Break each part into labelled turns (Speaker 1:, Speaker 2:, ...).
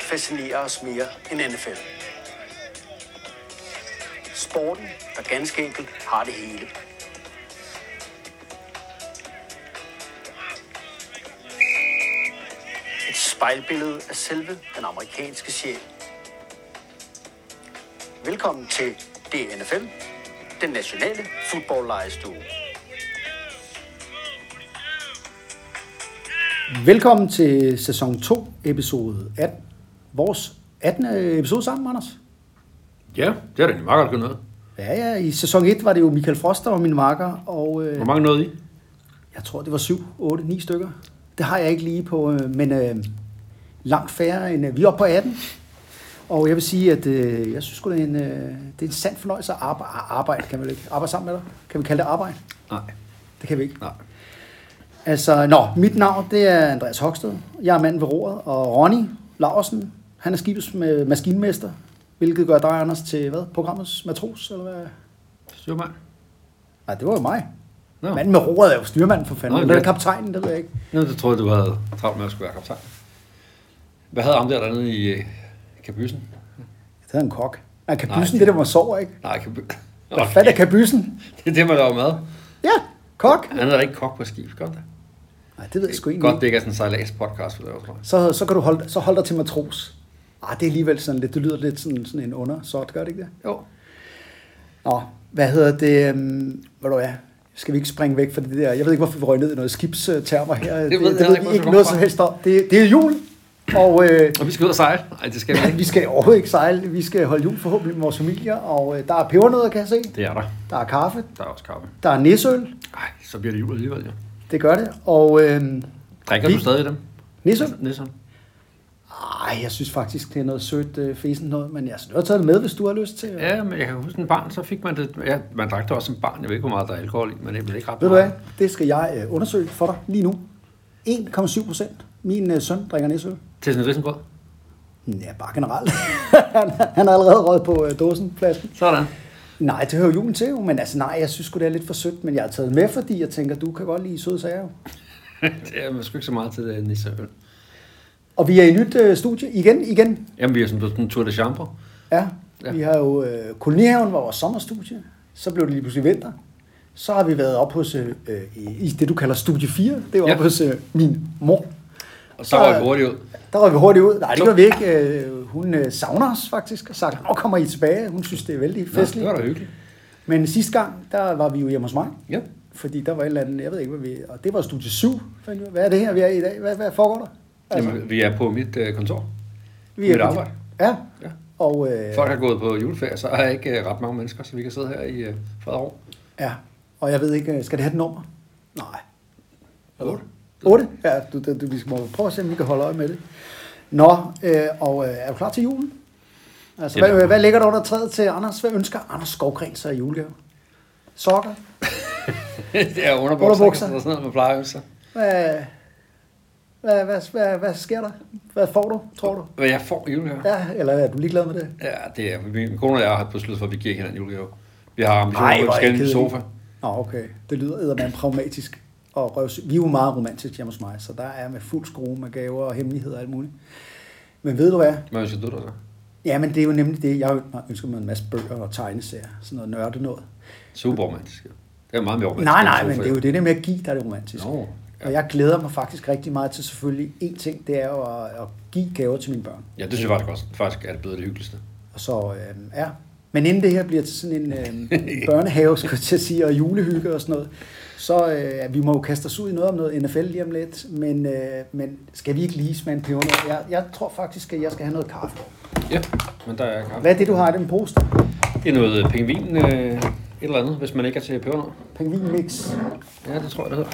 Speaker 1: fascinerer os mere end NFL. Sporten, der ganske enkelt har det hele. Et spejlbillede af selve den amerikanske sjæl. Velkommen til DNFL, den nationale fodboldlejestue.
Speaker 2: Velkommen til sæson 2, episode 18. Vores 18. episode sammen, Anders.
Speaker 3: Ja, det er da egentlig meget godt gået noget.
Speaker 2: Ja, ja, i sæson 1 var det jo Michael Frost, der var min makker, og øh,
Speaker 3: Hvor mange nåede I?
Speaker 2: jeg tror, det var 7, 8, 9 stykker. Det har jeg ikke lige på, øh, men øh, langt færre end... Øh, vi er oppe på 18, og jeg vil sige, at øh, jeg synes sgu, det er en, øh, det er en sand fornøjelse at arbejde, arbejde, kan man ikke? Arbejde sammen med dig? Kan vi kalde det arbejde?
Speaker 3: Nej.
Speaker 2: Det kan vi ikke.
Speaker 3: Nej.
Speaker 2: Altså, nå, mit navn det er Andreas Hoksted. Jeg er manden ved roret, og Ronny Larsen, han er skibets med maskinmester, hvilket gør dig, Anders, til hvad? Programmets matros, eller hvad?
Speaker 3: Det var mig.
Speaker 2: Nej, det var jo mig.
Speaker 3: Nå.
Speaker 2: Manden med roret er jo styrmanden for fanden.
Speaker 3: Nå,
Speaker 2: Eller
Speaker 3: ja.
Speaker 2: kaptajnen, det ved jeg ikke.
Speaker 3: Nå, det troede jeg, du havde travlt med at skulle være kaptajn. Hvad havde ham der dernede i øh, kabysen?
Speaker 2: Det hedder en kok. Nej, kabysen,
Speaker 3: Nej,
Speaker 2: det,
Speaker 3: det-
Speaker 2: det der, hvor man sover, ikke?
Speaker 3: Nej, kabysen.
Speaker 2: Hvad fanden er kabysen?
Speaker 3: Det er det, man laver mad.
Speaker 2: Ja, kok.
Speaker 3: Han er da ikke kok på skib, godt da.
Speaker 2: Nej, det ved jeg sgu egentlig
Speaker 3: Godt, det
Speaker 2: ikke.
Speaker 3: ikke er sådan en sejlads podcast, for det var, tror jeg.
Speaker 2: Så, så kan du holde, så holde dig til matros. Ah, det er alligevel sådan lidt, det lyder lidt sådan, sådan en undersort, gør det ikke det?
Speaker 3: Jo.
Speaker 2: Nå, hvad hedder det? øhm, Hvad du er? Skal vi ikke springe væk fra det der? Jeg ved ikke, hvorfor vi røg ned i noget skibstermer her. Det,
Speaker 3: jeg
Speaker 2: det,
Speaker 3: heller
Speaker 2: det
Speaker 3: ikke,
Speaker 2: ved
Speaker 3: hvor
Speaker 2: vi
Speaker 3: det
Speaker 2: ikke
Speaker 3: kommer
Speaker 2: noget
Speaker 3: fra.
Speaker 2: som helst om. Det, det er jul, og øh,
Speaker 3: Og vi skal ud og sejle. Nej, det skal vi ikke.
Speaker 2: vi skal overhovedet ikke sejle. Vi skal holde jul forhåbentlig med vores familier, og øh, der er pebernødder, kan jeg se.
Speaker 3: Det er der.
Speaker 2: Der er kaffe,
Speaker 3: Der er også kaffe.
Speaker 2: der er nisseøl,
Speaker 3: Nej, så bliver det jul alligevel, jo.
Speaker 2: det gør det, og øh,
Speaker 3: Drikker
Speaker 2: Vi-
Speaker 3: du stadig dem?
Speaker 2: nisseøl.
Speaker 3: Nissan.
Speaker 2: Ej, jeg synes faktisk, det er noget sødt øh, fesen noget, men jeg synes, du har taget det med, hvis du har lyst til.
Speaker 3: Ja, men jeg kan huske en barn, så fik man det. Ja, man drak det også som barn. Jeg ved ikke, hvor meget der er alkohol i, men det er vel ikke ret
Speaker 2: Ved du
Speaker 3: meget.
Speaker 2: hvad? Det skal jeg øh, undersøge for dig lige nu. 1,7 procent. Min øh, søn drikker nisseøl.
Speaker 3: Til sådan et risengrød.
Speaker 2: Ja, bare generelt. han, han har allerede røget på øh, dåsen, flasken.
Speaker 3: Sådan.
Speaker 2: Nej, det hører julen til jo, men altså nej, jeg synes sgu, det er lidt for sødt, men jeg har taget det med, fordi jeg tænker, du kan godt lide søde sager jo.
Speaker 3: det er måske ikke så meget til det nisseøl.
Speaker 2: Og vi er i nyt øh, studie igen, igen.
Speaker 3: Jamen, vi er sådan på sådan en tour de chambre.
Speaker 2: Ja, ja.
Speaker 3: Ja.
Speaker 2: vi har jo øh, Kolonihaven var vores sommerstudie, så blev det lige pludselig vinter. Så har vi været op hos, øh, øh, i, i det du kalder studie 4, det var ja.
Speaker 3: Ja.
Speaker 2: op hos øh, min mor.
Speaker 3: Og så var
Speaker 2: Der-
Speaker 3: vi hurtigt ud.
Speaker 2: Der var vi hurtigt ud. Nej, det gør vi ikke. Øh, hun øh, savner os faktisk, og sagt, nu kommer I tilbage. Hun synes, det er vældig
Speaker 3: Nå, det
Speaker 2: festligt.
Speaker 3: var da hyggeligt.
Speaker 2: Men sidste gang, der var vi jo hjemme hos mig.
Speaker 3: Ja.
Speaker 2: Fordi der var et eller andet, jeg ved ikke, hvad vi... Og det var studie 7. fandt jeg. Hvad er det her, vi er i dag? Hvad, hvad foregår der?
Speaker 3: Altså. Jamen, vi er på mit øh, kontor.
Speaker 2: er
Speaker 3: mit
Speaker 2: på-
Speaker 3: arbejde.
Speaker 2: Ja.
Speaker 3: Ja.
Speaker 2: Og, øh,
Speaker 3: Folk har gået på juleferie, så er ikke øh, ret mange mennesker, så vi kan sidde her i øh, Frederik.
Speaker 2: ja. og jeg ved ikke, øh, skal det have et nummer? Nej.
Speaker 3: Otte.
Speaker 2: 8? Ja, du, du, du, vi skal må prøve at se, om vi kan holde øje med det. Nå, øh, og øh, er du klar til julen? Altså,
Speaker 3: Jamen.
Speaker 2: hvad, hvad ligger der under træet til Anders? Hvad ønsker Anders Skovgren sig i julegave? Sokker?
Speaker 3: det er underbukser,
Speaker 2: Underbukser.
Speaker 3: underbukser. og sådan noget, man plejer at ønske sig.
Speaker 2: Hvad, hvad, hvad, hvad, hvad sker der? Hvad får du, tror du?
Speaker 3: Hvad jeg får i julegave? Ja.
Speaker 2: Ja, eller er du ligeglad med det?
Speaker 3: ja, det er min kone og jeg har besluttet for, at vi giver ikke hinanden julegave. Vi har ambitioner
Speaker 2: Ej,
Speaker 3: på
Speaker 2: hvor
Speaker 3: en
Speaker 2: er I
Speaker 3: skældende
Speaker 2: kedelige.
Speaker 3: sofa.
Speaker 2: Nå, okay. Det lyder eddermame pragmatisk og røvs. Vi er jo meget romantisk hjemme hos mig, så der er med fuld skrue med gaver og hemmeligheder og alt muligt. Men ved du hvad?
Speaker 3: Hvad ønsker du dig så?
Speaker 2: Ja, men det er jo nemlig det. Jeg ønsker mig en masse bøger og tegneserier. Sådan noget nørde noget.
Speaker 3: Super romantisk. jo. Det er meget mere romantisk.
Speaker 2: Nej,
Speaker 3: end
Speaker 2: nej,
Speaker 3: sofa,
Speaker 2: men det er jo det der med at give, der er det romantiske.
Speaker 3: Nå, ja.
Speaker 2: Og jeg glæder mig faktisk rigtig meget til selvfølgelig en ting, det er jo at, at give gaver til mine børn.
Speaker 3: Ja, det synes jeg faktisk, også, faktisk er det blevet det hyggeligste.
Speaker 2: Og så, øh, ja. Men inden det her bliver til sådan en øh, børnehave, skulle jeg til at sige, og julehygge og sådan noget, så øh, vi må jo kaste os ud i noget om noget NFL lige om lidt, men, øh, men skal vi ikke lige smage en peber? Jeg, jeg tror faktisk, at jeg skal have noget kaffe.
Speaker 3: Ja, men der er kaffe.
Speaker 2: Hvad er det, du har i den pose?
Speaker 3: Det er noget pingvin, øh, et eller andet, hvis man ikke er til pebernød.
Speaker 2: Pingvinmix.
Speaker 3: Ja, det tror jeg, det hedder.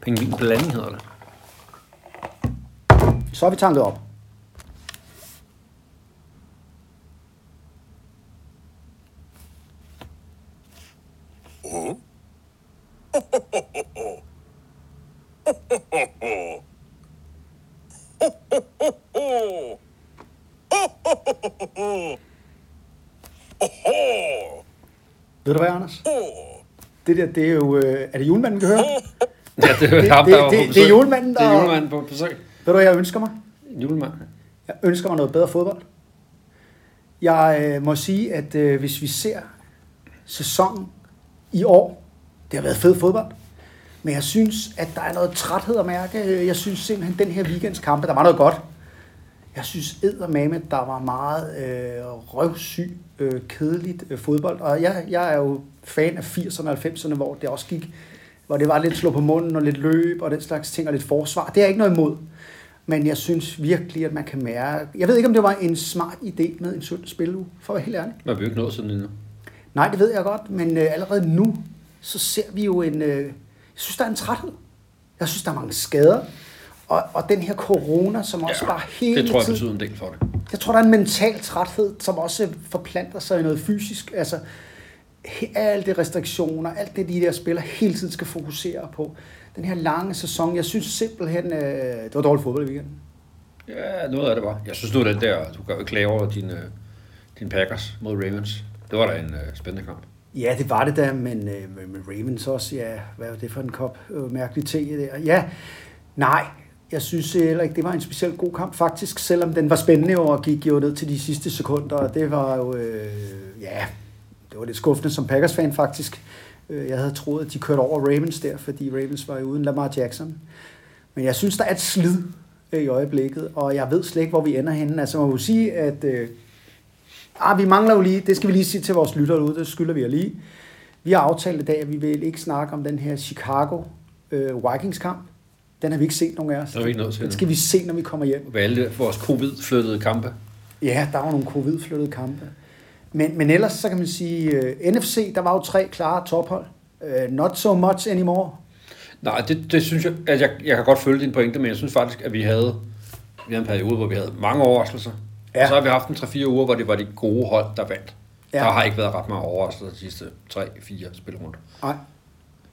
Speaker 3: Pingvinblanding hedder det.
Speaker 2: Så har vi tanket op. Ved du hvad, Anders? Det der, det er jo... øh, Er det julemanden, vi hører?
Speaker 3: Ja,
Speaker 2: Det-
Speaker 3: det, ham,
Speaker 2: det-
Speaker 3: der var
Speaker 2: det-
Speaker 3: på
Speaker 2: det er
Speaker 3: besøg.
Speaker 2: julemanden, der-
Speaker 3: Det er julemanden på besøg.
Speaker 2: Ved du, hvad jeg ønsker mig?
Speaker 3: Julemand.
Speaker 2: Jeg ønsker mig noget bedre fodbold. Jeg øh, må sige, at øh, hvis vi ser sæsonen i år, det har været fed fodbold, men jeg synes, at der er noget træthed at mærke. Jeg synes simpelthen, den her weekends kampe, der var noget godt. Jeg synes eddermame, at der var meget øh, røvsyg, øh, kedeligt øh, fodbold. Og jeg, jeg er jo fan af 80'erne og 90'erne, hvor det også gik, hvor det var lidt slå på munden og lidt løb og den slags ting og lidt forsvar. Det er jeg ikke noget imod. Men jeg synes virkelig, at man kan mærke... Jeg ved ikke, om det var en smart idé med en 17 spiluge, for at være helt ærlig.
Speaker 3: Man vil jo ikke nå sådan endnu.
Speaker 2: Nej, det ved jeg godt, men øh, allerede nu, så ser vi jo en... Øh, jeg synes, der er en træthed. Jeg synes, der er mange skader. Og, og den her corona, som også ja, bare hele
Speaker 3: det tror jeg
Speaker 2: tiden...
Speaker 3: betyder en del for det.
Speaker 2: Jeg tror, der er en mental træthed, som også forplanter sig i noget fysisk. Altså, he- alle de restriktioner, alt det, de der spillere hele tiden skal fokusere på. Den her lange sæson, jeg synes simpelthen, øh, det var dårligt fodbold i weekenden.
Speaker 3: Ja, noget af det var. Jeg synes nu, den der, du kan jo ikke klage over din, øh, din Packers mod Ravens. Det var da en øh, spændende kamp.
Speaker 2: Ja, det var det da, men, øh, men- men Ravens også, ja, hvad var det for en kop øh, mærkelig te der? Ja, nej, jeg synes heller ikke, det var en specielt god kamp faktisk, selvom den var spændende og gik jo ned til de sidste sekunder, og det var jo, øh, ja, det var lidt skuffende som Packers-fan faktisk. Øh, Jeg havde troet, at de kørte over Ravens der, fordi Ravens var jo uden Lamar Jackson. Men jeg synes, der er et slid øh, i øjeblikket, og jeg ved slet ikke, hvor vi ender henne. Altså, man må jo sige, at... Øh, Ah, vi mangler jo lige, det skal vi lige sige til vores lyttere derude, det skylder vi jer lige. Vi har aftalt i dag, at vi vil ikke snakke om den her Chicago øh, Vikings-kamp. Den har vi ikke set nogen af os.
Speaker 3: Den har vi ikke nået til
Speaker 2: Den
Speaker 3: endnu.
Speaker 2: skal vi se, når vi kommer hjem.
Speaker 3: Med alle vores covid-flyttede kampe.
Speaker 2: Ja, der var nogle covid-flyttede kampe. Men, men ellers, så kan man sige, uh, NFC, der var jo tre klare tophold. Uh, not so much anymore.
Speaker 3: Nej, det, det synes jeg, at jeg, jeg kan godt følge din pointe, men jeg synes faktisk, at vi havde, vi havde en periode, hvor vi havde mange overraskelser.
Speaker 2: Ja.
Speaker 3: Ja. Så har vi haft en 3-4 uger, hvor det var de gode hold, der vandt.
Speaker 2: Ja.
Speaker 3: Ja. Der har ikke været ret mange overraskelser de sidste 3-4 spilrunder.
Speaker 2: Nej.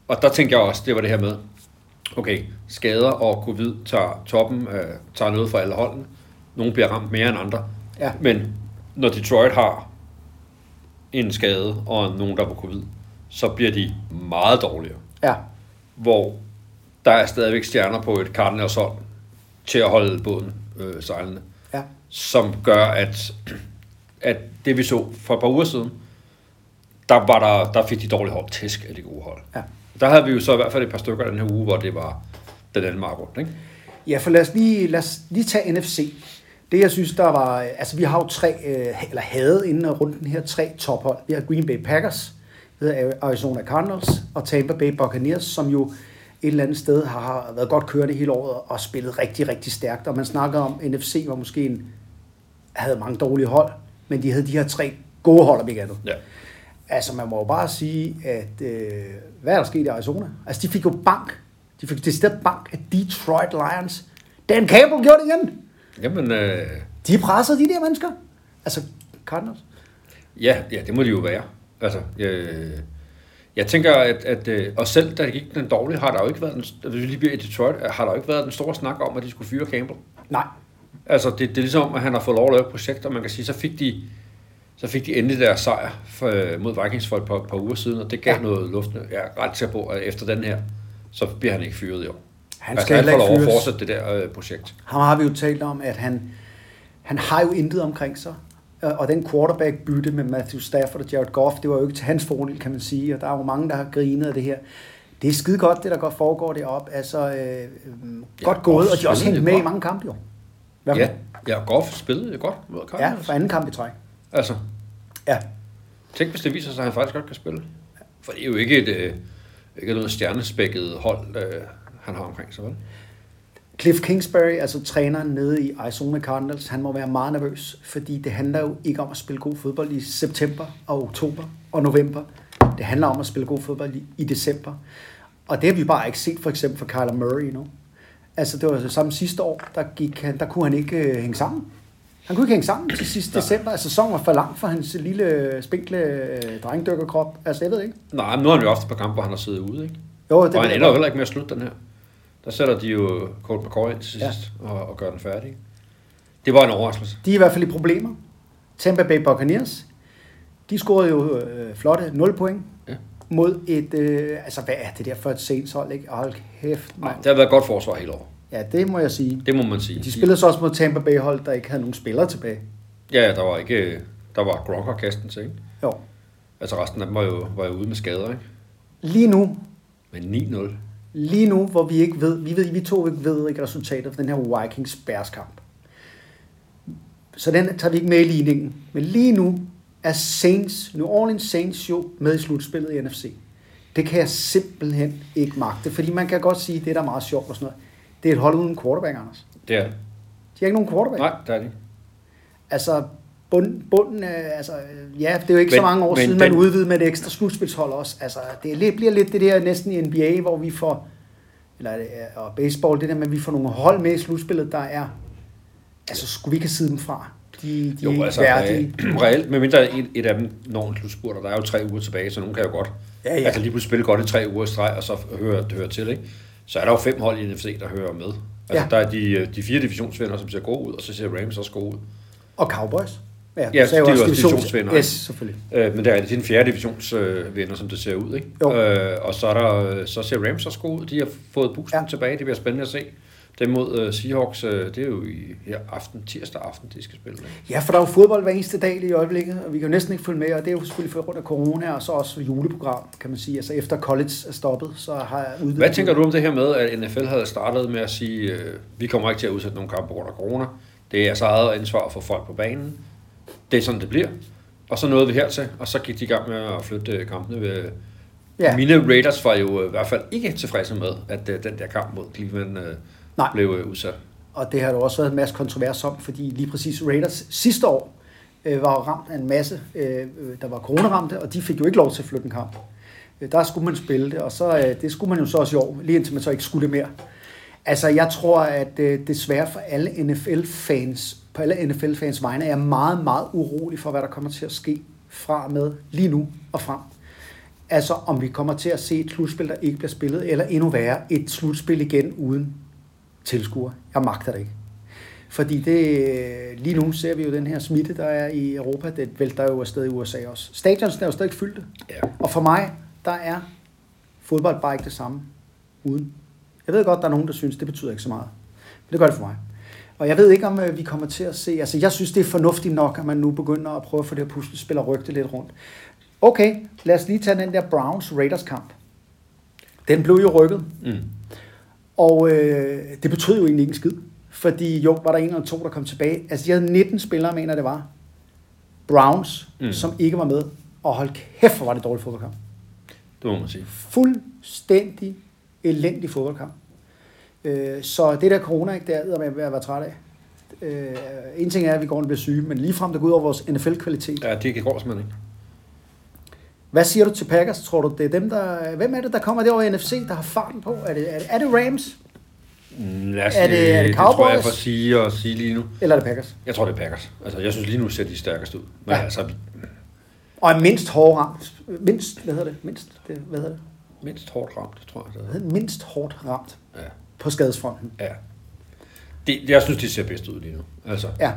Speaker 3: Og der tænkte jeg også, det var det her med, okay, skader og covid tager toppen, øh, tager noget fra alle holdene. Nogle bliver ramt mere end andre.
Speaker 2: Ja.
Speaker 3: Men når Detroit har en skade og nogen, der er på covid, så bliver de meget dårligere
Speaker 2: Ja,
Speaker 3: hvor der er stadigvæk stjerner på et Cardinals hold til at holde båden øh, sejlende,
Speaker 2: ja,
Speaker 3: som gør, at, at det vi så for et par uger siden, der, var der, der fik de dårlige hold tæsk af de gode hold.
Speaker 2: ja.
Speaker 3: Der havde vi jo så i hvert fald et par stykker den her uge, hvor det var den anden mark rundt, ikke?
Speaker 2: Ja, for lad os lige, lad os lige tage NFC. Det, jeg synes, der var... Altså, vi har jo tre, øh, eller havde inden runden her, tre tophold. Vi har Green Bay Packers, vi har Arizona Cardinals og Tampa Bay Buccaneers, som jo et eller andet sted har været godt kørende hele året og spillet rigtig, rigtig stærkt. Og man snakker om, at NFC var måske en, havde mange dårlige hold, men de havde de her tre gode hold, om ikke andet.
Speaker 3: Ja.
Speaker 2: Altså, man må jo bare sige, at øh, hvad er der sket i Arizona? Altså, de fik jo bank. De fik decideret bank af Detroit Lions. Dan Campbell gjorde det igen.
Speaker 3: Jamen, øh,
Speaker 2: De pressede de der mennesker. Altså, Cardinals.
Speaker 3: ja, ja, det må de jo være. Altså, øh, jeg tænker, at, at øh, og selv da det gik den dårlige, har der jo ikke været den, hvis vi lige bliver i Detroit, har der jo ikke været den store snak om, at de skulle fyre Campbell.
Speaker 2: Nej.
Speaker 3: Altså, det, det er ligesom, at han har fået lov at lave et projekt, og man kan sige, så fik de, så fik de endelig deres sejr for, øh, mod Vikings for et par, par uger siden, og det gav
Speaker 2: Ja.
Speaker 3: ja. noget luft. Jeg er ret sikker på, at øh, efter den her, så bliver han ikke fyret i år. Altså,
Speaker 2: Han skal heller
Speaker 3: han får
Speaker 2: ikke
Speaker 3: lov at
Speaker 2: fyres.
Speaker 3: fortsætte det der øh, projekt.
Speaker 2: Ham har vi jo talt om, at han, han har jo intet omkring sig. Og og den quarterback-bytte med Matthew Stafford og Jared Goff, det var jo ikke til hans fordel, kan man sige. Og der er jo mange, der har grinet af det her. Det er skide godt, det der godt foregår deroppe. Altså, øh, øh, godt
Speaker 3: Goff
Speaker 2: gået, og de har også
Speaker 3: spillede
Speaker 2: hængt
Speaker 3: jo
Speaker 2: med i
Speaker 3: godt.
Speaker 2: mange kampe, jo. Hvad
Speaker 3: Ja, ja, Goff spillede jo godt mod
Speaker 2: Ja,
Speaker 3: Cardinals.
Speaker 2: for anden kamp i træk.
Speaker 3: Altså,
Speaker 2: Ja.
Speaker 3: tænk hvis det viser sig, at han faktisk godt kan spille. For det er jo ikke et, øh, ikke noget stjernespækket hold, øh, han har omkring sig, vel?
Speaker 2: Cliff Kingsbury, altså træneren nede i Arizona Cardinals, han må være meget nervøs, fordi det handler jo ikke om at spille god fodbold i september og oktober og november. Det handler om at spille god fodbold i, i december. Og det har vi bare ikke set for eksempel for Kyler Murray endnu. Altså det var det samme sidste år, der, gik han, der kunne han ikke øh, hænge sammen. Han kunne ikke hænge sammen til sidste december. Altså sæsonen var for lang for hans lille, øh, spinkle øh, drengdykkerkrop. Altså jeg ved ikke.
Speaker 3: Nej, men nu har han jo haft et par kampe, hvor han har siddet ude, ikke?
Speaker 2: Jo,
Speaker 3: Og han
Speaker 2: jeg
Speaker 3: ender jo
Speaker 2: godt.
Speaker 3: heller ikke med at slutte den her. Der sætter de jo Colt McCoy ind til sidst ja. og, og gør den færdig. Det var en overraskelse.
Speaker 2: De er i hvert fald i problemer. Tampa Bay Buccaneers, de scorede jo øh, flotte 0 point ja.
Speaker 3: Ja.
Speaker 2: mod et, øh, altså hvad er det der for et Saints hold, ikke? Hold kæft,
Speaker 3: Nej.
Speaker 2: mand.
Speaker 3: Det har været et godt forsvar hele året.
Speaker 2: Ja, det må jeg sige.
Speaker 3: Det må man sige.
Speaker 2: De spillede så også mod Tampa Bay hold, der ikke havde nogen spillere tilbage.
Speaker 3: Ja, ja, der var ikke... øh, Der var Gronk og Kastens, ikke?
Speaker 2: Jo.
Speaker 3: Altså resten af dem var jo, var jo ude med skader, ikke?
Speaker 2: Lige nu,
Speaker 3: Men 9-0.
Speaker 2: lige nu, hvor vi ikke ved, vi, ved, vi to ikke ved ikke resultatet for den her Vikings Bears kamp. Så den tager vi ikke med i ligningen. Men lige nu er Saints, New Orleans Saints jo med i slutspillet i NFC. Det kan jeg simpelthen ikke magte, fordi man kan godt sige, at det der er meget sjovt og sådan noget. Det er et hold uden quarterback, Anders.
Speaker 3: Det er det.
Speaker 2: De har ikke nogen quarterback.
Speaker 3: Nej, der er det ikke.
Speaker 2: Altså, bund, bunden, øh, altså, øh, ja, det er jo ikke men, så
Speaker 3: Men-
Speaker 2: mange år
Speaker 3: men
Speaker 2: siden, man
Speaker 3: den-
Speaker 2: udvidede med et ekstra slutspilshold også. Altså, det er lidt, bliver lidt det der næsten i NBA, hvor vi får, eller øh, og baseball, det der med, at vi får nogle hold med i slutspillet, der er, altså, skulle vi ikke have siddet dem fra? De, de jo, er
Speaker 3: Jo,
Speaker 2: ikke
Speaker 3: altså,
Speaker 2: altså,
Speaker 3: øh,
Speaker 2: værdige.
Speaker 3: reelt, medmindre et, et af dem når en slutspurt, og der er jo tre uger tilbage, så nogen kan jo godt
Speaker 2: Ja, ja.
Speaker 3: Altså lige pludselig spille godt i tre uger i streg, og så hører, hører til, ikke? Så er der jo fem hold i NFC, der hører med. Altså,
Speaker 2: Ja.
Speaker 3: ja. der er de, øh, de fire divisionsvinder, som ser gode ud, og så ser Rams også gode ud.
Speaker 2: Og Cowboys.
Speaker 3: Ja,
Speaker 2: du sagde jo
Speaker 3: de er jo også
Speaker 2: divisions-
Speaker 3: divisionsvinder,
Speaker 2: Yes,
Speaker 3: ikke?
Speaker 2: selvfølgelig.
Speaker 3: Øh, men det er det er den fjerde divisionsvinder, som det ser ud, ikke?
Speaker 2: Jo.
Speaker 3: Øh, og så, er der, øh, så ser Rams også gode ud. De har fået boosten
Speaker 2: Ja.
Speaker 3: ja. tilbage. Det bliver spændende at se. Dem mod øh, Seahawks, øh, det er jo i her aften, tirsdag aften, de skal spille. Ikke?
Speaker 2: Ja, for der er jo fodbold hver eneste dag lige i øjeblikket, og vi kan jo næsten ikke følge med, og det er jo selvfølgelig for grund af corona, og så også juleprogram, kan man sige. Altså efter college er stoppet, så har jeg udvidet.
Speaker 3: Hvad tænker du om det her med, at NFL havde startet med at sige, øh, vi kommer ikke til at udsætte nogen kampe på grund af corona. Det er jeres eget ansvar at få folk på banen. Det er sådan, det bliver. Og så nåede vi hertil, og så gik de i gang med at flytte øh, kampene. Ved.
Speaker 2: Ja.
Speaker 3: Ja. Mine Raiders var jo øh, i hvert fald ikke tilfredse med, at øh, den der kamp mod Cleveland øh,
Speaker 2: Nej.
Speaker 3: blev øh, udsat.
Speaker 2: Og det har der også været en masse kontrovers om, fordi lige præcis Raiders sidste år øh, var jo ramt af en masse, øh, øh, der var coronaramte, og de fik jo ikke lov til at flytte en kamp. Øh, der skulle man spille det, og så, øh, det skulle man jo så også i år, lige indtil man så ikke skulle det mere. Altså, jeg tror, at øh, desværre for alle NFL-fans, på alle NFL-fans vegne, er jeg meget, meget urolig for, hvad der kommer til at ske fra og med lige nu og frem. Altså om vi kommer til at se et slutspil, der ikke bliver spillet, eller endnu værre, et slutspil igen uden tilskuer. Jeg magter det ikke. Fordi det, lige nu ser vi jo den her smitte, der er i Europa, det vælter jo afsted i USA også. Stadions er jo stadig fyldte.
Speaker 3: Ja.
Speaker 2: Og for mig, der er fodbold bare ikke det samme uden. Jeg ved godt, der er nogen, der synes, det betyder ikke så meget. Men det gør det for mig. Og jeg ved ikke, om øh, vi kommer til at se... Altså, jeg synes, det er fornuftigt nok, at man nu begynder at prøve at få det her puslespil og rykke det lidt rundt. Okay, lad os lige tage den der Browns-Raiders-kamp. Den blev jo rykket. Mm. Og øh, det betød jo egentlig ikke en skid. Fordi jo, var der en eller to, der kom tilbage. Altså, de havde 19 spillere, mener jeg, det var. Browns, mm. som ikke var med. Og hold kæft, hvor var det dårligt fodboldkamp
Speaker 3: Det må man sige.
Speaker 2: fuldstændig elendig fodboldkamp. Øh, så det der corona, ikke, det er jeg ved at være træt af. Øh, en ting er, at vi går og bliver syge, men ligefrem det går ud over vores NFL-kvalitet.
Speaker 3: Ja, det går simpelthen ikke.
Speaker 2: Hvad siger du til Packers? Tror du, det er dem, der... Hvem er det, der kommer derovre i NFC, der har farten på? Er det, er det, er det Rams,
Speaker 3: Mm, Lad os,
Speaker 2: Er det- er det
Speaker 3: det tror jeg
Speaker 2: Cowboys?
Speaker 3: for at sige og sige lige nu.
Speaker 2: eller er det Packers?
Speaker 3: Jeg tror, det er Packers. Altså, jeg synes lige nu ser de stærkest ud. Men
Speaker 2: Ja.
Speaker 3: ja. altså,
Speaker 2: Og er mindst hårdt ramt. Mindst, hvad hedder det? Mindst, det, hvad hedder det?
Speaker 3: mindst hårdt ramt, tror jeg. Det
Speaker 2: Hvad hedder det? Mindst hårdt ramt
Speaker 3: er. Ja.
Speaker 2: på skadesfronten.
Speaker 3: Ja. Det, jeg synes, de ser bedst ud lige nu. Altså,
Speaker 2: Ja,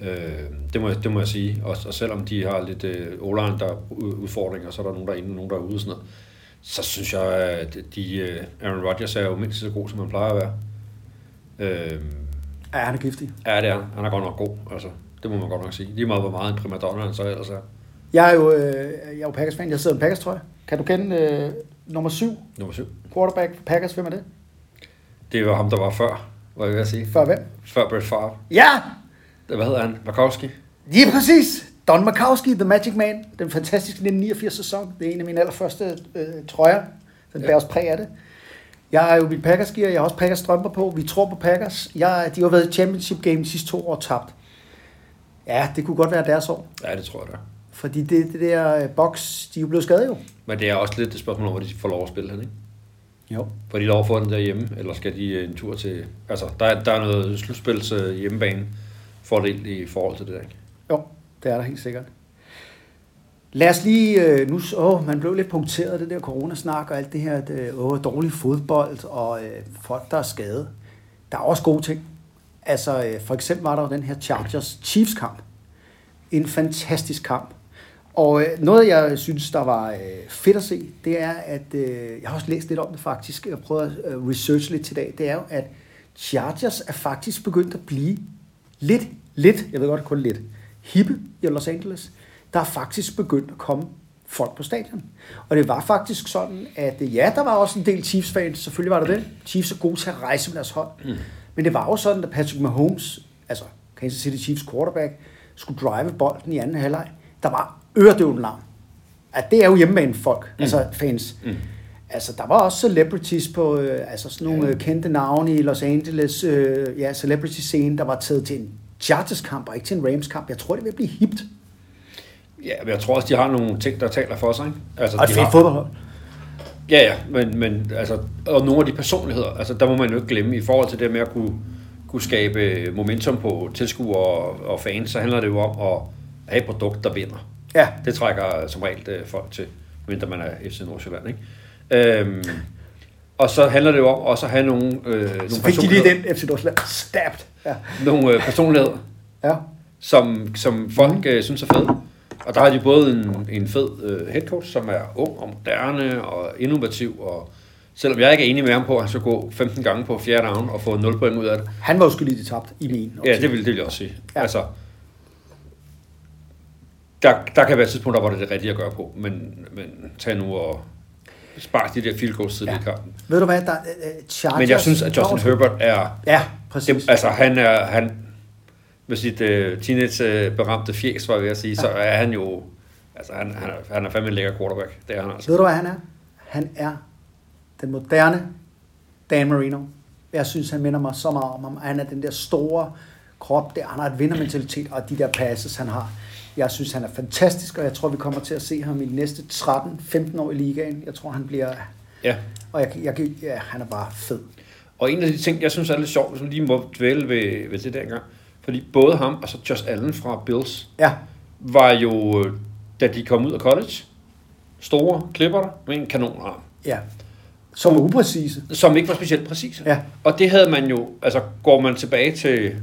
Speaker 3: øh, det, må jeg, det må jeg sige. Og, og selvom de har lidt øh, o der er u- udfordringer, så er der nogen, der er inde og nogen, der er ude og sådan noget, så synes jeg, at de, øh, Aaron Rodgers er jo mindst så god, som han plejer at være. Øh,
Speaker 2: ja han er giftig.
Speaker 3: ja, det er han. Han er godt nok god. Altså, det må man godt nok sige. Lige meget, hvor meget en primadonna han så ellers er.
Speaker 2: Jeg er jo, øh, jeg er jo Packers-fan. Jeg sidder i en Packers-trøje. Kan du kende øh, nummer syv
Speaker 3: Nummer syv.
Speaker 2: quarterback for Packers? Hvem er det?
Speaker 3: Det var ham, der var før, var jeg ved at sige.
Speaker 2: Før hvem?
Speaker 3: Før Brett Favre.
Speaker 2: Ja,
Speaker 3: Hvad hedder han? Markowski?
Speaker 2: lige præcis. Don Makowski, The Magic Man. Den fantastiske 1989-sæson. Det er en af mine allerførste øh, trøjer. Den bærer også præg af det. Jeg er jo mit packers gear. Jeg har også Packers strømper på. Vi tror på Packers. Jeg, de har været i championship game de sidste to år og tabt. Ja, det kunne godt være deres år.
Speaker 3: Ja, det tror jeg da.
Speaker 2: Fordi det, det der øh, box, de er jo blevet skadet jo.
Speaker 3: Men det er også lidt et spørgsmål om, hvor de får lov at spille han, ikke?
Speaker 2: Jo.
Speaker 3: Får de lov at få den derhjemme, eller skal de øh, en tur til... Altså, der er, der er noget slutspils øh, hjemmebane fordel i forhold til det der, ikke?
Speaker 2: Jo, det er der helt sikkert. Lad os lige, øh, nu, s- åh, man blev lidt punkteret af det der coronasnak og alt det her, at, øh, åh, dårlig fodbold og øh, folk, der er skadet. Der er også gode ting. Altså, øh, for eksempel var der jo den her Chargers-Chiefs-kamp. En fantastisk kamp. Og øh, noget, jeg synes, der var øh, fedt at se, det er, at øh, jeg har også læst lidt om det faktisk, og prøvet at øh, researche lidt til i dag, det er jo, at Chargers er faktisk begyndt at blive lidt, lidt, jeg ved godt kun lidt, hippe i Los Angeles. Der er faktisk begyndt at komme folk på stadion. Og det var faktisk sådan, at øh, ja, der var også en del Chiefs-fans, selvfølgelig var der det. Chiefs er gode til at rejse med deres hold. Mm. Men det var jo sådan, at Patrick Mahomes, altså Kansas City Chiefs quarterback, skulle drive bolden i anden halvleg. Der var øredøvende larm. At det er jo hjemmebane folk, mm. altså fans. Mm. Altså, der var også celebrities på, øh, altså sådan nogle øh, kendte navne i Los Angeles, øh, ja, celebrity-scene, der var taget til en Chargers-kamp, og ikke til en Rams-kamp. Jeg tror, det vil blive hipt.
Speaker 3: Ja, men jeg tror også, de har nogle ting, der taler for sig. Ikke? Altså,
Speaker 2: Og et
Speaker 3: de
Speaker 2: fedt
Speaker 3: har-
Speaker 2: fodboldhold.
Speaker 3: Ja, ja, men, men altså, og nogle af de personligheder, altså, der må man jo ikke glemme, i forhold til det med at kunne, kunne skabe øh, momentum på tilskuere og, og fans, så handler det jo om at have et produkt, der vinder.
Speaker 2: Ja.
Speaker 3: Det trækker som regel øh, folk til, mindre man er FC Nordsjælland, ikke? Øhm, og så handler det jo om også at have nogle, øh, nogle,
Speaker 2: Så fik de lige
Speaker 3: personligheder,
Speaker 2: den FC Nordsjælland. Stabbed. Ja.
Speaker 3: nogle øh, personligheder,
Speaker 2: ja.
Speaker 3: som, som folk øh, synes er fede. Og der har de både en, en fed øh, headcoach, som er ung og moderne og innovativ. Og selvom jeg ikke er enig med ham på, at han skal gå 15 gange på fjerde down og få 0 point ud af det.
Speaker 2: Han var jo skyldig, de tabte i min.
Speaker 3: Ja,
Speaker 2: optik.
Speaker 3: det vil, det vil jeg også sige.
Speaker 2: Ja.
Speaker 3: Ja. Altså, der, der kan være tidspunkter, hvor det er det rigtige at gøre på, men, men tag nu og spar de der field goals tidligt ja. i kampen.
Speaker 2: Ved du hvad, der er uh, Chargers...
Speaker 3: Men jeg synes, at Justin Herbert er
Speaker 2: Ja, præcis.
Speaker 3: det, altså, han er, han, med sit uh, teenage-beramte fjes, var jeg ved at sige, så er han jo, altså, han, han, er, han er fandme en lækker quarterback. Det er han altså.
Speaker 2: Ved du, hvad han er? Han er den moderne Dan Marino. Jeg synes, han minder mig så meget om ham. Han er den der store krop der. Han har et vindermentalitet, og de der passes, han har. Jeg synes, han er fantastisk, og jeg tror, vi kommer til at se ham i de næste 13-15 år i ligaen. Jeg tror, han bliver...
Speaker 3: Ja.
Speaker 2: Og jeg, jeg, kan- ja, han er bare fed.
Speaker 3: Og en af de ting, jeg synes er lidt sjovt, hvis man lige må dvæle ved, ved det der engang, fordi både ham og så Josh Allen fra Bills
Speaker 2: Ja,
Speaker 3: var jo, øh, da de kom ud af college, store klipper der med en kanonarm,
Speaker 2: ja. Som er upræcise.
Speaker 3: som ikke var specielt præcis.
Speaker 2: Ja.
Speaker 3: Og det havde man jo, altså går man tilbage til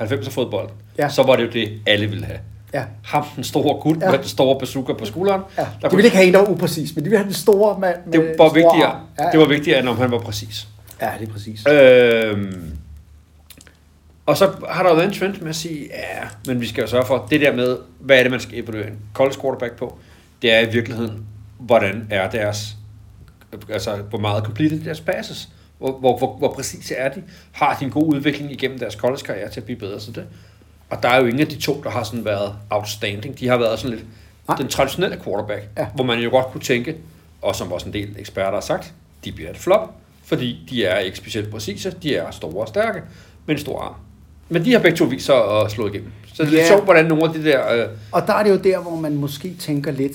Speaker 3: 90'er fodbold,
Speaker 2: Ja.
Speaker 3: så var det jo det, alle ville have.
Speaker 2: Ja.
Speaker 3: ham, den store gut,
Speaker 2: Ja.
Speaker 3: ja. med den store bazooka på skulderen.
Speaker 2: ja.
Speaker 3: der
Speaker 2: De
Speaker 3: kunne,
Speaker 2: ville ikke have en, der var upræcis, men de ville have den store mand med
Speaker 3: det,
Speaker 2: den
Speaker 3: var
Speaker 2: store
Speaker 3: vigtigere,
Speaker 2: arm.
Speaker 3: ja, ja. det var Øh, vigtigere, end om han var præcis.
Speaker 2: Ja, det er præcis.
Speaker 3: Øhm, og så har der jo været en trend med at sige, ja, men vi skal jo sørge for, det der med, hvad er det, man skal evaluere en college quarterback på, det er i virkeligheden, hvordan er deres, altså hvor meget complete deres passes, hvor, hvor, hvor, hvor præcise er de, har de en god udvikling igennem deres college-karriere til at blive bedre til det. Og der er jo ingen af de to, der har sådan været outstanding. De har været sådan lidt
Speaker 2: Nej.
Speaker 3: den traditionelle quarterback,
Speaker 2: Ja.
Speaker 3: ja. hvor man jo godt kunne tænke, og som også en del eksperter har sagt, de bliver et flop, fordi de er ikke specielt præcise, de er store og stærke, men en stor arm. Men de har begge to vist sig at slå igennem. Så det er
Speaker 2: Ja.
Speaker 3: lidt sjovt, hvordan nogle af de der... Øh,
Speaker 2: Og der er det jo der, hvor man måske tænker lidt,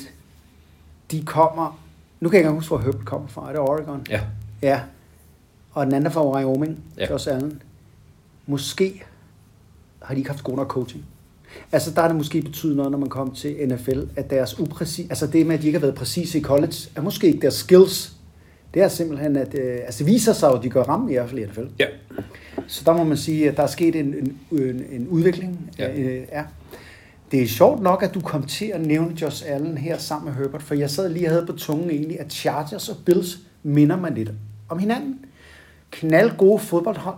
Speaker 2: de kommer, nu kan jeg ikke engang huske, hvor Herbert kommer fra, er det Oregon?
Speaker 3: ja,
Speaker 2: ja. Og den anden er fra Wyoming, ja.
Speaker 3: Ja.
Speaker 2: Josh Allen. Måske har de ikke haft god nok coaching. Altså der er det måske betydet noget, når man kommer til NFL, at deres upræcis, altså det med, at de ikke har været præcise i college, er måske ikke deres skills. Det er simpelthen, at øh, altså det viser sig jo, at de gør ramme i hvert fald i NFL.
Speaker 3: ja.
Speaker 2: Så der må man sige, at der er sket en, en, en, en udvikling.
Speaker 3: Ja.
Speaker 2: Øh, ja. Det er sjovt nok, at du kom til at nævne Josh Allen her sammen med Herbert, for jeg sad lige og havde på tungen egentlig, at Chargers og Bills minder man lidt om hinanden. Knald gode fodboldhold,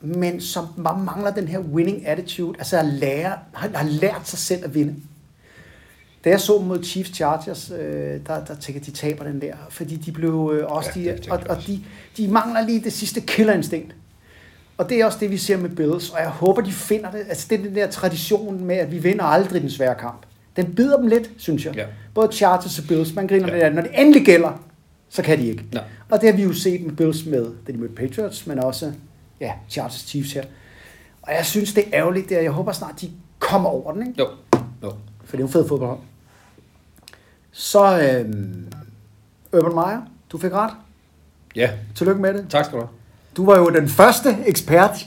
Speaker 2: men som bare mangler den her winning attitude, altså at lære, har, har lært sig selv at vinde. Da jeg så dem mod Chiefs Chargers, øh, der, der tænkte jeg, de taber den der, fordi de blev øh, også,
Speaker 3: Ja,
Speaker 2: ja,
Speaker 3: det
Speaker 2: de,
Speaker 3: tænker
Speaker 2: og,
Speaker 3: jeg
Speaker 2: og
Speaker 3: også.
Speaker 2: de, de mangler lige det sidste killerinstinkt. Og det er også det, vi ser med Bills, og jeg håber, de finder det. Altså, det er den der tradition med, at vi vinder aldrig den svære kamp. Den bider dem lidt, synes jeg.
Speaker 3: Ja.
Speaker 2: Både Chargers og Bills, man griner ja.
Speaker 3: Ja.
Speaker 2: lidt af det. Når det endelig gælder, så kan de ikke.
Speaker 3: Nej.
Speaker 2: Og det har vi jo set med Bills med, da de mødte Patriots, men også ja, Chargers Chiefs her. Og jeg synes, det er ærgerligt, det er, jeg håber snart, de kommer over den, ikke?
Speaker 3: Jo, jo.
Speaker 2: For det er jo en fed fodboldhold. Så øh, Urban Meyer, du fik ret.
Speaker 3: Ja,
Speaker 2: Tillykke med det.
Speaker 3: tak skal du have.
Speaker 2: Du var jo den første ekspert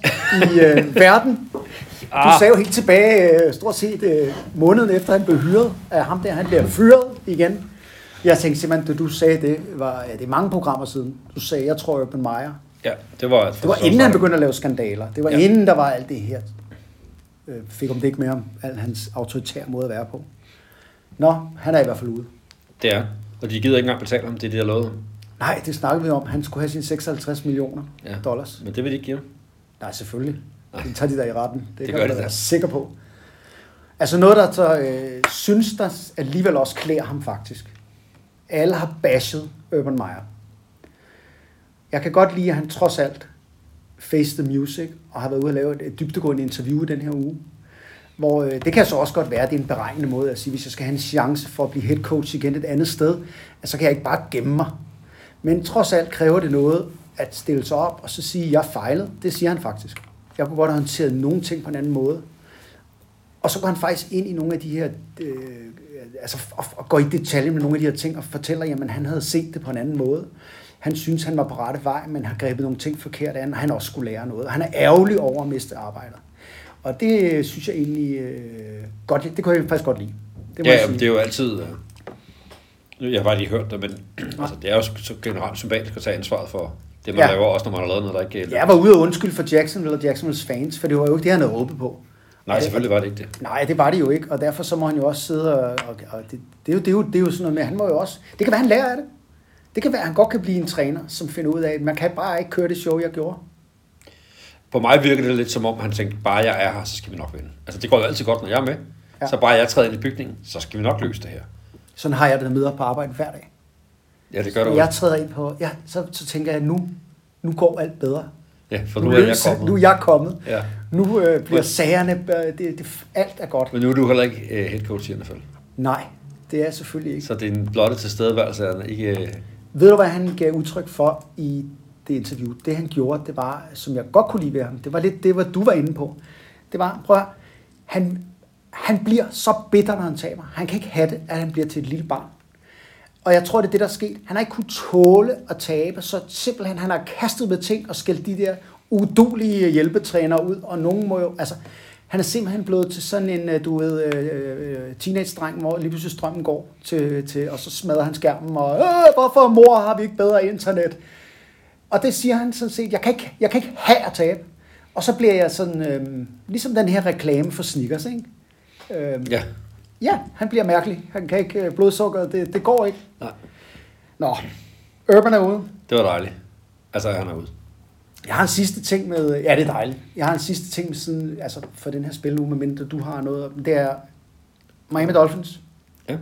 Speaker 2: i øh, verden. Du
Speaker 3: Ah.
Speaker 2: sagde jo helt tilbage, øh, stort set øh, måneden efter han blev hyret, at ham der, han bliver fyret igen. Jeg tænkte simpelthen, da du sagde det, var ja, det er mange programmer siden. Du sagde, jeg tror Urban Meyer.
Speaker 3: Ja, det var...
Speaker 2: Det var inden han begyndte at lave skandaler. Det var ja.
Speaker 3: Ja.
Speaker 2: inden der var alt det her. Øh, fik om det ikke mere om al hans autoritære måde at være på. Nå, han er i hvert fald ude.
Speaker 3: Det er. Og de gider ikke engang betale ham, det er det, jeg lovede. ham.
Speaker 2: Nej, det snakkede vi om. Han skulle have sine 56 millioner
Speaker 3: Ja.
Speaker 2: dollars.
Speaker 3: Men det vil de ikke give ham.
Speaker 2: Nej, selvfølgelig. Den tager de der i retten. Det,
Speaker 3: Ah. gør
Speaker 2: man da
Speaker 3: de da.
Speaker 2: være sikker på. Altså noget, der så, øh, synes, der alligevel også klæder ham faktisk. Alle har bashed Urban Meyer. Jeg kan godt lide, at han trods alt face the music, og har været ude og lave et- et dybtegående interview i den her uge. Hvor øh, det kan så også godt være, at det er en beregnende måde at sige, hvis jeg skal have en chance for at blive head coach igen et andet sted, at så kan jeg ikke bare gemme mig. Men trods alt kræver det noget at stille sig op og så sige, at jeg fejlede. Det siger han faktisk. Jeg kunne godt have håndteret nogle ting på en anden måde. Og så går han faktisk ind i nogle af de her, øh, altså og, og går i detalje med nogle af de her ting og fortæller, jamen han havde set det på en anden måde. Han synes, han var på rette vej, men har grebet nogle ting forkert an, og han også skulle lære noget. Og han er ærgerlig over at miste arbejdet. Og det øh, synes jeg egentlig øh, godt, det kunne jeg faktisk godt lide. Det må
Speaker 3: ja,
Speaker 2: jeg sige.
Speaker 3: jamen, det er jo altid... Øh, nu- jeg har bare lige hørt det, men altså, det er jo så generelt sympatisk at tage ansvaret for det, man
Speaker 2: Ja.
Speaker 3: ja. laver, også når man har lavet noget, der ikke...
Speaker 2: Jeg var ude og undskylde for Jacksonville og Jacksonvilles fans, for det var jo ikke det, han havde håbet på.
Speaker 3: Nej, selvfølgelig var det ikke det.
Speaker 2: Nej, det var det jo ikke, og derfor så må han jo også sidde og... og, og det, det, er jo, det, er jo, det er jo sådan noget med, han må jo også... Det kan være, han lærer af det. Det kan være, han godt kan blive en træner, som finder ud af, at man kan bare ikke køre det show, jeg gjorde.
Speaker 3: På mig virker det lidt som om, han tænkte, bare jeg er her, så skal vi nok vinde. Altså, det går jo altid godt, når jeg er med.
Speaker 2: Ja.
Speaker 3: Ja. Så bare jeg træder ind i bygningen, så skal vi nok løse det her.
Speaker 2: Sådan har jeg det med på arbejde hver dag.
Speaker 3: Ja, det gør du
Speaker 2: Når
Speaker 3: jo.
Speaker 2: jeg træder ind på... Ja, så, så tænker jeg, nu, nu går alt bedre.
Speaker 3: Ja, for nu er jeg
Speaker 2: løser-
Speaker 3: kommet.
Speaker 2: Nu er jeg kommet.
Speaker 3: Ja.
Speaker 2: Nu øh, bliver sagerne... Øh, det, det, alt er godt.
Speaker 3: Men nu er du heller ikke øh, head coach i NFL.
Speaker 2: Nej, det er selvfølgelig ikke.
Speaker 3: Så det er en blotte tilstedeværelse, er ikke... Øh,
Speaker 2: Ved du, hvad han gav udtryk for i det interview? Det han gjorde, det var, som jeg godt kunne lide ved ham, det var lidt det, hvad du var inde på. Det var, prøv at, høre, han, han bliver så bitter, når han taber. Han kan ikke have det, at han bliver til et lille barn. Og jeg tror, det er det, der er sket. Han har ikke kunnet tåle at tabe, så simpelthen han har kastet med ting og skældt de der udulige hjælpetrænere ud, og nogen må jo, altså, han er simpelthen blevet til sådan en, øh, du ved, øh, øh, teenage-dreng, hvor lige pludselig strømmen går til, til og så smadrer han skærmen, og øh, hvorfor mor har vi ikke bedre internet? Og det siger han sådan set, jeg kan ikke, jeg kan ikke have at tabe. Og så bliver jeg sådan, øh, ligesom den her reklame for Snickers, ikke? Øh,
Speaker 3: ja,
Speaker 2: ja, han bliver mærkelig. Han kan ikke øh, blodsukkeret, det, det går ikke.
Speaker 3: nej.
Speaker 2: Nå, Urban er ude.
Speaker 3: Det var dejligt. Altså, han er ude.
Speaker 2: Jeg har en sidste ting med, ja det er dejligt, jeg har en sidste ting med sådan, altså for den her spil nu, medmindre du har noget, det er Miami Dolphins.
Speaker 3: Ja.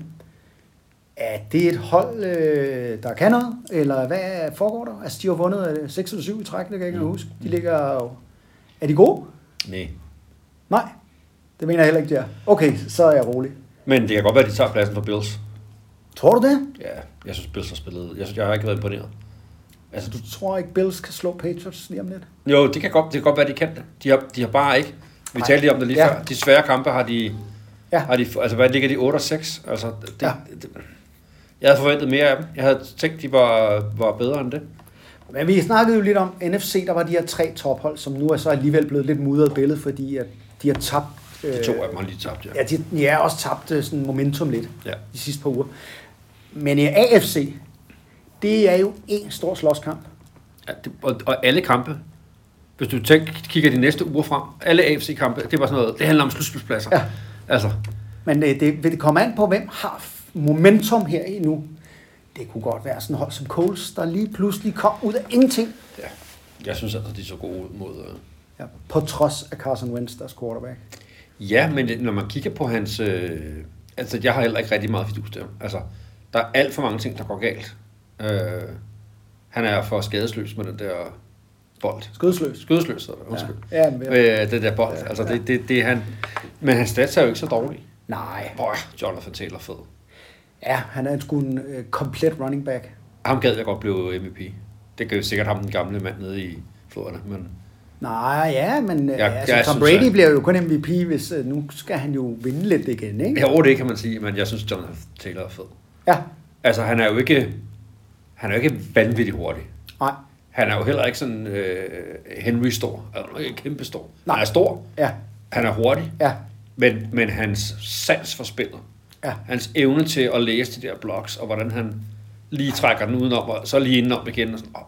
Speaker 2: Er det et hold, øh, der kan noget, eller hvad foregår der? Altså de har vundet øh, 6 eller 7 i træk, det kan jeg ikke mm. huske. De ligger jo... Er de gode?
Speaker 3: Nej.
Speaker 2: Nej, det mener jeg heller ikke, de er. Okay, så er jeg rolig.
Speaker 3: Men det kan godt være, at de tager pladsen for Bills.
Speaker 2: Tror du det?
Speaker 3: Ja, jeg synes, Bills har spillet. Jeg, synes, jeg har ikke været imponeret. Altså, du,
Speaker 2: Du tror ikke, Bills kan slå Patriots lige om lidt?
Speaker 3: jo, det kan, godt, det kan godt være, de kan det. De har, de har bare ikke... Vi talte lige om det lige
Speaker 2: Ja.
Speaker 3: ja. før. De svære kampe har de...
Speaker 2: Ja.
Speaker 3: Ja. Har de, altså, hvad ligger de? 8 og 6? Altså, det,
Speaker 2: Ja.
Speaker 3: ja. det, jeg havde forventet mere af dem. Jeg havde tænkt, de var, var bedre end det.
Speaker 2: Men vi snakkede jo lidt om NFC, der var de her tre tophold, som nu er så alligevel blevet lidt mudret billede, fordi at de har tabt... Øh,
Speaker 3: De to af dem har lige tabt, ja.
Speaker 2: Ja, de, de er også tabt øh, sådan momentum lidt
Speaker 3: Ja.
Speaker 2: de sidste par uger. Men øh, AFC, det er jo en stor slåskamp.
Speaker 3: Ja, det, og, og alle kampe, hvis du tænker, kigger de næste uger frem, alle AFC-kampe, det var sådan noget, det handler om slutspilspladser.
Speaker 2: Ja.
Speaker 3: Altså,
Speaker 2: Men øh, det vil det komme an på, hvem har f- momentum her i nu. Det kunne godt være sådan et hold som Coles, der lige pludselig kom ud af ingenting.
Speaker 3: ja. jeg synes altså, de er så gode ud mod... Øh.
Speaker 2: Ja, på trods af Carson Wentz, deres quarterback.
Speaker 3: Ja, men det- når man kigger på hans... Øh, altså, jeg har heller ikke rigtig meget fidus til ham. Altså, der er alt for mange ting, der går galt. Øh, han er for skadesløs med den der bold.
Speaker 2: Skødsløs.
Speaker 3: Skødesløs, hedder det, undskyld.
Speaker 2: Ja, men,
Speaker 3: Øh, den der bold, ja, altså, det, det, det er han... Men hans stats er jo ikke så dårlige.
Speaker 2: Nej.
Speaker 3: Bøj, Jonathan Taylor er fed.
Speaker 2: Ja, han er sgu en øh, komplet running back.
Speaker 3: Ham gad jeg godt blive MVP. Det gør jo sikkert ham, den gamle mand nede i Florida, men
Speaker 2: Nej, ja, men ja,
Speaker 3: Jeg-
Speaker 2: altså,
Speaker 3: jeg
Speaker 2: Tom
Speaker 3: synes,
Speaker 2: Brady
Speaker 3: at-
Speaker 2: bliver jo kun MVP, hvis øh, nu skal han jo vinde lidt igen, ikke?
Speaker 3: ja, over det kan man sige, men jeg synes, Jonathan Taylor er fed.
Speaker 2: Ja,
Speaker 3: Altså, han er jo ikke, han er jo ikke vanvittig hurtig.
Speaker 2: nej,
Speaker 3: Han er jo heller ikke sådan øh, Henry stor. Han er jo ikke kæmpe stor.
Speaker 2: Nej.
Speaker 3: Han er stor.
Speaker 2: ja,
Speaker 3: Han er hurtig.
Speaker 2: ja,
Speaker 3: Men, men hans sans for spillet.
Speaker 2: Ja.
Speaker 3: Hans evne til at læse de der blogs, og hvordan han lige trækker den udenom, og så lige indenom igen. Og sådan, oh,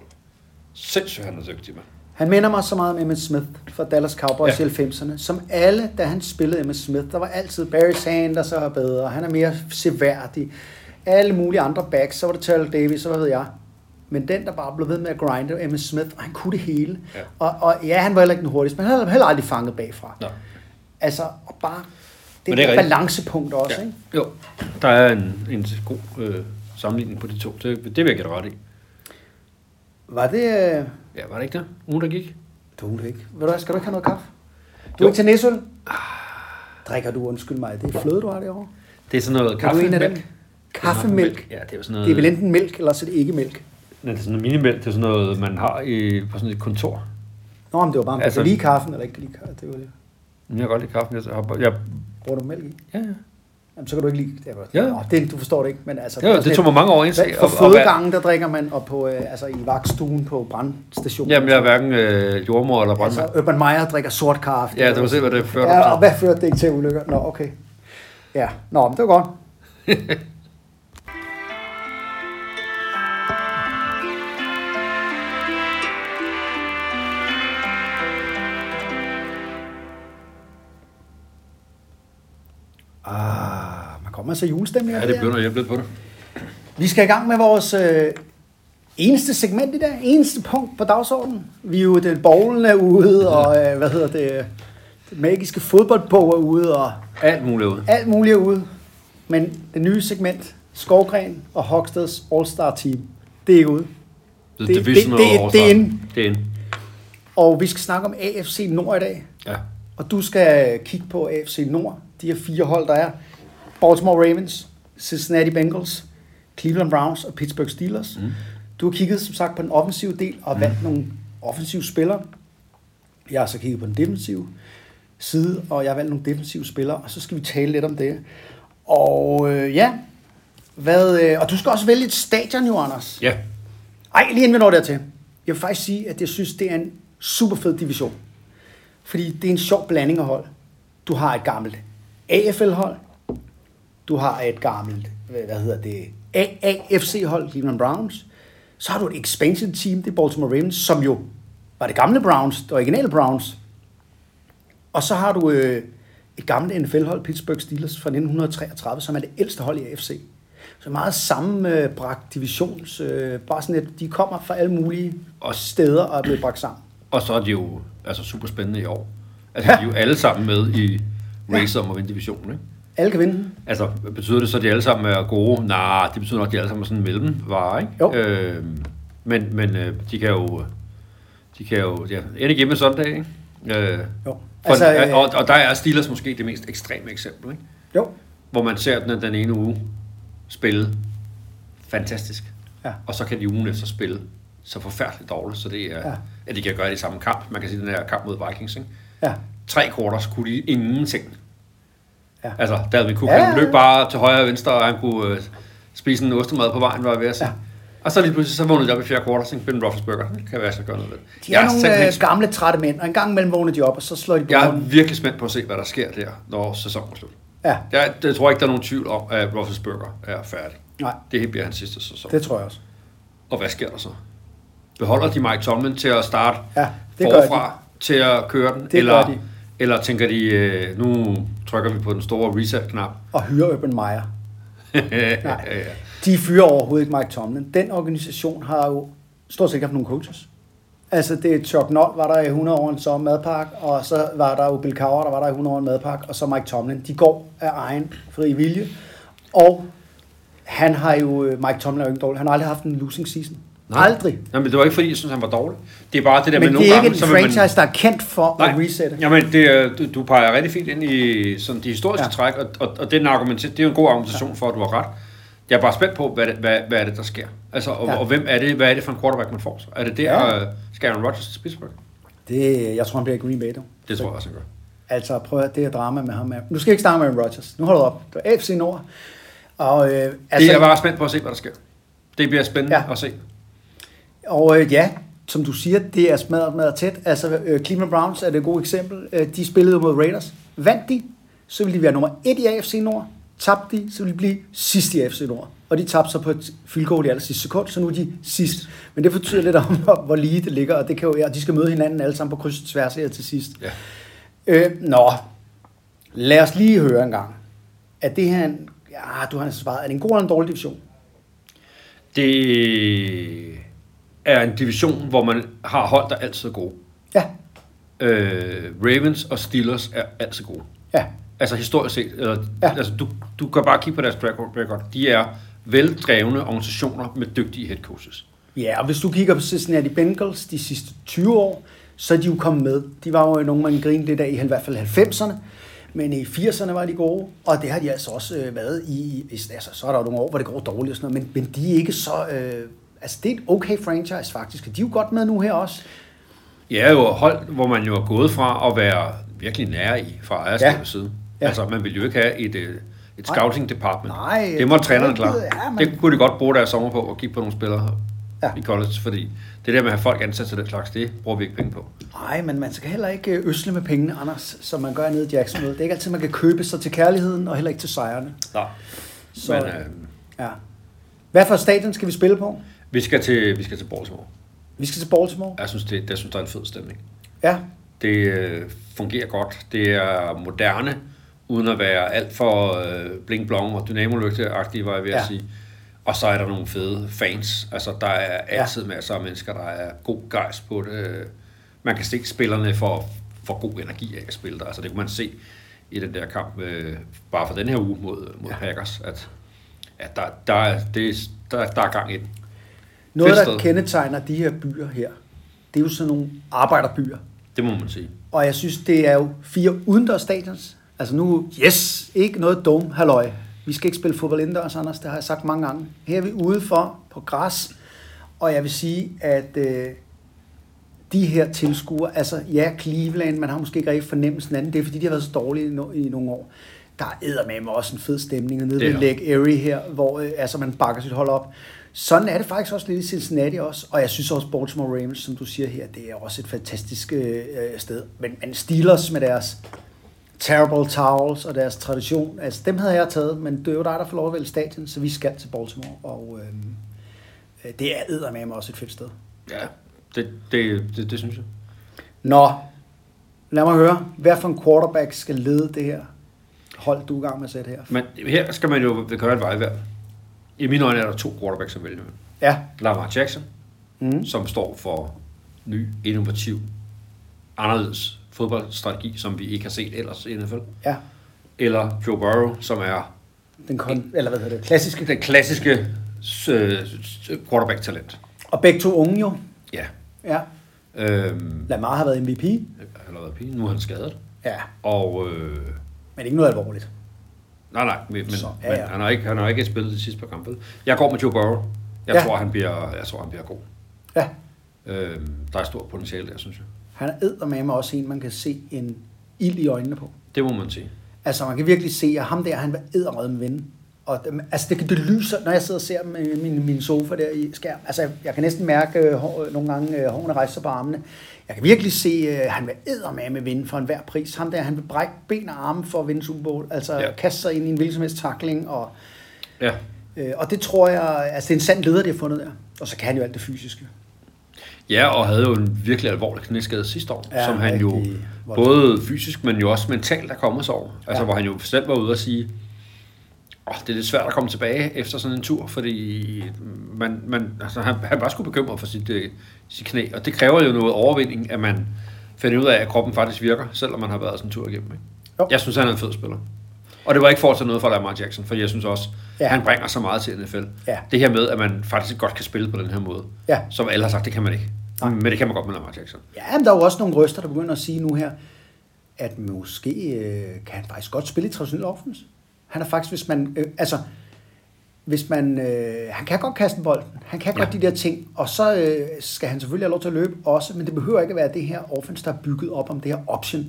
Speaker 3: sindssygt, han er dygtig, mand.
Speaker 2: Han minder mig så meget om Emmitt Smith fra Dallas Cowboys
Speaker 3: Ja.
Speaker 2: ja. i 90'erne, som alle, da han spillede Emmitt Smith, der var altid Barry Sanders er bedre, han er mere seværdig. Alle mulige andre backs, så var det Terrell Davis, så hvad ved jeg. Men den, der bare blev ved med at grinde, var Emmitt Smith, og han kunne det hele.
Speaker 3: Ja.
Speaker 2: Og, og ja, han var heller ikke den hurtigste, men han havde heller aldrig fanget bagfra.
Speaker 3: Nå.
Speaker 2: Altså, og bare
Speaker 3: Men
Speaker 2: det,
Speaker 3: det er
Speaker 2: det
Speaker 3: rigtigt.
Speaker 2: balancepunkt også, ja.
Speaker 3: Ja.
Speaker 2: ikke?
Speaker 3: Jo, der er en, en god øh, sammenligning på de to. Det, det vil jeg give dig ret i.
Speaker 2: Var det... Øh...
Speaker 3: Ja, var det ikke det? Ugen, der gik?
Speaker 2: Du er det ikke. Ved du hvad, skal du ikke have noget kaffe? Du
Speaker 3: Jo.
Speaker 2: er ikke til Næsøl? Drikker du, undskyld mig, det er fløde, du har derovre?
Speaker 3: Det er sådan noget
Speaker 2: Er du en af dem?
Speaker 3: kaffemælk.
Speaker 2: Kaffemælk?
Speaker 3: Ja, det er jo sådan noget...
Speaker 2: Det er vel enten mælk, eller så er det ikke mælk.
Speaker 3: Nej, det er sådan noget minimælk. Det er sådan noget, man har i, på sådan et kontor.
Speaker 2: Nå, men det var bare, om altså...
Speaker 3: Altså-
Speaker 2: du kan lide kaffen, eller ikke kan lide kaffen. Det var det.
Speaker 3: Men Jeg kan godt lide kaffe. Jeg, har, jeg,
Speaker 2: Bruger du mælk i?
Speaker 3: ja, ja.
Speaker 2: Jamen, så kan du ikke lide det. er godt.
Speaker 3: Ja.
Speaker 2: Nå, det, du forstår det ikke, men altså...
Speaker 3: Jo, det tog mig mange år at indse.
Speaker 2: For
Speaker 3: og- og-
Speaker 2: fødegangen, der drikker man, og på, øh, altså, i vagtstuen på brandstationen.
Speaker 3: Jamen, jeg er hverken øh, jordmor eller brandmand.
Speaker 2: Altså, Urban Meyer drikker sort kaffe.
Speaker 3: Ja, det var se, hvad det førte
Speaker 2: Ja, og
Speaker 3: op til.
Speaker 2: hvad førte det ikke til ulykker? Nå, okay. Ja, nå, men det var godt. ah, man kommer altså i julestemning. af det
Speaker 3: Ja, det
Speaker 2: der.
Speaker 3: begynder at hjælpe lidt på det.
Speaker 2: Vi skal i gang med vores øh, eneste segment i dag, eneste punkt på dagsordenen. Vi er jo den bowlen er ude, og øh, hvad hedder det, øh, det magiske fodboldbog er ude, og
Speaker 3: Alt muligt ud.
Speaker 2: alt muligt er ude. Men det nye segment, Skovgren og Hogsteds All-Star Team, det er ikke ude.
Speaker 3: The
Speaker 2: det-
Speaker 3: Division
Speaker 2: det- det-
Speaker 3: og
Speaker 2: det er
Speaker 3: All-Star.
Speaker 2: en-
Speaker 3: Det er en.
Speaker 2: Og vi skal snakke om AFC Nord i dag,
Speaker 3: Ja.
Speaker 2: og du skal kigge på AFC Nord, de her fire hold, der er. Baltimore Ravens, Cincinnati Bengals, Cleveland Browns og Pittsburgh Steelers. Mm. Du har kigget, som sagt, på den offensive del og valgt nogle offensive spillere. Jeg har så kigget på den defensive side, og jeg har valgt nogle defensive spillere, og så skal vi tale lidt om det. Og øh, ja, hvad, øh, og du skal også vælge et stadion, jo, Anders.
Speaker 3: Ja.
Speaker 2: Ej, lige inden vi når dertil. Jeg vil faktisk sige, at jeg synes, det er en super fed division. Fordi det er en sjov blanding af hold. Du har et gammelt AFL-hold. Du har et gammelt, hvad hvad hedder det, AAFC-hold, Cleveland Browns. Så har du et expansion team, det er Baltimore Ravens, som jo var det gamle Browns, det originale Browns. Og så har du øh, et gammelt NFL-hold, Pittsburgh Steelers fra 1933, som er det ældste hold i AFC. Så meget sammenbragt divisions, øh, bare sådan at de kommer fra alle mulige
Speaker 3: Og-
Speaker 2: steder og er blevet bragt sammen.
Speaker 3: Og så er de jo altså, super spændende i år. Altså, de er jo alle sammen med i racer om at vinde divisionen, ikke?
Speaker 2: Alle kan vinde den.
Speaker 3: Altså, betyder det så, at de alle sammen er gode? Nej, det betyder nok, at de alle sammen er sådan en mellemvare, ikke?
Speaker 2: Jo.
Speaker 3: Øhm, men men øh, de kan jo... De kan jo ja, ende hjemme søndag, ikke? Øh,
Speaker 2: Jo.
Speaker 3: For, altså,
Speaker 2: Altså, øh,
Speaker 3: og, og der er Steelers måske det mest ekstreme eksempel, ikke?
Speaker 2: Jo.
Speaker 3: hvor man ser den, den ene uge spille fantastisk,
Speaker 2: Ja.
Speaker 3: og så kan de ugen efter spille så forfærdeligt dårligt, så det er,
Speaker 2: Ja.
Speaker 3: ja. at de kan gøre det i samme kamp. Man kan sige, den her kamp mod Vikings, ikke?
Speaker 2: Ja.
Speaker 3: Tre quarters kunne de ingenting.
Speaker 2: Ja.
Speaker 3: Ja. Altså, Dalvin Cook,
Speaker 2: Ja,
Speaker 3: ja.
Speaker 2: ja,
Speaker 3: han
Speaker 2: ja.
Speaker 3: løb bare til højre og venstre, og han kunne øh, spise en ostemad på vejen, var jeg ved at sige.
Speaker 2: Ja.
Speaker 3: Ja. Og så lige pludselig, så vågnede de op i fjerde quarter, og tænkte, Ben Roethlisberger, det kan være, så gøre noget ved.
Speaker 2: De er, er nogle øh,
Speaker 3: simpelthen-
Speaker 2: gamle trætte mænd, og en gang imellem vågner de op, og så slår de på
Speaker 3: jeg er
Speaker 2: hånden.
Speaker 3: virkelig spændt på at se, hvad der sker der, når sæsonen er slut.
Speaker 2: Ja,
Speaker 3: Jeg, jeg tror ikke, der er nogen tvivl om, at Roethlisberger er færdig.
Speaker 2: nej,
Speaker 3: Det her bliver hans sidste sæson.
Speaker 2: det tror jeg også.
Speaker 3: Og hvad sker der så? Beholder de Mike Tomlin til at starte
Speaker 2: Ja, det gør
Speaker 3: forfra til at køre den?
Speaker 2: Det
Speaker 3: eller,
Speaker 2: gør de.
Speaker 3: eller tænker de, øh, nu trykker vi på den store reset-knap?
Speaker 2: Og hyre Urban Meyer.
Speaker 3: Nej.
Speaker 2: De fyrer overhovedet ikke Mike Tomlin. Den organisation har jo stort set ikke haft nogen coaches. Altså, det er Chuck Noll var der i 100 år en sommer madpakke, og så var der jo Bill Cowher, der var der i 100 år en madpakke, og så Mike Tomlin. De går af egen fri vilje, og han har jo, øh, Mike Tomlin er jo ikke dårlig, han har aldrig haft en losing season. Nej. Aldrig.
Speaker 3: Jamen, det var ikke, fordi jeg synes, han var dårlig. Det er bare det
Speaker 2: Men
Speaker 3: der med
Speaker 2: det
Speaker 3: nogle
Speaker 2: er
Speaker 3: gange...
Speaker 2: ikke en
Speaker 3: så vil man-
Speaker 2: franchise, der er kendt for at resette.
Speaker 3: Jamen, det, er- du, du peger rigtig fint ind i sådan, de historiske
Speaker 2: Ja.
Speaker 3: ja. træk, og, og, og den argument, det er jo en god argumentation ja. for, at du har ret. Jeg er bare spændt på, hvad, det, hvad, hvad er det, der sker? Altså, og,
Speaker 2: Ja.
Speaker 3: ja. og hvem er det, hvad er det for en quarterback, man får? Så? Er det der,
Speaker 2: Ja.
Speaker 3: ja. skal Aaron Rodgers til Pittsburgh?
Speaker 2: Det, jeg tror, han bliver i Green Bay, dog.
Speaker 3: Det tror jeg også, han gør.
Speaker 2: Altså, prøv at høre, det er drama med ham. her. Nu skal jeg ikke snakke med Aaron Rodgers. Nu holder du op. Det var AFC Nord. Og, øh,
Speaker 3: Altså, det er
Speaker 2: altså,
Speaker 3: jeg bare spændt på at se, hvad der sker. Det bliver spændende
Speaker 2: Ja.
Speaker 3: ja. at se.
Speaker 2: og øh, ja, som du siger, det er smadret, smadret tæt. Altså, øh, Cleveland Browns er det et godt eksempel. Øh, de spillede jo mod Raiders. Vandt de, så ville de være nummer et i AFC Nord. Tabte de, så ville de blive sidst i AFC Nord. Og de tabte så på et field goal i aller sidste sekund, så nu er de sidst. Men det fortyder lidt om, hvor- hvor lige det ligger, og, det kan jo, og de skal møde hinanden alle sammen på kryds og tværs her til sidst.
Speaker 3: Ja.
Speaker 2: Øh, nå, lad os lige høre en gang. Er det her en... altså Ja, du har næsten svaret. Er det en god eller en dårlig division?
Speaker 3: Det er en division, hvor man har hold, der altid er gode.
Speaker 2: Ja,
Speaker 3: Øh, Ravens og Steelers er altid gode.
Speaker 2: ja,
Speaker 3: Altså historisk set. Eller,
Speaker 2: Ja.
Speaker 3: ja. altså, du, du kan bare kigge på deres track record. De er veldrevne organisationer med dygtige head coaches.
Speaker 2: ja. Og hvis du kigger på Cincinnati Bengals de sidste 20 år, så er de jo kommet med. De var jo nogen, man grinede lidt af i i hvert fald 90'erne. Men i 80'erne var de gode, og det har de altså også øh, været i- i. Hvis, altså, så er der jo nogle år, hvor det går dårligt og sådan noget, men, men de er ikke så... Øh, altså, det er et okay franchise faktisk, og de er jo godt med nu her også.
Speaker 3: Ja, jo hold, hvor man jo er gået fra at være virkelig nær i fra ejerskabets
Speaker 2: Ja.
Speaker 3: ja. side.
Speaker 2: Ja.
Speaker 3: Ja. Altså, man ville jo ikke have et, øh, et
Speaker 2: Nej.
Speaker 3: scouting department.
Speaker 2: Nej,
Speaker 3: det må
Speaker 2: det er
Speaker 3: træneren
Speaker 2: rigtigt.
Speaker 3: klare.
Speaker 2: Ja,
Speaker 3: Ja,
Speaker 2: man-
Speaker 3: Det kunne de godt bruge deres sommer på at kigge på nogle spillere
Speaker 2: Ja.
Speaker 3: ja. i college, fordi det der med at have folk ansat til den slags, det bruger vi ikke penge på.
Speaker 2: Nej, men man skal heller ikke øh, øsle med pengene, Anders, som man gør nede i Jacksonville. Det er ikke altid, man kan købe sig til kærligheden, og heller ikke til sejrene.
Speaker 3: Nej.
Speaker 2: Så-
Speaker 3: Så... Men øh,
Speaker 2: Ja. Hvad for et stadion skal vi spille på?
Speaker 3: vi, skal til, vi skal til Baltimore.
Speaker 2: Vi skal til Baltimore.
Speaker 3: Jeg synes, det, jeg synes, der er en fed stemning.
Speaker 2: Ja,
Speaker 3: Det øh, fungerer godt. Det er moderne, uden at være alt for øh, bling blong og dynamolygte-agtige, var jeg ved at
Speaker 2: Ja.
Speaker 3: ja. sige. Og så er der nogle fede fans. Altså, der er
Speaker 2: Ja.
Speaker 3: altid masser af mennesker, der er god gejst på det. Øh, Man kan stikke spillerne for, for god energi af at spille der. Altså, det kunne man se i den der kamp, øh, bare for den her uge mod, mod ja. Packers, at, at der, der, er, det, er- der, der er gang i den.
Speaker 2: noget,
Speaker 3: Fedt
Speaker 2: der
Speaker 3: sted.
Speaker 2: kendetegner de her byer her, det er jo sådan nogle arbejderbyer.
Speaker 3: Det må man sige.
Speaker 2: Og jeg synes, det er jo fire udendørs stadions. Altså nu, yes, ikke noget dome, halløj. Vi skal ikke spille fodbold indendørs, Anders, det har jeg sagt mange gange. Her er vi udenfor på græs, og jeg vil sige, at øh, de her tilskuere, altså ja, Cleveland, man har måske ikke rigtig fornemmelsen af den, det er fordi, de har været så dårlige i, no- i nogle år. Der er eddermame også en fed stemning nede
Speaker 3: Det
Speaker 2: ved
Speaker 3: er.
Speaker 2: Lake Erie her, hvor øh, altså, man bakker sit hold op. Sådan er det faktisk også lidt i Cincinnati også, og jeg synes også Baltimore Ravens, som du siger her, det er også et fantastisk øh, øh, sted. Men, men Steelers med deres terrible towels og deres tradition, altså dem havde jeg taget, men det er jo dig, der får lov at vælge stadion, så vi skal til Baltimore, og øh, øh, det er eddermame også et fedt sted.
Speaker 3: Ja, det, det, det, det synes jeg.
Speaker 2: Nå, lad mig høre. Hvad for en quarterback skal lede det her hold, du er i gang med at sætte her?
Speaker 3: Men her skal man jo gøre et vejvalg. I mine øjne er der to quarterbacks at vælge med.
Speaker 2: Ja.
Speaker 3: Lamar Jackson,
Speaker 2: Mm.
Speaker 3: mm. som står for ny, innovativ, anderledes fodboldstrategi, som vi ikke har set ellers i NFL.
Speaker 2: Ja,
Speaker 3: Eller Joe Burrow, som er
Speaker 2: den kon- eller hvad hedder det, klassiske.
Speaker 3: den klassiske øh, quarterback-talent.
Speaker 2: Og begge to unge jo.
Speaker 3: Ja.
Speaker 2: Ja.
Speaker 3: Øhm,
Speaker 2: Lamar har været MVP.
Speaker 3: han har været pige, nu er han skadet.
Speaker 2: Ja,
Speaker 3: Og øh,
Speaker 2: men ikke noget alvorligt.
Speaker 3: Nej, nej, men, men,
Speaker 2: Så,
Speaker 3: så,
Speaker 2: ja,
Speaker 3: ja,
Speaker 2: ja.
Speaker 3: men han, har ikke, han har ikke spillet de sidste par kampe. Jeg går med Joe Burrow. Jeg,
Speaker 2: Ja.
Speaker 3: ja. tror, han bliver, jeg tror, han bliver god.
Speaker 2: Ja,
Speaker 3: Øhm, der er stor potentiale der, synes jeg.
Speaker 2: han er eddermame også en, man kan se en ild i øjnene på.
Speaker 3: Det må man sige.
Speaker 2: Altså, man kan virkelig se, at ham der, han var edderrød med ven. Og dem- altså, det, kan- det lyser, når jeg sidder og ser dem i min, min sofa der i skærm. Altså, jeg- jeg kan næsten mærke øh, hår, øh, nogle gange, øh, hårene rejser sig på armene. Jeg kan virkelig se, øh, han vil eddermame med vinde for enhver pris. Ham der, han vil brække ben og arme for at vinde Super Bowl. Altså, ja.
Speaker 3: Ja.
Speaker 2: kaste sig ind i en hvilken som helst takling. Og,
Speaker 3: Ja.
Speaker 2: øh, og det tror jeg, altså, det er en sand leder, de har fundet der. Og så kan han jo alt det fysiske.
Speaker 3: ja, og havde jo en virkelig alvorlig knæskade sidste år,
Speaker 2: Ja,
Speaker 3: ja, som han jo
Speaker 2: rigtig voldsomt.
Speaker 3: både fysisk, men jo også mentalt er kommet sig over. Altså,
Speaker 2: Ja.
Speaker 3: ja. hvor han jo selv var ude og sige, oh, det er lidt svært at komme tilbage efter sådan en tur, fordi man, man, altså, han, han var sgu bekymret for sit, øh, sit knæ, og det kræver jo noget overvinding, at man finder ud af, at kroppen faktisk virker, selvom man har været sådan en tur igennem. Ikke?
Speaker 2: Jo.
Speaker 3: Jeg synes, han er en fed spiller. Og det var ikke for at tage noget fra Lamar Jackson, for jeg synes også,
Speaker 2: Ja.
Speaker 3: ja. han bringer så meget til NFL.
Speaker 2: Ja.
Speaker 3: Det her med, at man faktisk godt kan spille på den her måde,
Speaker 2: Ja.
Speaker 3: som alle har sagt, det kan man ikke.
Speaker 2: Nej.
Speaker 3: Nej. Men det kan man godt med Lamar Jackson.
Speaker 2: Ja, men der er jo også nogle røster, der begynder at sige nu her, at måske øh, kan han faktisk godt spille i traditionel offense. Han er faktisk, hvis man, øh, altså, hvis man, øh, han kan godt kaste en bold, han kan
Speaker 3: Ja.
Speaker 2: godt de der ting, og så øh, skal han selvfølgelig have lov til at løbe også, men det behøver ikke at være det her offense, der er bygget op om det her option.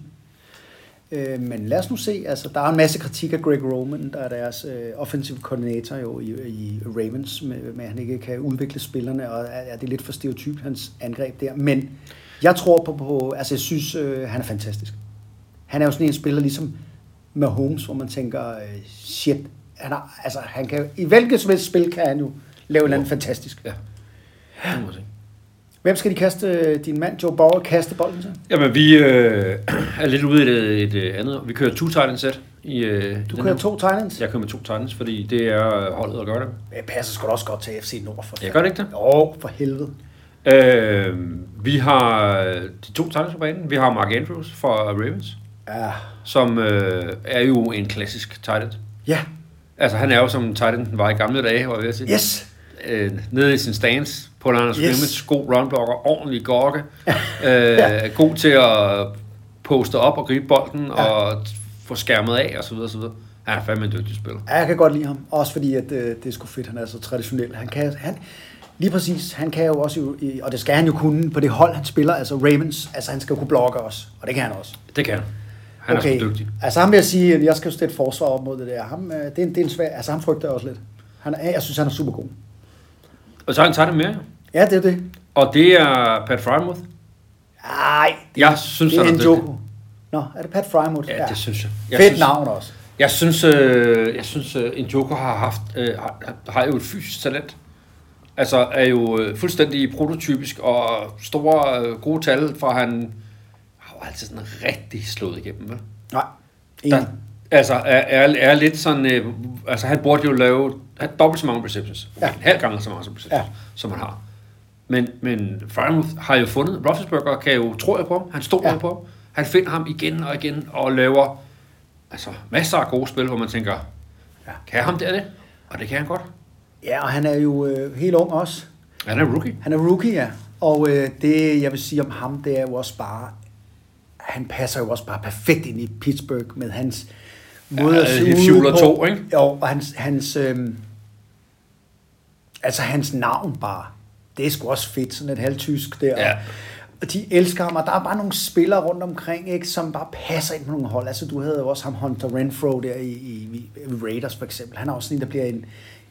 Speaker 2: Øh, men lad os nu se, altså, der er en masse kritik af Greg Roman, der er deres øh, offensive coordinator jo i, i Ravens, med, med at han ikke kan udvikle spillerne, og er, er det lidt for stereotypt, hans angreb der. Men jeg tror på, på altså jeg synes, øh, han er fantastisk. Han er jo sådan en spiller ligesom med Holmes, hvor man tænker, øh, shit, han, er, altså, han kan, jo- i hvilket som helst spil kan han jo lave noget fantastisk.
Speaker 3: Ja. Det må man sige.
Speaker 2: Hvem skal de kaste, øh, din mand Joe Burrow, kaste bolden til?
Speaker 3: Jamen, vi øh, er lidt ude i et, et øh, andet. Vi kører to tight set. I, øh,
Speaker 2: Du
Speaker 3: den
Speaker 2: kører
Speaker 3: her-
Speaker 2: to Titans. Ja.
Speaker 3: Jeg kører med to tight fordi det er øh, holdet at gøre det.
Speaker 2: Det passer sgu da også godt til FC Nord. For
Speaker 3: Ja, gør det ikke det?
Speaker 2: Jo, for helvede.
Speaker 3: Øh, vi har øh, de to tackles på banen. Vi har Mark Andrews fra Ravens,
Speaker 2: Ja.
Speaker 3: som øh, er jo en klassisk tight end.
Speaker 2: Ja.
Speaker 3: Altså, han er jo som tight end var i gamle dage, var jeg ved at sige.
Speaker 2: Yes.
Speaker 3: Øh, nede i sin stance på Lars
Speaker 2: Yes.
Speaker 3: yes. scrimmage, god runblocker, ordentlig gokke, øh, god til at poste op og gribe bolden ja. og få skærmet af osv. osv. Han er fandme en dygtig spiller.
Speaker 2: Ja, jeg kan godt lide ham. Også fordi, at øh, det er sgu fedt, han er så traditionel. Han kan, han, lige præcis, han kan jo også, jo, i- og det skal han jo kunne på det hold, han spiller, altså Ravens, altså han skal jo kunne blokke også, og det kan han også.
Speaker 3: Det kan han. Han okay. er sgu dygtig.
Speaker 2: Altså ham vil jeg sige, at jeg skal jo stille forsvar op mod det der. Ham, øh, det er en del svær, altså ham frygter jeg også lidt. Han er, jeg synes, han er super god.
Speaker 3: Og så har han taget det med,
Speaker 2: Ja, det er det.
Speaker 3: og det er Pat Frymouth.
Speaker 2: Ej,
Speaker 3: Jeg synes,
Speaker 2: det er
Speaker 3: han
Speaker 2: en
Speaker 3: er dygtig.
Speaker 2: joke. Nå, er det Pat Frymouth?
Speaker 3: Ja, det synes jeg. jeg
Speaker 2: Fedt
Speaker 3: synes,
Speaker 2: navn også.
Speaker 3: Jeg synes, øh, jeg synes øh, en Joker har haft øh, har, har jo et fysisk talent. Altså er jo øh, fuldstændig prototypisk og store øh, gode tal fra han har jo altid sådan rigtig slået igennem. Vel?
Speaker 2: Nej,
Speaker 3: Der,
Speaker 2: enig.
Speaker 3: altså er, er, er lidt sådan øh, altså han burde jo lave have dobbelt så mange receptions.
Speaker 2: Ja.
Speaker 3: Ja. En halv gang så mange receptions
Speaker 2: Ja.
Speaker 3: ja. som han har. Men, men Frymouth har jo fundet, Roethlisberger kan jo, tror jeg på ham, han stoler
Speaker 2: Ja.
Speaker 3: ja. på ham, han finder ham igen og igen og laver altså, masser af gode spil, hvor man tænker,
Speaker 2: Ja.
Speaker 3: ja. kan ham der det? Og det kan han godt.
Speaker 2: Ja, og han er jo øh, helt ung også.
Speaker 3: Han er rookie.
Speaker 2: Han er rookie, ja. Og øh, det, jeg vil sige om ham, det er jo også bare, han passer jo også bare perfekt ind i Pittsburgh med hans måde
Speaker 3: Ja,
Speaker 2: at se
Speaker 3: lidt
Speaker 2: ud
Speaker 3: Fuller
Speaker 2: på.
Speaker 3: to, ikke?
Speaker 2: Jo, og hans, hans øh, altså hans navn bare, det er sgu også fedt, sådan et halvtysk der.
Speaker 3: Ja.
Speaker 2: Og de elsker ham, og der er bare nogle spillere rundt omkring, ikke, som bare passer ind på nogle hold. Altså, du havde jo også ham Hunter Renfro der i, i, i Raiders for eksempel. Han er også sådan en, der bliver en,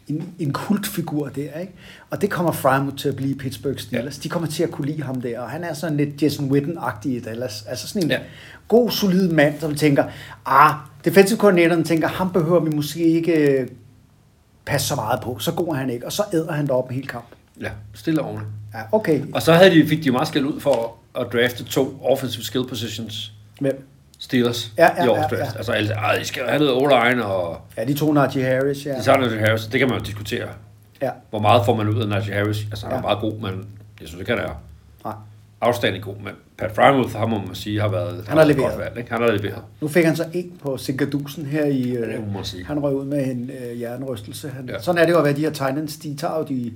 Speaker 2: en, en kultfigur der, ikke? Og det kommer Frymouth til at blive i Pittsburgh Steelers. Ja. De kommer til at kunne lide ham der, og han er sådan lidt Jason Witten-agtig i Dallas. Altså sådan en
Speaker 3: Ja.
Speaker 2: ja. god, solid mand, som tænker, ah, defensive koordinatoren tænker, ham behøver vi måske ikke øh, passe så meget på. Så god er han ikke, og så æder han derop en hel kamp.
Speaker 3: Ja, stille og ordentligt.
Speaker 2: Ja, okay.
Speaker 3: Og så havde de, fik de meget skæld ud for at drafte to offensive skill positions
Speaker 2: Hvem?
Speaker 3: Steelers
Speaker 2: Ja, ja,
Speaker 3: i
Speaker 2: ja,
Speaker 3: års
Speaker 2: ja.
Speaker 3: draft. Altså, alle, "Ej, I skal have noget O-line, og
Speaker 2: Ja, de to Najee Harris, ja.
Speaker 3: de tager noget Harris. Det kan man jo diskutere.
Speaker 2: Ja,
Speaker 3: Hvor meget får man ud af Najee Harris? Altså, han er
Speaker 2: Ja.
Speaker 3: meget god, men jeg synes ikke, han er
Speaker 2: nej.
Speaker 3: afstændig god. Men Pat Frymouth, ham må man sige, har været
Speaker 2: har
Speaker 3: været et
Speaker 2: leveret.
Speaker 3: godt valg, ikke? Han har leveret.
Speaker 2: Nu fik han så en på Sinkadusen her i... øh,
Speaker 3: det må man sige.
Speaker 2: Han røg ud med en øh, hjernerystelse. Han, ja.
Speaker 3: Ja.
Speaker 2: Sådan er det jo at være de her Titans. De tager jo de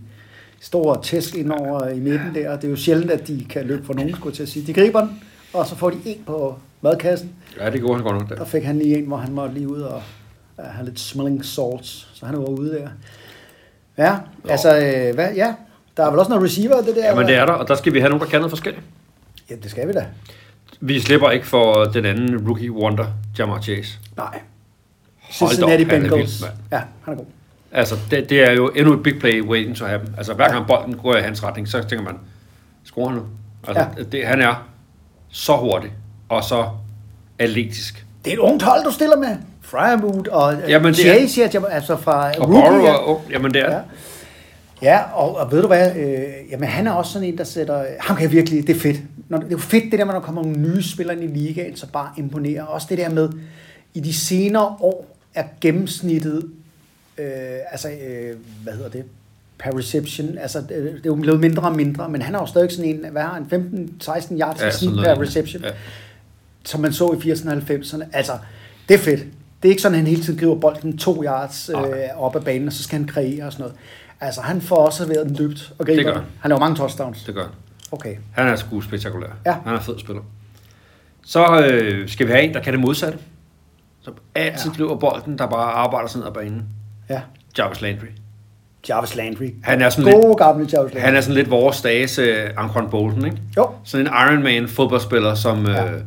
Speaker 2: store tæsk ind over i midten der, og det er jo sjældent, at de kan løbe for nogen, skulle jeg til at sige. De griber den, og så får de en på madkassen.
Speaker 3: Ja, det gjorde han godt nok
Speaker 2: Der
Speaker 3: der.
Speaker 2: fik han lige en, hvor han måtte lige ud og øh, have lidt smelling salts, så han var ude der. Ja,
Speaker 3: Nå.
Speaker 2: altså, øh, hvad, ja. Der er vel også noget receiver, det der?
Speaker 3: Ja, men det
Speaker 2: eller?
Speaker 3: er der, og der skal vi have nogen, der kan noget forskelligt.
Speaker 2: Ja, det skal vi da.
Speaker 3: Vi slipper ikke for den anden rookie wonder, Jamar Chase.
Speaker 2: Nej.
Speaker 3: Hold da op,
Speaker 2: Cincinnati
Speaker 3: han er vild,
Speaker 2: Bengals.
Speaker 3: mand.
Speaker 2: ja, han er god.
Speaker 3: Altså, det, det, er jo endnu et big play waiting to happen. Altså, hver gang bolden går i hans retning, så tænker man, skruer han nu? Altså,
Speaker 2: Ja.
Speaker 3: ja. det, han er så hurtig, og så atletisk.
Speaker 2: Det er et ungt hold, du stiller med. Fryermood og
Speaker 3: Jamen,
Speaker 2: Jamen,
Speaker 3: det
Speaker 2: Chase, ja, Jam- altså fra
Speaker 3: Og
Speaker 2: rookie.
Speaker 3: Borrow,
Speaker 2: ja.
Speaker 3: er ung. jamen det er
Speaker 2: Ja.
Speaker 3: ja.
Speaker 2: Ja, og, og ved du hvad, øh, jamen han er også sådan en, der sætter, ham kan jeg virkelig, det er fedt. Når, det er jo fedt det der, med, når der kommer nogle nye spillere ind i ligaen, så bare imponerer. Også det der med, i de senere år er gennemsnittet, øh, altså, øh, hvad hedder det, per reception, altså det, det er jo blevet mindre og mindre, men han er jo stadig sådan en, hvad har han, 15-16 yards
Speaker 3: Ja,
Speaker 2: ja,
Speaker 3: sådan noget
Speaker 2: per
Speaker 3: lignende.
Speaker 2: reception, ja.
Speaker 3: Ja.
Speaker 2: som man så i 80'erne og 90'erne. Altså, det er fedt. Det er ikke sådan, at han hele tiden griber bolden to yards øh,
Speaker 3: Nej.
Speaker 2: op ad banen, og så skal han kreere og sådan noget. Altså, han får også serveret den dybt og
Speaker 3: Det
Speaker 2: griber
Speaker 3: gør
Speaker 2: den.
Speaker 3: han.
Speaker 2: Han laver mange touchdowns.
Speaker 3: det gør han.
Speaker 2: Okay.
Speaker 3: Han er sgu spektakulær.
Speaker 2: Ja.
Speaker 3: Han er en fed spiller. Så øh, skal vi have en, der kan det modsatte. Som altid ja. driver bolden, der bare arbejder sådan ned ad banen.
Speaker 2: Ja.
Speaker 3: Jarvis Landry.
Speaker 2: Jarvis Landry.
Speaker 3: Han er sådan
Speaker 2: Gode gamle Jarvis Landry.
Speaker 3: Han er sådan lidt vores dages øh, Anquan Bolton, ikke?
Speaker 2: Jo.
Speaker 3: Sådan en Ironman fodboldspiller, som,
Speaker 2: Ja.
Speaker 3: ja. øh,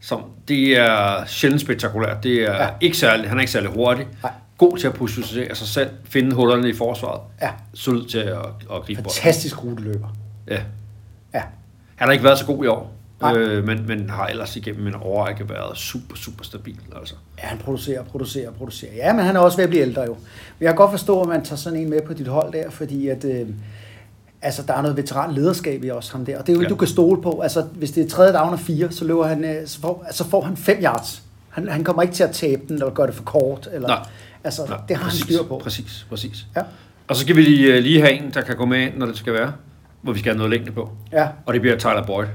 Speaker 3: som det er sjældent spektakulært. Det er
Speaker 2: Ja.
Speaker 3: ja. ikke særlig, han er ikke særlig hurtig.
Speaker 2: Nej.
Speaker 3: God til at positionere sig selv, finde hullerne i forsvaret.
Speaker 2: Ja.
Speaker 3: Solid til at, at gribe bolden.
Speaker 2: Fantastisk ruteløber.
Speaker 3: Ja.
Speaker 2: Ja.
Speaker 3: Han har ikke været så god i år,
Speaker 2: Nej.
Speaker 3: øh, men, men har ellers igennem en årrække været super, super stabil. Altså.
Speaker 2: Ja, han producerer, producerer, producerer. Ja, men han er også ved at blive ældre jo. Men jeg kan godt forstå, at man tager sådan en med på dit hold der, fordi at, øh, altså, der er noget veteranlederskab i også ham der. Og det er jo ikke, ja.
Speaker 3: Ja.
Speaker 2: du kan stole på. Altså, hvis det er tredje down og fire, så, løber han, øh, så, får, altså, får han fem yards. Han, han kommer ikke til at tabe den, eller gøre det for kort. Eller,
Speaker 3: Nej.
Speaker 2: Altså,
Speaker 3: Nej,
Speaker 2: det har
Speaker 3: præcis,
Speaker 2: han styr på.
Speaker 3: Præcis, præcis.
Speaker 2: Ja.
Speaker 3: øh, Og så skal vi lige, lige have en, der kan gå med ind, når det skal være. hvor vi skal have noget længde på.
Speaker 2: Ja.
Speaker 3: Og det bliver Tyler Boyd.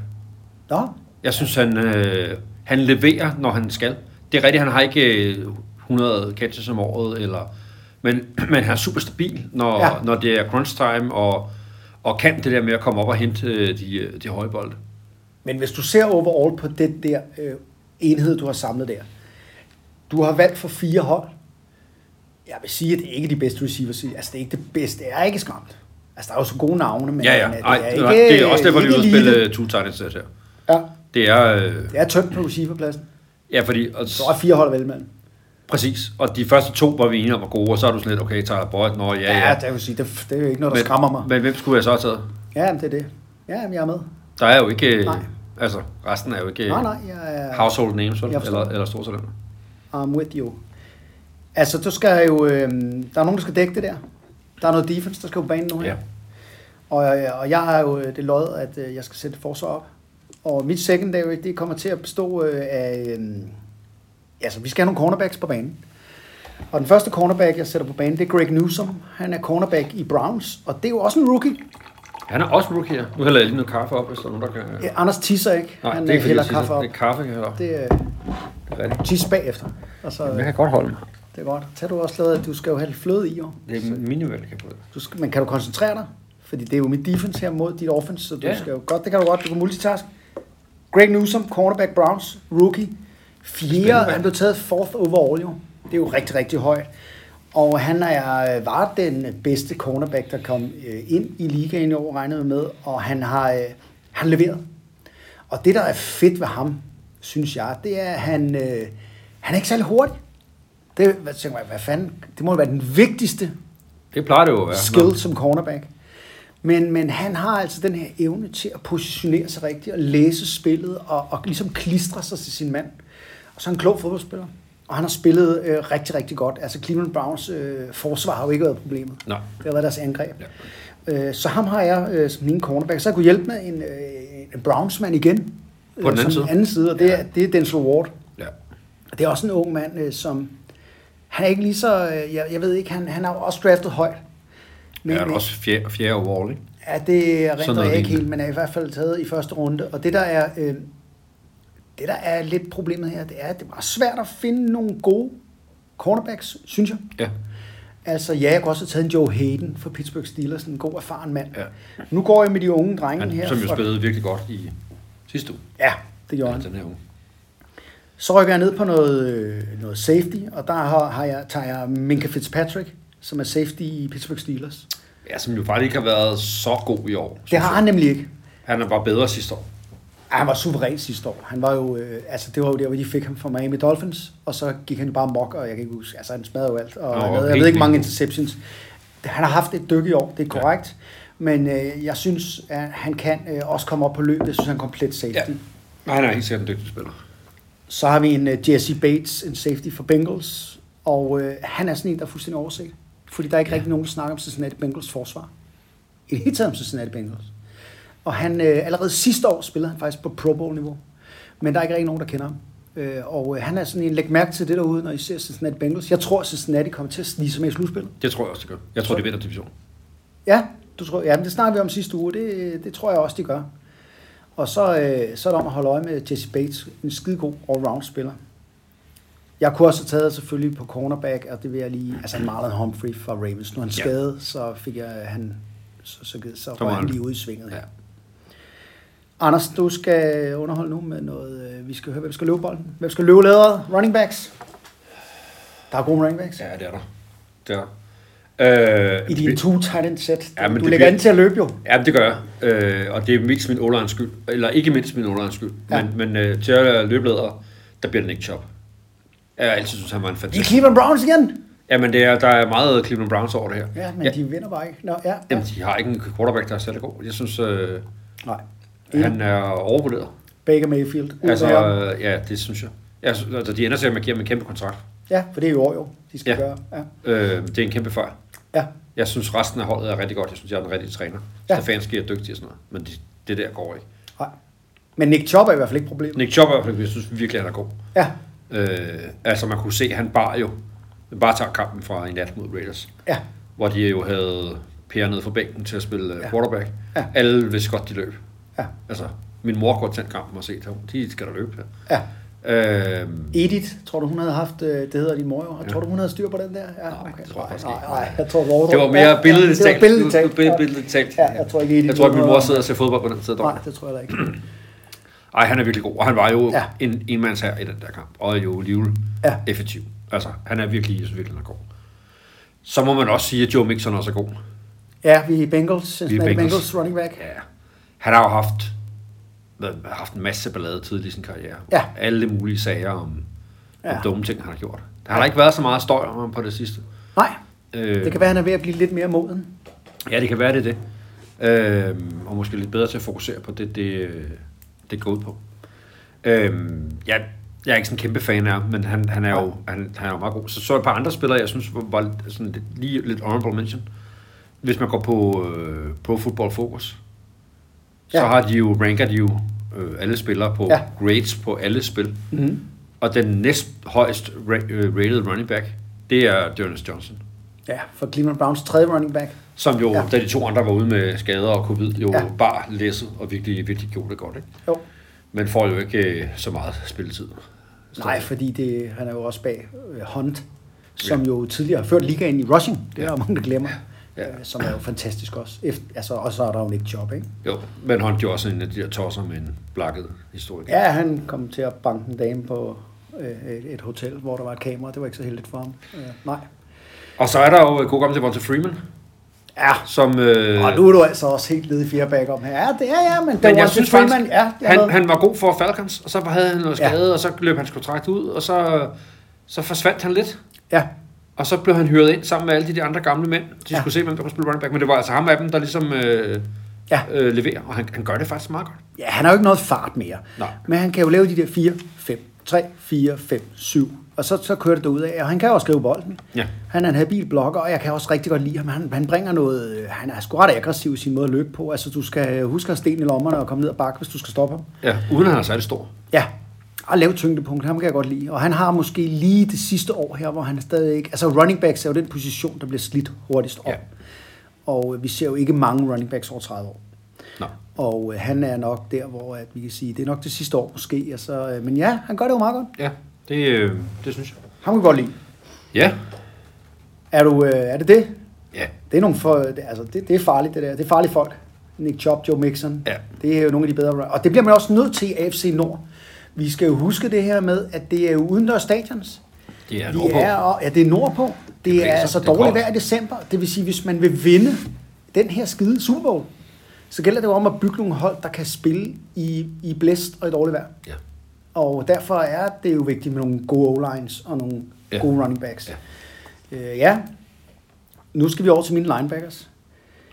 Speaker 2: Nå,
Speaker 3: Jeg synes, han, øh, han leverer, når han skal. Det er rigtigt, han har ikke øh, 100 catches om året, eller, men, men han er super stabil, når,
Speaker 2: Ja.
Speaker 3: ja. når det er crunch time, og, og kan det der med at komme op og hente øh, de, øh, de høje bolde.
Speaker 2: men hvis du ser overall på den der øh, enhed, du har samlet der. Du har valgt for fire hold. Jeg vil sige, at det er ikke de bedste receivers. i- Altså, det er ikke det bedste. Det er ikke skræmt. Altså, der er jo så gode navne, men...
Speaker 3: Ja, ja.
Speaker 2: men, øh,
Speaker 3: Ej, det, er, det er også derfor, vi
Speaker 2: ikke
Speaker 3: vil
Speaker 2: elite.
Speaker 3: spille two tight ends her.
Speaker 2: Ja,
Speaker 3: Det er, øh,
Speaker 2: det er tømt på receiverpladsen.
Speaker 3: ja, fordi, og,
Speaker 2: Så er fire hold vel imellem.
Speaker 3: præcis, og de første to var vi enige om var gode, og så er du sådan lidt, okay, Tyler Boyd, nå ja,
Speaker 2: Ja,
Speaker 3: ja.
Speaker 2: ja, det, vil sige, det, det er jo ikke noget, der skræmmer mig.
Speaker 3: men hvem skulle jeg så have taget?
Speaker 2: Ja, men det er det. Ja, men jeg er med.
Speaker 3: Der er jo ikke,
Speaker 2: Nej.
Speaker 3: nej. altså resten er jo ikke
Speaker 2: Nej, nej, jeg er...
Speaker 3: household names, vel?
Speaker 2: Jeg forstår.
Speaker 3: eller, eller stortalenter.
Speaker 2: I'm with you. Altså, du skal jo... Øh, der er nogen, der skal dække det der. Der er noget defense, der skal på banen nu her.
Speaker 3: Ja.
Speaker 2: Ja. Og, og jeg har jo øh, det lod, at øh, jeg skal sætte forsvar op. Og mit secondary, det kommer til at bestå øh, af... Øh, altså, vi skal have nogle cornerbacks på banen. Og den første cornerback, jeg sætter på banen, det er Greg Newsom. Han er cornerback i Browns, og det er jo også en rookie.
Speaker 3: Han er også rookie her. Nu hælder jeg lige noget kaffe op, hvis der er nogen, der kan...
Speaker 2: Ja, Øh, Anders tisser ikke.
Speaker 3: Nej,
Speaker 2: han
Speaker 3: det er
Speaker 2: øh,
Speaker 3: ikke,
Speaker 2: hælder
Speaker 3: fordi jeg
Speaker 2: kaffe
Speaker 3: siger,
Speaker 2: op.
Speaker 3: Det er kaffe, jeg hælder op. Det
Speaker 2: Det er øh,
Speaker 3: er rigtigt.
Speaker 2: tis bagefter. Og så,
Speaker 3: Jeg
Speaker 2: øh,
Speaker 3: kan godt holde mig.
Speaker 2: det er godt. Tag du også lavet, at du skal jo have lidt fløde i, jo.
Speaker 3: Det er minimal, jeg kan få det.
Speaker 2: Du skal, men kan du koncentrere dig? Fordi det er jo mit defense her mod dit offense, så du
Speaker 3: Ja.
Speaker 2: skal jo godt, det kan du godt, du kan multitask. Greg Newsom, cornerback Browns, rookie. Fjerde,
Speaker 3: Spændende.
Speaker 2: han blev taget fourth overall jo. Det er jo rigtig, rigtig højt. Og han er, øh, var den bedste cornerback, der kom øh, ind i ligaen i år, regnede vi med, og han har øh, han leveret. Og det, der er fedt ved ham, synes jeg, det er, at han, øh, han er ikke særlig hurtig. Det, hvad, tænker jeg, hvad fanden? Det må jo være den vigtigste
Speaker 3: Det plejer det jo at være.
Speaker 2: skill
Speaker 3: Nå,
Speaker 2: som cornerback. Men, men han har altså den her evne til at positionere sig rigtigt og læse spillet og, og ligesom klistre sig til sin mand. Og så er han en klog fodboldspiller. Og han har spillet øh, rigtig, rigtig godt. Altså Cleveland Browns øh, forsvar har jo ikke været problemet.
Speaker 3: Nej.
Speaker 2: Det har været deres angreb. Ja. Øh, så ham har jeg øh, som min cornerback. Så jeg kunne hjælpe med en, øh, en Brownsman igen. Øh,
Speaker 3: På den anden
Speaker 2: som
Speaker 3: side.
Speaker 2: anden side. Og det, er, det er Denzel Ward.
Speaker 3: Ja.
Speaker 2: Og Det er også en ung mand, øh, som... Han er ikke lige så... Øh, jeg, jeg ved ikke, han, han har jo også draftet højt.
Speaker 3: Men, ja, det er også fjerde, fjerde overall, ikke?
Speaker 2: Ja, det rent
Speaker 3: Sådan noget
Speaker 2: jeg ikke
Speaker 3: lignende.
Speaker 2: helt, men er i hvert fald taget i første runde. Og det der er, øh, det der er lidt problemet her, det er, at det er meget svært at finde nogle gode cornerbacks, synes jeg.
Speaker 3: Ja.
Speaker 2: Altså, ja, jeg kunne også have taget en Joe Hayden fra Pittsburgh Steelers, en god erfaren mand.
Speaker 3: Ja.
Speaker 2: Nu går jeg med de unge drenge
Speaker 3: Han,
Speaker 2: her.
Speaker 3: som jo
Speaker 2: fra-
Speaker 3: spillede virkelig godt i sidste uge.
Speaker 2: Ja, det gjorde
Speaker 3: Ja.
Speaker 2: han.
Speaker 3: Den her uge.
Speaker 2: Så rykker jeg ned på noget, øh, noget safety, og der har, har jeg, tager jeg Minka Fitzpatrick, som er safety i Pittsburgh Steelers.
Speaker 3: Ja, som jo faktisk ikke har været så god i år.
Speaker 2: Det har han nemlig ikke.
Speaker 3: Han er bare bedre sidste år.
Speaker 2: Ja, han var suveræn sidste år. Han var jo, øh, altså, det var jo der, hvor de fik ham fra Miami Dolphins, og så gik han bare mok, og jeg kan ikke huske, altså han smadrede jo alt, og
Speaker 3: Nå,
Speaker 2: Nå, havde, jeg
Speaker 3: helt
Speaker 2: ved ikke
Speaker 3: vildt.
Speaker 2: mange interceptions. Han har haft et dyk i år, det er korrekt, ja. men øh, jeg synes, at han kan øh, også komme op på løbet, jeg synes, han er komplet safety. Ja.
Speaker 3: Ja. Han er helt sikkert en dygtig spiller.
Speaker 2: Så har vi en øh, Jesse Bates, en safety for Bengals, og øh, han er sådan en, der er fuldstændig overset, fordi der er ikke ja. rigtig nogen, der snakker om Cincinnati Bengals forsvar. I det hele taget om Cincinnati Bengals. Og han, øh, allerede sidste år spillede han faktisk på Pro Bowl-niveau, men der er ikke rigtig nogen, der kender ham. Øh, og øh, han er sådan en, læg mærke til det derude, når I ser Cincinnati Bengals. Jeg tror, Cincinnati kommer til at snige sig med i slutspillet.
Speaker 3: Det tror jeg også, det gør. Jeg tror, de vinder divisionen.
Speaker 2: Ja, du tror, ja, men det snakker vi om sidste uge, det, det tror jeg også, de gør. Og så, øh, så er det om at holde øje med Jesse Bates, en skidegod allround-spiller. Jeg kunne også have taget selvfølgelig på cornerback, og det vil jeg lige... Altså Marlon Humphrey fra Ravens. Nu er han
Speaker 3: Ja.
Speaker 2: skadet, så fik jeg han... Så, så, så, så
Speaker 3: var
Speaker 2: røg han
Speaker 3: han-
Speaker 2: lige ud i svinget. Ja.
Speaker 3: Ja.
Speaker 2: Anders, du skal underholde nu med noget... Øh, vi skal høre, hvem skal løbe bolden? Hvem skal løbe læderet? Running backs? Der er gode running backs. Ja.
Speaker 3: Ja, det er der. Det er der. Øh,
Speaker 2: I
Speaker 3: det-
Speaker 2: din two tight end set.
Speaker 3: Ja,
Speaker 2: Ja,
Speaker 3: men
Speaker 2: du
Speaker 3: det
Speaker 2: lægger
Speaker 3: bliver-
Speaker 2: an til at løbe jo.
Speaker 3: Ja, det gør jeg. Øh, og det er mest min underhands skyld. Eller ikke mindst min underhands skyld.
Speaker 2: Ja.
Speaker 3: Ja. Men, men øh, til at løbe leder, der bliver den ikke chop. Jeg har altid synes, han var en
Speaker 2: De er
Speaker 3: fantastisk...
Speaker 2: Cleveland Browns igen!
Speaker 3: Jamen, det er, der er meget Cleveland Browns over det her.
Speaker 2: Ja, men ja.
Speaker 3: ja,
Speaker 2: de vinder bare ikke. Nå, ja, ja.
Speaker 3: jamen, de har ikke en quarterback, der er særlig god. Jeg synes, øh,
Speaker 2: Nej.
Speaker 3: han er overvurderet.
Speaker 2: Baker Mayfield. ud
Speaker 3: Altså,
Speaker 2: med ham.
Speaker 3: øh, ja, det synes jeg. jeg synes, altså, de ender til at give ham en kæmpe kontrakt.
Speaker 2: Ja, for det er jo år jo, de skal
Speaker 3: Ja.
Speaker 2: gøre. Ja.
Speaker 3: Øh, det er en kæmpe fejl.
Speaker 2: ja.
Speaker 3: Jeg synes, resten af holdet er rigtig godt. Jeg synes, jeg er den rigtige træner.
Speaker 2: Ja.
Speaker 3: Ja. Stefanski er dygtig og sådan noget. Men det, det der går ikke.
Speaker 2: Nej. Men Nick Chubb er i hvert fald ikke problemet.
Speaker 3: Nick Chubb, er i hvert fald- jeg synes virkelig, han er god.
Speaker 2: Ja,
Speaker 3: Øh, altså man kunne se, han bar jo, han bare tager kampen fra i nat mod Raiders,
Speaker 2: ja.
Speaker 3: hvor de jo havde Per ned fra bænken til at spille
Speaker 2: Ja.
Speaker 3: ja. quarterback.
Speaker 2: Ja.
Speaker 3: Alle vidste godt, de løb.
Speaker 2: Ja.
Speaker 3: Altså, min mor går til den kamp og set, de skal da løbe her.
Speaker 2: Ja.
Speaker 3: Øhm,
Speaker 2: Edith, tror du, hun havde haft, øh, det hedder din mor jo,
Speaker 3: Ja.
Speaker 2: tror du, hun havde styr på den der? Ja,
Speaker 3: Nej, det tror jeg faktisk
Speaker 2: nej,
Speaker 3: ikke.
Speaker 2: Nej, jeg tror, Laura-
Speaker 3: det var mere billedligt
Speaker 2: Ja, det var
Speaker 3: talt.
Speaker 2: billedligt talt.
Speaker 3: Bill-
Speaker 2: ja.
Speaker 3: Billedligt talt.
Speaker 2: Ja, jeg tror ikke, Edith
Speaker 3: Jeg tror, at min
Speaker 2: ved
Speaker 3: mor
Speaker 2: noget
Speaker 3: sidder og ser fodbold på den side.
Speaker 2: Nej,
Speaker 3: Nej.
Speaker 2: det tror jeg heller ikke.
Speaker 3: Ej, han er virkelig god. Og han var jo
Speaker 2: Ja.
Speaker 3: ja. en enmands her i den der kamp. Og er jo alligevel
Speaker 2: Ja.
Speaker 3: ja. effektiv. Altså, han er virkelig, jeg synes virkelig, han er god. Så må man også sige, at Joe Mixon også er god.
Speaker 2: Ja, vi er Bengals, Cincinnati Bengals.
Speaker 3: Bengals.
Speaker 2: Bengals running back.
Speaker 3: Ja. Han har jo haft, været- haft en masse ballade tidligt i sin karriere.
Speaker 2: Ja.
Speaker 3: Alle mulige sager om, ja.
Speaker 2: Ja.
Speaker 3: om dumme ting, han har gjort. Der har der ikke været så meget støj om ham på det sidste.
Speaker 2: Nej,
Speaker 3: Øh,
Speaker 2: det kan være, han er ved at blive lidt mere moden.
Speaker 3: Ja, det kan være, det er det. Øhm, og måske lidt bedre til at fokusere på det, det, øh, det går ud på. Øhm, jeg, jeg er ikke sådan en kæmpe fan af ham, men han, han, er jo, han, han er jo meget god. Så så er der et par andre spillere, jeg synes var, var lidt- sådan lidt, lige lidt honorable mention. Hvis man går på øh, Pro Football Focus, så
Speaker 2: Ja.
Speaker 3: har de jo, ranker de jo øh, alle spillere på
Speaker 2: Ja.
Speaker 3: ja. grades på alle spil.
Speaker 2: Mm-hmm.
Speaker 3: Og den næst højst ra- øh, rated running back, det er Jonas Johnson
Speaker 2: Ja, for Cleveland Browns tredje running back.
Speaker 3: som jo,
Speaker 2: Ja.
Speaker 3: ja. da de to andre var ude med skader og covid, jo
Speaker 2: Ja.
Speaker 3: ja. bare læsset og virkelig, virkelig gjorde det godt. Ikke?
Speaker 2: Jo.
Speaker 3: Men får jo ikke øh, så meget spilletid. Så-
Speaker 2: Nej, fordi det, han er jo også bag øh, Hunt, som jo tidligere har ført ligaen i rushing. Det er der mange, der glemmer.
Speaker 3: Ja.
Speaker 2: Øh, som er jo fantastisk også. Efter, altså, og så er der jo Nick Chubb, ikke?
Speaker 3: Jo, men han jo også en af de der tosser med en blakket historie.
Speaker 2: Ja, han kom til at banke en dame på øh, et, et hotel, hvor der var et kamera. Det var ikke så heldigt for ham. Øh, nej.
Speaker 3: Og så er der jo øh, god gammel Devonta Freeman,
Speaker 2: Ja,
Speaker 3: som... Øh,
Speaker 2: og nu er du altså også helt nede i fjerback om her. Ja, det er ja, men, det
Speaker 3: men
Speaker 2: var
Speaker 3: jeg
Speaker 2: til
Speaker 3: synes
Speaker 2: Freeman.
Speaker 3: faktisk,
Speaker 2: ja, jeg ved.
Speaker 3: han, han var god for Falcons, og så havde han noget
Speaker 2: Ja.
Speaker 3: skade, ja. og så løb hans kontrakt ud, og så, så forsvandt han lidt.
Speaker 2: ja,
Speaker 3: Og så blev han hyret ind sammen med alle de, de andre gamle mænd. De
Speaker 2: Ja.
Speaker 3: ja. skulle se, hvem der kunne spille running back, men det var altså ham af dem, der ligesom øh,
Speaker 2: Ja.
Speaker 3: ja. øh, leverer, og han, han gør det faktisk meget godt.
Speaker 2: Ja, han har jo ikke noget fart mere.
Speaker 3: Nej.
Speaker 2: Men han kan jo lave de der 4, 5, 3, 4, 5, 7. Og så, så kører det derudad. Og han kan jo også skrive bolden.
Speaker 3: Ja.
Speaker 2: Han er en habil blokker, og jeg kan også rigtig godt lide ham. Han, han bringer noget... øh, Han er sgu ret aggressiv i sin måde at løbe på. Altså, du skal huske at have sten i lommerne og komme ned og bakke, hvis du skal stoppe ham.
Speaker 3: Ja, uden at han er særlig stor.
Speaker 2: Ja, og lav tyngdepunkt, ham kan jeg godt lide. Og han har måske lige det sidste år her, hvor han stadig ikke... Altså running backs er jo den position, der bliver slidt hurtigst op. Ja.
Speaker 3: Ja.
Speaker 2: Og øh, vi ser jo ikke mange running backs over 30 år.
Speaker 3: Nå.
Speaker 2: Og øh, han er nok der, hvor at vi kan sige, det er nok det sidste år måske. Altså, øh, men ja, han gør det jo meget godt.
Speaker 3: Ja, det, øh, det synes jeg.
Speaker 2: Ham kan vi godt lide.
Speaker 3: Ja.
Speaker 2: Er, du, øh, er det det?
Speaker 3: Ja.
Speaker 2: Det er, nogle for, det, altså, det, det er farligt, det der. Det er farlige folk. Nick Chubb, Joe Mixon.
Speaker 3: Ja.
Speaker 2: Det er jo nogle af de bedre. Og det bliver man også nødt til i AFC Nord. Vi skal jo huske det her med, at det er jo udendørs stadions.
Speaker 3: Det er
Speaker 2: Vi
Speaker 3: nordpå.
Speaker 2: er, og, ja, det er nordpå. Det, det
Speaker 3: blæser,
Speaker 2: er altså
Speaker 3: det er
Speaker 2: dårligt
Speaker 3: koldt.
Speaker 2: vejr i december. Det vil sige, hvis man vil vinde den her skide Super Bowl, så gælder det jo om at bygge nogle hold, der kan spille i, i blæst og i dårligt vejr.
Speaker 3: Ja.
Speaker 2: Og derfor er det jo vigtigt med nogle gode O-lines og nogle ja.
Speaker 3: Ja.
Speaker 2: gode running backs. Ja. Øh, ja. Nu skal vi over til mine linebackers.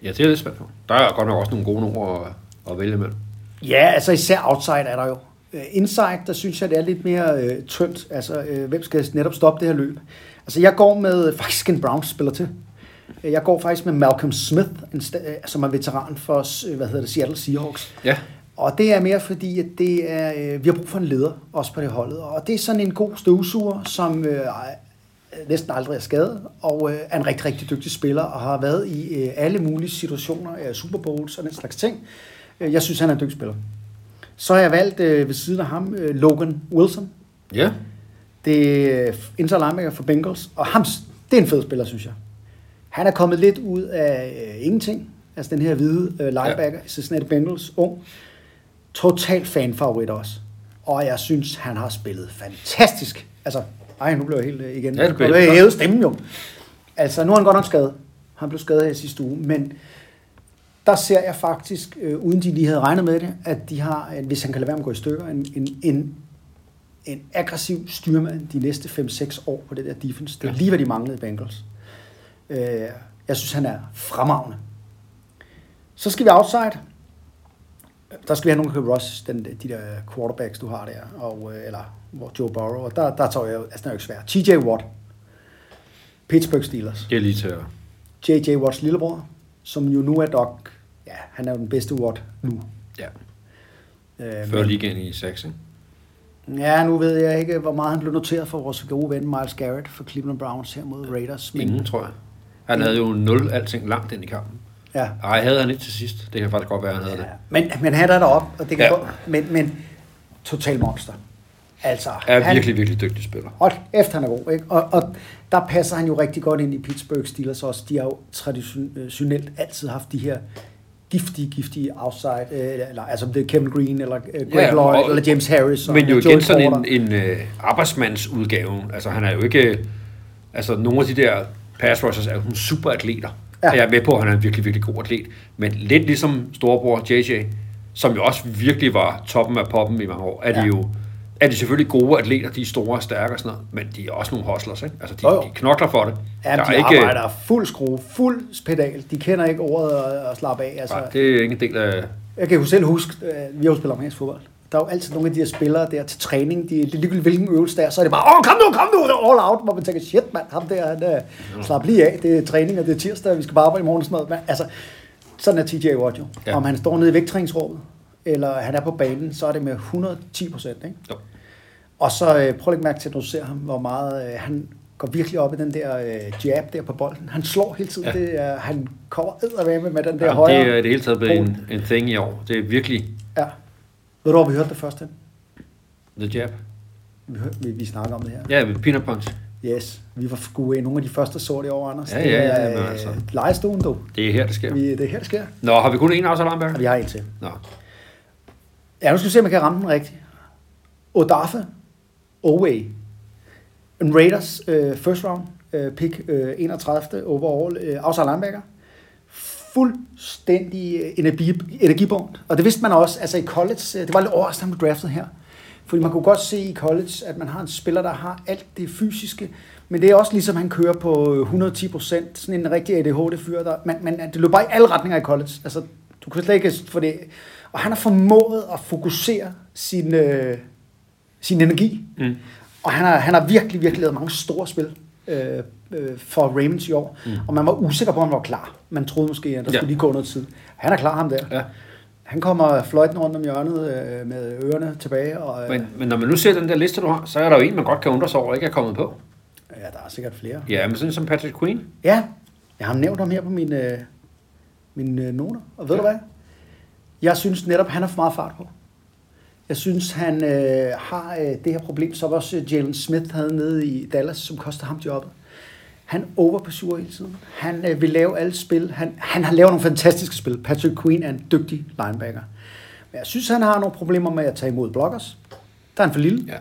Speaker 3: ja, det er lidt spændt på. Der er godt nok også nogle gode numre at, at vælge imellem.
Speaker 2: Ja, altså især outside er der jo. Øh, Inside, der synes jeg, det er lidt mere øh, tyndt. Altså, øh, hvem skal netop stoppe det her løb? Altså, jeg går med øh, faktisk en Browns-spiller til. Øh, Jeg går faktisk med Malcolm Smith, en sta- øh, som er veteran for øh, hvad hedder det, Seattle Seahawks.
Speaker 3: Ja.
Speaker 2: Og det er mere fordi, at det er, øh, vi har brug for en leder, også på det holdet. Og det er sådan en god støvsuger, som øh, næsten aldrig er skadet, og øh, er en rigtig, rigtig dygtig spiller, og har været i øh, alle mulige situationer, øh, Super Bowls og den slags ting. Øh, Jeg synes, han er en dygtig spiller. Så har jeg valgt øh, ved siden af ham øh, Logan Wilson,
Speaker 3: Ja.
Speaker 2: det er øh, inter linebacker for Bengals, og ham, det er en fed spiller, synes jeg. Han er kommet lidt ud af øh, ingenting, altså den her hvide øh, linebacker, ja. Cincinnati Bengals, ung. Total fanfavorit også. Og jeg synes, han har spillet fantastisk. Altså, ej, nu blev jeg helt øh, igen.
Speaker 3: Ja, det blev
Speaker 2: Og jeg
Speaker 3: helt
Speaker 2: hævede stemmen jo. Altså, nu er han godt nok skadet. Han blev skadet her i sidste uge, men der ser jeg faktisk, øh, uden de lige havde regnet med det, at de har, at hvis han kan lade være med at gå i stykker, en, en, en, en aggressiv styrmand de næste 5-6 år på det der defense. Det er
Speaker 3: Ja.
Speaker 2: lige, hvad de manglede i Bengals. Øh, jeg synes, han er fremragende. Så skal vi outside. Der skal vi have nogen, der kan rush den, de der quarterbacks, du har der, og, øh, eller hvor Joe Burrow, og der, der tager jeg, altså den er jo ikke svær. TJ Watt, Pittsburgh Steelers.
Speaker 3: Det er lige til at...
Speaker 2: J.J. Watts lillebror, som jo nu er dog, ja, han er jo den bedste Watt nu.
Speaker 3: Ja.
Speaker 2: Øh,
Speaker 3: Før ligaen i 6, ikke?
Speaker 2: ja, nu ved jeg ikke, hvor meget han blev noteret for vores gode ven Miles Garrett for Cleveland Browns her mod Raiders. Men
Speaker 3: Ingen, tror jeg. Han havde jo 0 alting langt ind i kampen.
Speaker 2: Ja.
Speaker 3: Ej, havde han ikke til sidst. Det kan faktisk godt være, han havde det.
Speaker 2: Men, men han er deroppe, og det kan
Speaker 3: Ja.
Speaker 2: ja. godt, men, men total monster. Altså,
Speaker 3: Er
Speaker 2: han,
Speaker 3: virkelig, virkelig dygtig spiller.
Speaker 2: Hold efter han er god, ikke? Og, og der passer han jo rigtig godt ind i Pittsburgh Steelers også. De har jo øh, traditionelt altid haft de her giftige, giftige outside, øh, eller, altså om det er Kevin Green, eller øh, Greg
Speaker 3: Ja,
Speaker 2: ja, Lloyd,
Speaker 3: og-
Speaker 2: eller James Harris.
Speaker 3: Men jo
Speaker 2: og
Speaker 3: igen
Speaker 2: Joey
Speaker 3: sådan
Speaker 2: Porter.
Speaker 3: en, en øh, arbejdsmandsudgave. Altså han er jo ikke... Altså nogle af de der pass rushers er jo sådan super atleter. Ja.
Speaker 2: Ja.
Speaker 3: Og jeg er med på, at han er en virkelig, virkelig god atlet. Men lidt ligesom storebror JJ, som jo også virkelig var toppen af poppen i mange år, er ja. de
Speaker 2: Ja.
Speaker 3: jo er de selvfølgelig gode atleter, de er store og stærke og sådan noget, men de er også nogle hustlers, ikke? Altså, de,
Speaker 2: Jo, jo.
Speaker 3: de knokler for det.
Speaker 2: Ja, de ikke... arbejder fuld skrue, fuld pedal. De kender ikke ordet at, at slappe af. Altså,
Speaker 3: Nej, det er ikke en del af...
Speaker 2: Jeg kan jo selv huske, øh, vi har jo spillet amerikansk fodbold. Der er jo altid nogle af de her spillere der til træning, de, ligegyldigt hvilken øvelse der er, så er det bare, åh, kom nu, kom nu, det er all out, hvor man tænker, shit mand, ham der, han
Speaker 3: Mm.
Speaker 2: øh, slap lige af, det er træning, og det er tirsdag, vi skal bare arbejde i morgen, sådan noget. Men, altså, sådan er TJ Watt jo.
Speaker 3: Ja.
Speaker 2: Ja. Om han står nede i vægtræningsrummet, eller han er på banen, så er det med 110 procent, ikke?
Speaker 3: Jo.
Speaker 2: Og så øh, prøv at lægge mærke til, at du ser ham, hvor meget øh, han går virkelig op i den der øh, jab der på bolden. Han slår hele tiden,
Speaker 3: Ja.
Speaker 2: ja. det er, han kommer eddermame med den der
Speaker 3: Jamen,
Speaker 2: højre.
Speaker 3: det er i det hele taget blevet
Speaker 2: pol.
Speaker 3: en, en thing i år. Det er virkelig
Speaker 2: Ja. Ved du, hvor vi hørte det først hen?
Speaker 3: the jab.
Speaker 2: Vi, hør- vi, vi snakker om det her.
Speaker 3: Ja, med peanut punch.
Speaker 2: Yes, vi var sgu øh, nogle af de første, der så det over, Anders.
Speaker 3: Ja, ja, ja,
Speaker 2: Det
Speaker 3: men
Speaker 2: er
Speaker 3: altså.
Speaker 2: øh, lejestuen, du.
Speaker 3: Det er her, det sker.
Speaker 2: Vi, det er her, det sker.
Speaker 3: Nå, har vi kun én aftaler,
Speaker 2: Og
Speaker 3: Armberg?
Speaker 2: vi har en til.
Speaker 3: Nå.
Speaker 2: Ja, nu skal vi se, om jeg kan ramme den rigtigt. Odafe, Oway. En Raiders øh, first round øh, pick øh, 31. overall, øh, outside linebacker. Fuldstændig øh, energi, energibundt. Og det vidste man også, altså i college, øh, det var lidt overraskende, at han blev draftet her. Fordi man kunne godt se i college, at man har en spiller, der har alt det fysiske, men det er også ligesom, han kører på øh, 110 procent, sådan en rigtig ADHD-fyr, der, man, man, det løber bare i alle retninger i college. Altså, du kan slet ikke få det. Og han har formået at fokusere sin, øh, sin energi.
Speaker 3: Mm.
Speaker 2: Og han har, han har virkelig, virkelig lavet mange store spil øh, øh, for Ravens i år. Mm. Og man var usikker på, om han var klar. Man troede måske, at der
Speaker 3: Ja.
Speaker 2: ja. skulle lige gå noget tid. Han er klar, ham der.
Speaker 3: Ja.
Speaker 2: Han kommer fløjten rundt om hjørnet øh, med ørerne tilbage. Og, øh,
Speaker 3: Men, men når man nu ser den der liste, du har, så er der jo en, man godt kan undre sig over, ikke er kommet på.
Speaker 2: øh, Ja, der er sikkert flere.
Speaker 3: Ja, men sådan som Patrick Queen.
Speaker 2: Ja, jeg har nævnt ham her på mine, øh, mine øh, noter. Og ved
Speaker 3: Ja.
Speaker 2: ja. du hvad? Jeg synes netop, han har for meget fart på. Jeg synes, han øh, har øh, det her problem, som også øh, Jalen Smith havde nede i Dallas, som koster ham jobbet. Han overpursuer hele tiden. Han øh, vil lave alle spil. Han, han har lavet nogle fantastiske spil. Patrick Queen er en dygtig linebacker. Men jeg synes, han har nogle problemer med at tage imod blockers. Der er han for lille.
Speaker 3: Ja.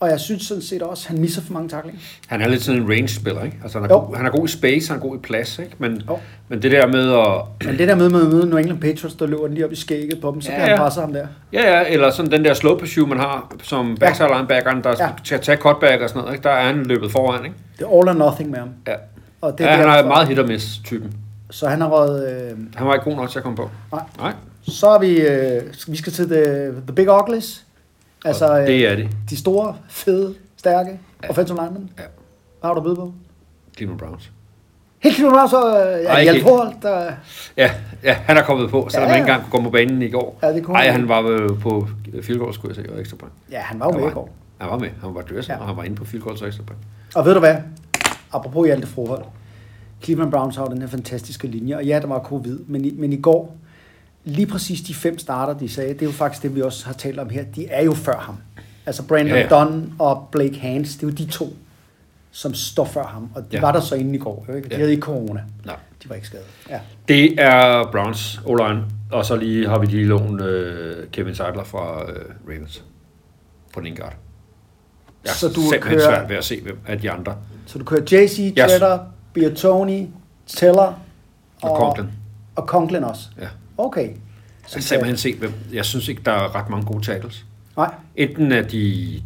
Speaker 2: Og jeg synes sådan set også, han misser for mange taklinger.
Speaker 3: Han er lidt sådan en range-spiller, ikke? Altså, han er,
Speaker 2: Jo.
Speaker 3: god, han er god i space, han er god i plads, ikke? Men,
Speaker 2: Jo.
Speaker 3: men det der med at...
Speaker 2: Men det der med, med at møde New England Patriots, der løber den lige op i skægget på dem, så
Speaker 3: Ja,
Speaker 2: ja, kan
Speaker 3: ja.
Speaker 2: han passe ham der.
Speaker 3: Ja, ja, eller sådan den der slow pursuit, man har som backside linebackeren, der
Speaker 2: Ja.
Speaker 3: skal tage cutback og sådan noget, ikke? Der er han løbet foran, ikke?
Speaker 2: Det er all or nothing med ham.
Speaker 3: Ja.
Speaker 2: Og
Speaker 3: Det er ja, han er
Speaker 2: derfor-
Speaker 3: meget hit og miss typen.
Speaker 2: Så han har røget... Øh,
Speaker 3: Han var ikke god nok til at komme på.
Speaker 2: nej.
Speaker 3: Nej.
Speaker 2: Så er vi... Øh, vi skal til The, the Big Uglies. Altså
Speaker 3: Og
Speaker 2: øh,
Speaker 3: det er det.
Speaker 2: de store, fede, stærke
Speaker 3: Ja.
Speaker 2: ja. offensive linemen.
Speaker 3: Ja.
Speaker 2: Hvad har du at byde på?
Speaker 3: Cleveland Browns.
Speaker 2: Helt klart så øh,
Speaker 3: Ej,
Speaker 2: ja,
Speaker 3: ikke
Speaker 2: Hjalp
Speaker 3: helt.
Speaker 2: Holt, der...
Speaker 3: Ja, ja, han er kommet på, selvom ja,
Speaker 2: Ja,
Speaker 3: ja.
Speaker 2: ja.
Speaker 3: han ikke engang kunne gå på banen i går.
Speaker 2: Ja, det kunne
Speaker 3: Ej,
Speaker 2: han.
Speaker 3: han var øh, på field goal, skulle jeg se, og ekstra point.
Speaker 2: Ja, han var jo
Speaker 3: Han
Speaker 2: med
Speaker 3: var-
Speaker 2: i går.
Speaker 3: Han var med. Han var dresser, ja.
Speaker 2: Ja.
Speaker 3: og han var inde på field goals og ekstra point.
Speaker 2: Og ved du hvad? Apropos Hjalte Froholt. Cleveland Browns har jo den her fantastiske linje, og ja, der var covid, men i, men i går, lige præcis de fem starter, de sagde, det er jo faktisk det, vi også har talt om her, de er jo før ham. Altså Brandon
Speaker 3: Ja,
Speaker 2: ja,
Speaker 3: ja.
Speaker 2: ja. Dunn og Blake Hans, det er jo de to, som står før ham, og de
Speaker 3: Ja.
Speaker 2: ja. var der så inde i går. jo Ikke? De
Speaker 3: Ja.
Speaker 2: ja. havde ikke corona.
Speaker 3: Nej.
Speaker 2: De var ikke skadet. Ja.
Speaker 3: Det er Browns, o og så lige har vi lige lånt øh, Kevin Seidler fra øh, Ravens på den ene guard. Jeg
Speaker 2: Så
Speaker 3: så
Speaker 2: du
Speaker 3: du simpelthen kører...
Speaker 2: kører-
Speaker 3: svært ved at se, hvem af de andre.
Speaker 2: Så du kører JC, Jetter, Biotoni, Teller
Speaker 3: Og Conklin.
Speaker 2: Og Conklin også.
Speaker 3: Ja.
Speaker 2: Okay.
Speaker 3: Så jeg simpelthen se, hvem. Jeg synes ikke, der er ret mange gode tackles.
Speaker 2: Nej,
Speaker 3: Enten er de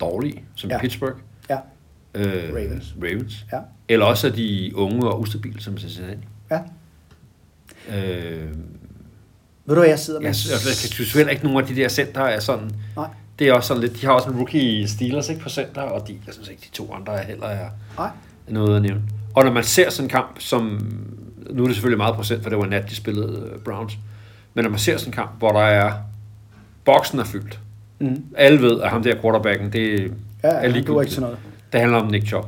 Speaker 3: dårlige, som ja.
Speaker 2: Ja.
Speaker 3: Pittsburgh,
Speaker 2: ja,
Speaker 3: øh,
Speaker 2: Ravens.
Speaker 3: Ravens.
Speaker 2: Ja.
Speaker 3: Eller også er de unge og ustabile, som Cincinnati.
Speaker 2: ja.
Speaker 3: Øh,
Speaker 2: Ved du, hvad jeg sidder med?
Speaker 3: jeg, jeg, jeg kan synes heller ikke, nogen af de der center er sådan...
Speaker 2: Nej.
Speaker 3: Det er også sådan lidt... De har også en rookie Steelers ikke, på center, og de, jeg synes ikke, de to andre er heller er
Speaker 2: Nej.
Speaker 3: noget at nævne. Og når man ser sådan en kamp, som... Nu er det selvfølgelig meget procent, for det var nat, de spillede øh, Browns. Men når man ser sådan en kamp, hvor der er... Boksen er fyldt.
Speaker 2: Mm.
Speaker 3: Alle ved, at ham der quarterbacken, det
Speaker 2: Ja, han
Speaker 3: ligegyldigt.
Speaker 2: duer ikke til noget.
Speaker 3: Det handler om Nick Chubb.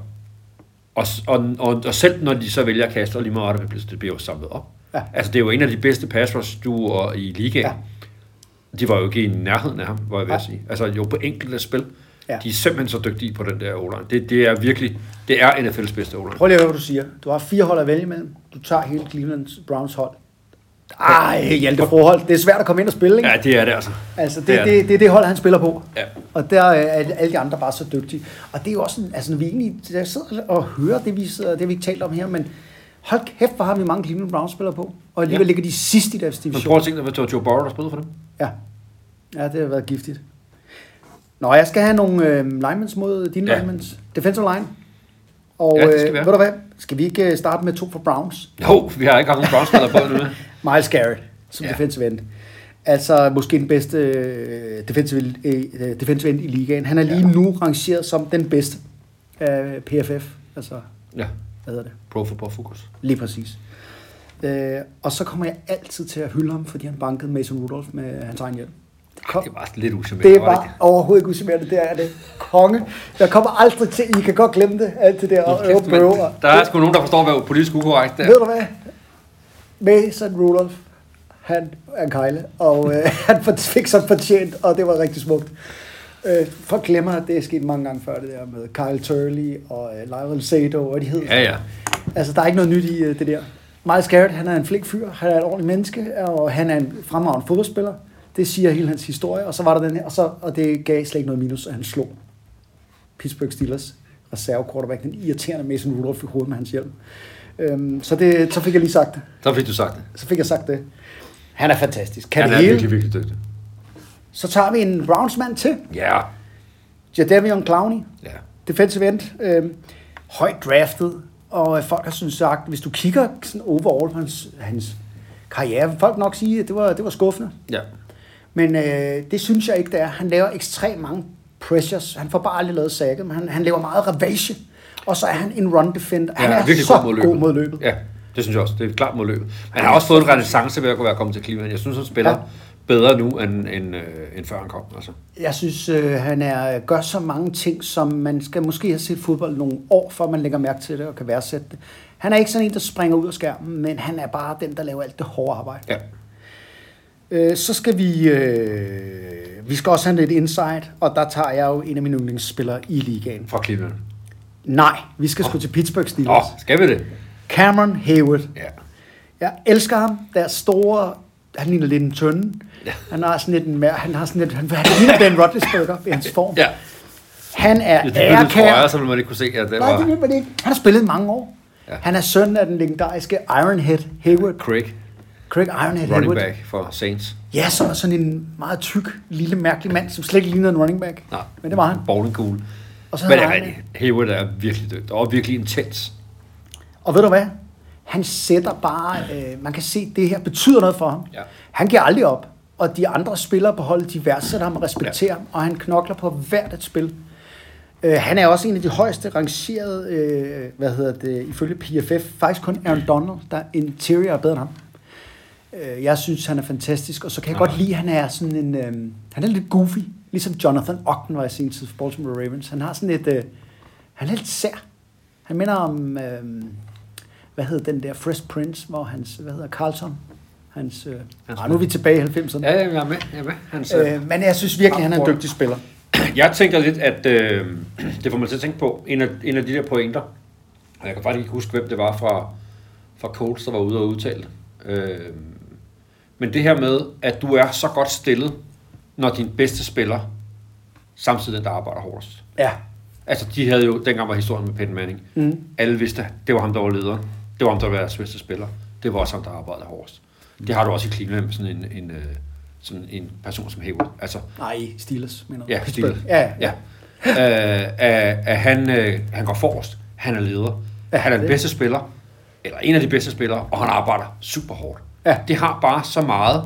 Speaker 3: Og, s- og, og, og selv når de så vælger at kaste, og lige meget, hvad der bliver- det bliver jo samlet op.
Speaker 2: Ja.
Speaker 3: Altså, det er jo en af de bedste pass rush duoer i ligaen.
Speaker 2: Ja.
Speaker 3: Ja. De var jo ikke i nærheden af ham, var jeg ved at
Speaker 2: Nej.
Speaker 3: sige. Altså, jo på enkelte spil.
Speaker 2: Ja.
Speaker 3: Ja. De er simpelthen så dygtige på den der o det, det er virkelig, det er NFL's bedste o
Speaker 2: Prøv lige at høre, hvad du siger. Du har fire hold at vælge imellem. Du tager hele Cleveland Browns hold. Ej, Hjalte Froholt. Det er svært at komme ind og spille, ikke?
Speaker 3: Ja, det er det altså.
Speaker 2: Altså, det,
Speaker 3: Det
Speaker 2: det,
Speaker 3: er
Speaker 2: det, det er det hold, han spiller på.
Speaker 3: Ja.
Speaker 2: Og der er alle- alle de andre bare så dygtige. Og det er jo også, sådan, altså, når vi egentlig jeg sidder og hører det, vi, sidder, det, vi ikke talt om her, men hold kæft, hvor har vi mange Cleveland Browns spillere på. Og alligevel ja.
Speaker 3: Ja.
Speaker 2: ligger de sidst i deres
Speaker 3: Men
Speaker 2: division.
Speaker 3: prøv at tænke dig, hvad det var Joe Burrow, der spillede for dem.
Speaker 2: Ja. ja, det har været giftigt. Nå, jeg skal have nogle øh, linemans mod dine ja.
Speaker 3: Ja.
Speaker 2: linemans. Defensive line. Og
Speaker 3: Ja, det
Speaker 2: øh,
Speaker 3: skal vi
Speaker 2: ved
Speaker 3: have.
Speaker 2: du hvad, skal vi ikke øh, starte med to for Browns?
Speaker 3: Jo, vi har ikke haft nogen Browns-spiller på endnu.
Speaker 2: Miles Garrett som ja.
Speaker 3: Ja.
Speaker 2: defensive end. Altså måske den bedste øh, defensive, øh, defensive end i ligaen. Han er lige ja. nu rangeret som den bedste af PFF. Altså,
Speaker 3: Ja,
Speaker 2: hvad hedder det?
Speaker 3: Pro Football Focus.
Speaker 2: Lige præcis. Øh, og så kommer jeg altid til at hylde ham, fordi han bankede Mason Rudolph med hans egen hjelm. Kom.
Speaker 3: Det var lidt usædvanligt.
Speaker 2: Det var overhovedet ikke usimmerende, det er det. Konge. Jeg kommer aldrig til, I kan godt glemme det, alt det der. Og,
Speaker 3: Kæft,
Speaker 2: og,
Speaker 3: mand.
Speaker 2: bøv og,
Speaker 3: Der er sgu nogen, der forstår, hvad politisk ukorrekt det er.
Speaker 2: Ved du hvad? Mason Rudolph, han er en kejle, og øh, han for- fik så fortjent, og det var rigtig smukt. Øh, folk glemmer, at det er sket mange gange før, det der med Kyle Turley og øh, Lionel Sato, og de hed.
Speaker 3: Ja, ja.
Speaker 2: Altså, der er ikke noget nyt i øh, det der. Miles Garrett, han er en flink fyr, han er et ordentligt menneske, og han er en fremragende fodboldspiller. Det siger hele hans historie, og så var der den her, og, så, og det gav slet ikke noget minus, at han slog Pittsburgh Steelers reserve quarterback, den irriterende Mason Rudolph i hovedet med hans hjelm. Øhm, så, det, så fik jeg lige sagt det.
Speaker 3: Så fik du sagt det.
Speaker 2: Så fik jeg sagt det. Han er fantastisk. Kan
Speaker 3: Han
Speaker 2: det
Speaker 3: er
Speaker 2: hele.
Speaker 3: virkelig, virkelig dygtig.
Speaker 2: Så tager vi en Browns-mand til.
Speaker 3: Ja.
Speaker 2: Jadavion Clowney.
Speaker 3: Ja.
Speaker 2: defensive end, øh, højt draftet, og øh, folk har sådan sagt, hvis du kigger sådan overall på hans, hans karriere, vil folk nok sige, at det var, det var skuffende.
Speaker 3: Ja.
Speaker 2: Men øh, det synes jeg ikke, det er. Han laver ekstremt mange pressures. Han får bare aldrig lavet sækket, men han, han laver meget ravage. Og så er han en run defender. Han
Speaker 3: ja
Speaker 2: er,
Speaker 3: virkelig
Speaker 2: så
Speaker 3: god mod løbet.
Speaker 2: mod løbet.
Speaker 3: Ja, det synes jeg også. Det er klart mod løbet. Han har også fået en renaissance ved at være kommet til Cleveland. Jeg synes, han spiller
Speaker 2: Ja.
Speaker 3: ja. bedre nu, end, end, øh, end før han kom. Altså.
Speaker 2: Jeg synes, øh, han er, gør så mange ting, som man skal måske have set fodbold nogle år, før man lægger mærke til det og kan værdsætte det. Han er ikke sådan en, der springer ud af skærmen, men han er bare den, der laver alt det hårde arbejde.
Speaker 3: Ja.
Speaker 2: Øh, så skal vi... Øh, vi skal også have lidt insight, og der tager jeg jo en af mine yndlingsspillere i ligaen.
Speaker 3: Fra Cleveland.
Speaker 2: Nej, vi skal sgu til Pittsburgh Steelers.
Speaker 3: Åh, oh, skal vi det?
Speaker 2: Cameron Hayward.
Speaker 3: Ja.
Speaker 2: Jeg elsker ham. Der er store... Han ligner lidt en tønde.
Speaker 3: Ja.
Speaker 2: Han har sådan lidt en mær... Han har sådan lidt... Han, han ligner Ben Roethlisberger i hans form.
Speaker 3: Ja.
Speaker 2: Han er
Speaker 3: Hvis det blev lidt for
Speaker 2: ærkær.
Speaker 3: øje, så ville man ikke kunne se, at det
Speaker 2: Nej, det
Speaker 3: var
Speaker 2: vil man ikke. Han har spillet i mange år. Ja.
Speaker 3: Ja.
Speaker 2: Han er søn af den legendariske Ironhead Hayward.
Speaker 3: Craig,
Speaker 2: Craig Ironhead
Speaker 3: running
Speaker 2: Hayward.
Speaker 3: back for Saints.
Speaker 2: Ja, som er sådan en meget tyk, lille, mærkelig mand, som slet ikke ligner en running back.
Speaker 3: Nej,
Speaker 2: Men det var han.
Speaker 3: Bowling cool.
Speaker 2: Og så
Speaker 3: Men det
Speaker 2: havde
Speaker 3: er
Speaker 2: han-
Speaker 3: rigtigt. Hayward er virkelig dygtig, og virkelig intens.
Speaker 2: Og ved du hvad? Han sætter bare, øh, man kan se, at det her betyder noget for ham.
Speaker 3: Ja.
Speaker 2: Han giver aldrig op, og de andre spillere på holdet, de værdsætter ham og respekterer ham, og han knokler på hvert et spil. Øh, han er også en af de højeste rangerede, øh, hvad hedder det, ifølge PFF, faktisk kun Aaron Donald, der interior er bedre end ham. Øh, jeg synes, han er fantastisk, og så kan jeg godt lide, at han er sådan en, øh, han er lidt goofy, ligesom Jonathan Ogden var i sin tid for Baltimore Ravens. Han har sådan et, øh, han er lidt sær. Han minder om, øh, hvad hed den der Fresh Prince, hvor hans, hvad hedder Carlton? Hans, øh,
Speaker 3: Hans-
Speaker 2: ah, nu er vi tilbage i 90'erne.
Speaker 3: Ja, ja, jeg er med. Jeg er med. Hans, øh,
Speaker 2: Øh, men jeg synes virkelig, han er en dygtig spiller.
Speaker 3: Jeg tænker lidt, at øh, det får mig til at tænke på, en af, en af de der pointer, og jeg kan faktisk ikke huske, hvem det var fra, fra Colts, der var ude og udtale. det. Øh, men det her med, at du er så godt stillet, når din bedste spiller, samtidig den, der arbejder hårdest.
Speaker 2: Ja,
Speaker 3: Altså, de havde jo, dengang var historien med Peyton Manning, mm. alle vidste, at det var ham, der var lederen. Det var ham, der var deres bedste spiller. Det var også ham, der arbejdede hårdest. Det har du også i Cleveland med sådan en, en, øh, sådan en person som Hayward. Altså,
Speaker 2: nej, Steelers, mener du?
Speaker 3: Ja,
Speaker 2: Pittsburgh.
Speaker 3: Steelers.
Speaker 2: Ja, ja.
Speaker 3: ja. Øh, at, at han, øh, han går forrest, han er leder,
Speaker 2: Ja,
Speaker 3: ja, han er
Speaker 2: det-
Speaker 3: den bedste spiller, eller en af de bedste spillere, og han arbejder super hårdt.
Speaker 2: Ja.
Speaker 3: Det har bare så meget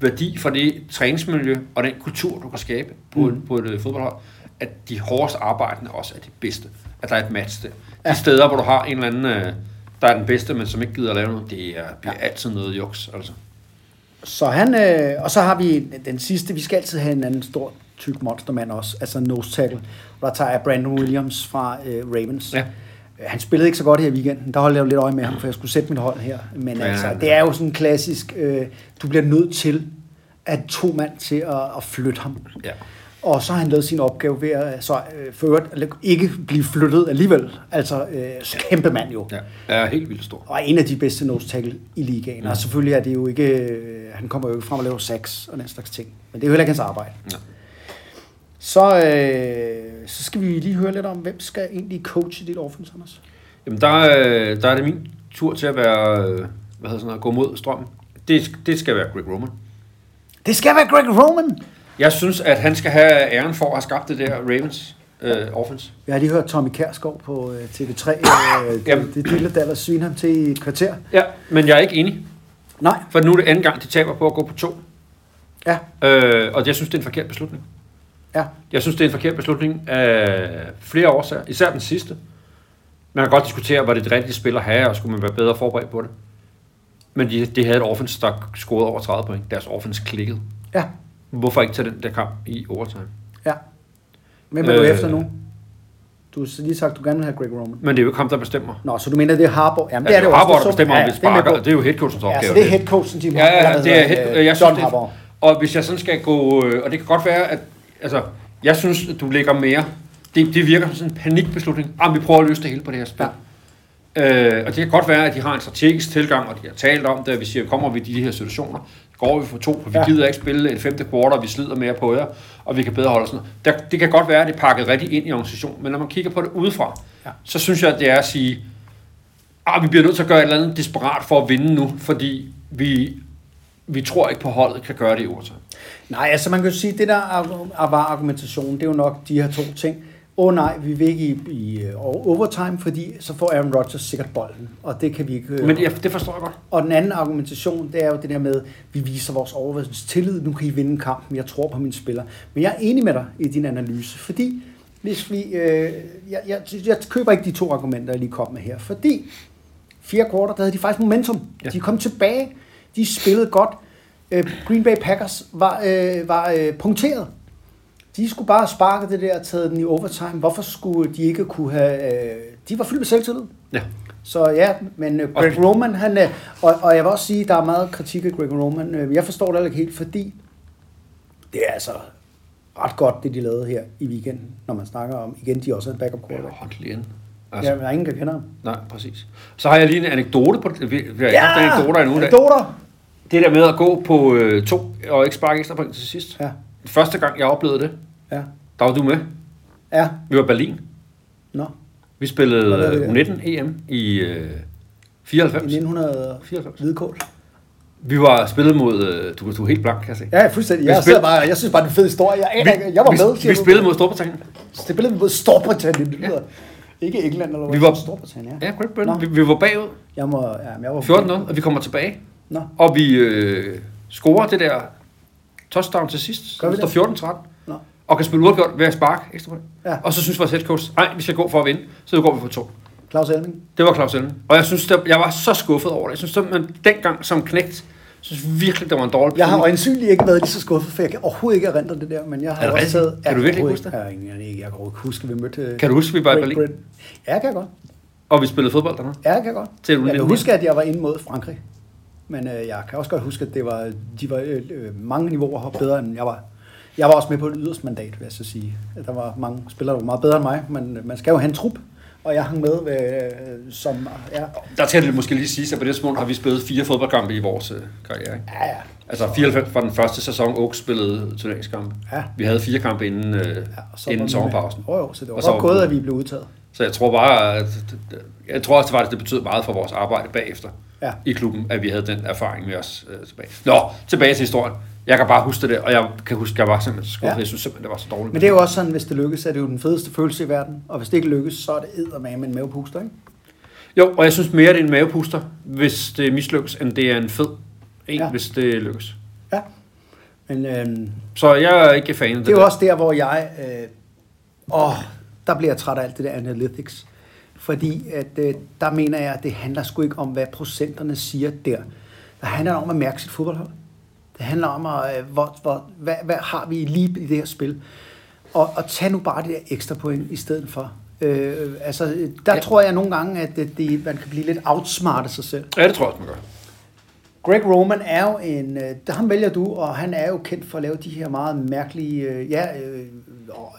Speaker 3: værdi for det træningsmiljø og den kultur, du kan skabe på, mm. et, på et øh, fodboldhold, at de hårdest arbejdende også er de bedste. At der er et match der. De ja. steder, hvor du har en eller anden, øh, der er den bedste, men som ikke gider at lave noget, det er, bliver ja. altid noget juks. Altså.
Speaker 2: Så han, øh, og så har vi den sidste, vi skal altid have en anden stor, tyk monstermand også, altså nose tackle. Og der tager jeg Brandon Williams fra øh, Ravens.
Speaker 3: Ja.
Speaker 2: Øh, Han spillede ikke så godt her i weekenden. Der holdt jeg jo lidt øje med ham, for jeg skulle sætte mit hold her. Men
Speaker 3: Ja,
Speaker 2: altså,
Speaker 3: ja.
Speaker 2: det er jo sådan en klassisk, øh, du bliver nødt til at to mand til at, at flytte ham.
Speaker 3: Ja.
Speaker 2: Og så har han lavet sin opgave ved at så, øh, for øvrigt, at ikke blive flyttet alligevel. Altså, øh, så kæmpe mand jo.
Speaker 3: Ja, er helt vildt stor.
Speaker 2: Og er en af de bedste nose tackle i ligaen. Og selvfølgelig er det jo ikke... øh, Han kommer jo ikke frem og laver sex og den slags ting. Men det er jo heller ikke hans arbejde.
Speaker 3: Ja.
Speaker 2: Så, øh, så skal vi lige høre lidt om, hvem skal egentlig coache dit offense, Anders?
Speaker 3: Jamen, der, øh, der er det min tur til at være, øh, hvad hedder sådan noget, gå mod strømmen. Det, det skal være Greg Roman.
Speaker 2: Det skal være Greg Roman!
Speaker 3: Jeg synes, at han skal have æren for at have skabt det der Ravens øh, offense.
Speaker 2: Jeg har lige hørt Tommy Kærskov på øh, TV3. Øh,
Speaker 3: Jamen.
Speaker 2: det, det lille daller svine ham til i et kvarter.
Speaker 3: Ja, men jeg er ikke enig.
Speaker 2: Nej,
Speaker 3: For nu er det anden gang, de taber på at gå på to.
Speaker 2: ja,
Speaker 3: Øh, og jeg synes, det er en forkert beslutning.
Speaker 2: ja.
Speaker 3: Jeg synes, det er en forkert beslutning af flere årsager. Især den sidste. Man kan godt diskutere, var det det rigtige spil at have, og skulle man være bedre forberedt på det. Men de, de havde et offense, der scorede over 30 point. Deres offense klikkede.
Speaker 2: Ja,
Speaker 3: Hvorfor ikke tage den der kamp i overtime?
Speaker 2: ja. Hvem er øh, du
Speaker 3: Øh.
Speaker 2: efter nu? Du har lige sagt, du gerne vil have Greg Roman.
Speaker 3: Men det er jo ikke ham, der bestemmer. Altså,
Speaker 2: Nå, så du mener, det er Harbour? Jamen, det
Speaker 3: Ja,
Speaker 2: er det jo
Speaker 3: Harbour,
Speaker 2: også.
Speaker 3: der bestemmer, om vi
Speaker 2: det er med
Speaker 3: sparker.
Speaker 2: på.
Speaker 3: Det er jo headcoachens opgave.
Speaker 2: Ja, så det er headcoachen, de
Speaker 3: Ja, ja, ja, det er helt, jeg synes,
Speaker 2: John
Speaker 3: det,
Speaker 2: Harbour.
Speaker 3: og hvis jeg sådan skal gå, øh, og det kan godt være, at altså, jeg synes, at du ligger mere, det, det virker som sådan en panikbeslutning, ah, vi prøver at løse det hele på det her spil. Ja. Øh, og det kan godt være, at de har en strategisk tilgang, og de har talt om det, at vi siger, kommer vi i de her situationer, går vi for to, for vi
Speaker 2: Ja.
Speaker 3: ja. gider ikke spille et femte kvartal, vi slider mere på jer, og vi kan bedre holde os ned. Der, det kan godt være, at det er pakket rigtig ind i organisationen, men når man kigger på det udefra,
Speaker 2: Ja.
Speaker 3: ja. så synes jeg, at det er at sige, ah, vi bliver nødt til at gøre et eller andet desperat for at vinde nu, fordi vi, vi tror ikke på at holdet kan gøre det i overtime.
Speaker 2: Nej, altså man kan jo sige, at det der argu- var argumentationen, det er jo nok de her to ting. Åh oh, nej, vi vil ikke i, i øh, overtime, fordi så får Aaron Rodgers sikkert bolden, og det kan vi ikke... øh,
Speaker 3: Men det, det forstår jeg godt.
Speaker 2: Og den anden argumentation, det er jo det der med, vi viser vores overværdens tillid, nu kan I vinde kampen, jeg tror på mine spillere. Men jeg er enig med dig i din analyse, fordi hvis vi, øh, jeg, jeg, jeg køber ikke de to argumenter, jeg lige kom med her, fordi fire kvarter, der havde de faktisk momentum. Ja.
Speaker 3: Ja.
Speaker 2: De kom tilbage, de spillede godt. Øh, Green Bay Packers var, øh, var øh, punkteret. De skulle bare sparke det der og taget den i overtime. Hvorfor skulle de ikke kunne have... Øh, de var fyldt med selvtillid.
Speaker 3: Ja.
Speaker 2: Så ja, men øh, Greg
Speaker 3: Og-
Speaker 2: Roman, han er, og, og jeg vil også sige, der er meget kritik af Greg Roman. Øh, Jeg forstår det heller ikke helt, fordi det er altså ret godt, det de lavede her i weekenden, når man snakker om, igen, de også er en backup quarterback.
Speaker 3: Hold lige ind.
Speaker 2: Altså.
Speaker 3: Altså,
Speaker 2: Ja, men der er ingen, der kender ham.
Speaker 3: Nej, præcis. Så har jeg lige en anekdote på det. Vi, vi har ikke haft anekdoter endnu. i dag.
Speaker 2: anekdoter.
Speaker 3: Det der med at gå på øh, to og ikke sparke ekstra point til sidst.
Speaker 2: Ja,
Speaker 3: Første gang, jeg oplevede det,
Speaker 2: ja,
Speaker 3: der var du med.
Speaker 2: ja,
Speaker 3: Vi var i Berlin.
Speaker 2: nå,
Speaker 3: Vi
Speaker 2: Hvad lavede vi
Speaker 3: spillede øh,
Speaker 2: der?
Speaker 3: U19 EM i øh,
Speaker 2: i
Speaker 3: 94.
Speaker 2: 1994. Hvidkål.
Speaker 3: Vi var spillet mod... Øh, du, du er helt blank, kan jeg se.
Speaker 2: Ja, fuldstændig.
Speaker 3: Vi
Speaker 2: Jeg,
Speaker 3: spil-
Speaker 2: sidder bare, jeg synes bare, det er en fed historie. Jeg, aner ikke- jeg var
Speaker 3: vi,
Speaker 2: med,
Speaker 3: Vi, vi spillede mod Storbritannien.
Speaker 2: spillede mod Storbritannien, det lyder. Ikke England eller hvad,
Speaker 3: Vi var-
Speaker 2: Storbritannien, ja.
Speaker 3: Ja, Great Britain.
Speaker 2: Nå.
Speaker 3: Vi, vi var bagud
Speaker 2: Jeg, må, ja, men jeg var
Speaker 3: 14-0, og vi kommer tilbage.
Speaker 2: Nå,
Speaker 3: Og vi øh, scorer det der touchdown til sidst.
Speaker 2: Gør
Speaker 3: Gør
Speaker 2: vi
Speaker 3: vi står 14-13.
Speaker 2: nå,
Speaker 3: Og kan spille uafgjort ved at sparke ekstra point.
Speaker 2: Ja.
Speaker 3: Ja. Og så synes vores head coach, nej, vi skal gå for at vinde. Så går vi for to.
Speaker 2: Claus Elming.
Speaker 3: Det var Claus Elming. Og jeg synes, der, jeg var så skuffet over det. Jeg synes, at man dengang som knægt, synes virkelig, det var en dårlig
Speaker 2: Jeg har
Speaker 3: beslutning.
Speaker 2: øjensynligt ikke været lige så skuffet, for jeg kan overhovedet ikke erindre det der, men jeg har
Speaker 3: Er det
Speaker 2: også
Speaker 3: rigtigt?
Speaker 2: taget...
Speaker 3: Kan du virkelig ikke huske
Speaker 2: det? Jeg, jeg, jeg, jeg kan overhovedet ikke huske, at vi mødte... øh,
Speaker 3: Kan du huske, vi var i
Speaker 2: Great
Speaker 3: Berlin?
Speaker 2: Britain. Ja, kan jeg godt.
Speaker 3: Og vi spillede fodbold dernede.
Speaker 2: Ja, kan jeg godt.
Speaker 3: Til
Speaker 2: jeg kan
Speaker 3: 19.
Speaker 2: huske, at jeg var inde mod Frankrig. Men øh, jeg kan også godt huske, at det var, de var øh, øh, mange niveauer bedre, end jeg var. Jeg var også med på et yderst mandat, vil jeg så sige. Der var mange spillere, der var meget bedre end mig, men øh, man skal jo have en trup. Og jeg hang med, øh, som er...
Speaker 3: Der skal det måske lige sige, at på det tidspunkt har vi spillet fire fodboldkampe i vores øh, karriere. Ikke?
Speaker 2: Ja, ja.
Speaker 3: Altså 94 var den første sæson, Oaks spillede turneringskampe.
Speaker 2: Ja.
Speaker 3: Vi havde fire kampe inden, øh,
Speaker 2: ja og så
Speaker 3: ja,
Speaker 2: var
Speaker 3: inden
Speaker 2: vi
Speaker 3: sommerpausen.
Speaker 2: med. Jo, jo, så det var
Speaker 3: Og så
Speaker 2: godt
Speaker 3: var vi
Speaker 2: gået,
Speaker 3: ude.
Speaker 2: at vi blev udtaget.
Speaker 3: Så jeg tror bare, at jeg tror også, det, var, at det betød meget for vores arbejde bagefter
Speaker 2: Ja.
Speaker 3: i klubben, at vi havde den erfaring med os øh, tilbage. Nå, tilbage til historien. Jeg kan bare huske det der, og jeg kan huske, at jeg var simpelthen så skuffet.
Speaker 2: Ja.
Speaker 3: Ja. Jeg synes simpelthen, det var så dårligt.
Speaker 2: Men det er jo også sådan, hvis det lykkes, er det jo den fedeste følelse i verden. Og hvis det ikke lykkes, så er det eddermame en mavepuster, ikke?
Speaker 3: Jo, og jeg synes mere, det er en mavepuster, hvis det mislykkes, end det er en fed en,
Speaker 2: Ja.
Speaker 3: ja. hvis det lykkes.
Speaker 2: Ja. Men øhm,
Speaker 3: Så jeg er ikke fan af det,
Speaker 2: det er jo
Speaker 3: der.
Speaker 2: også der, hvor jeg... Øh, åh, der bliver jeg træt af alt det der analytics. Fordi at, øh, der mener jeg, at det handler sgu ikke om, hvad procenterne siger der. Det handler om at mærke sit fodboldhold. Det handler om, at, øh, hvor, hvor, hvad, hvad har vi lige i det her spil. Og, og tag nu bare det der ekstra point i stedet for. Øh, altså, der ja. tror jeg nogle gange, at det, det, man kan blive lidt outsmart af sig selv.
Speaker 3: Ja, det tror jeg også, man gør.
Speaker 2: Greg Roman er jo en, øh, der- ham vælger du, og han er jo kendt for at lave de her meget mærkelige, øh, ja, øh, og,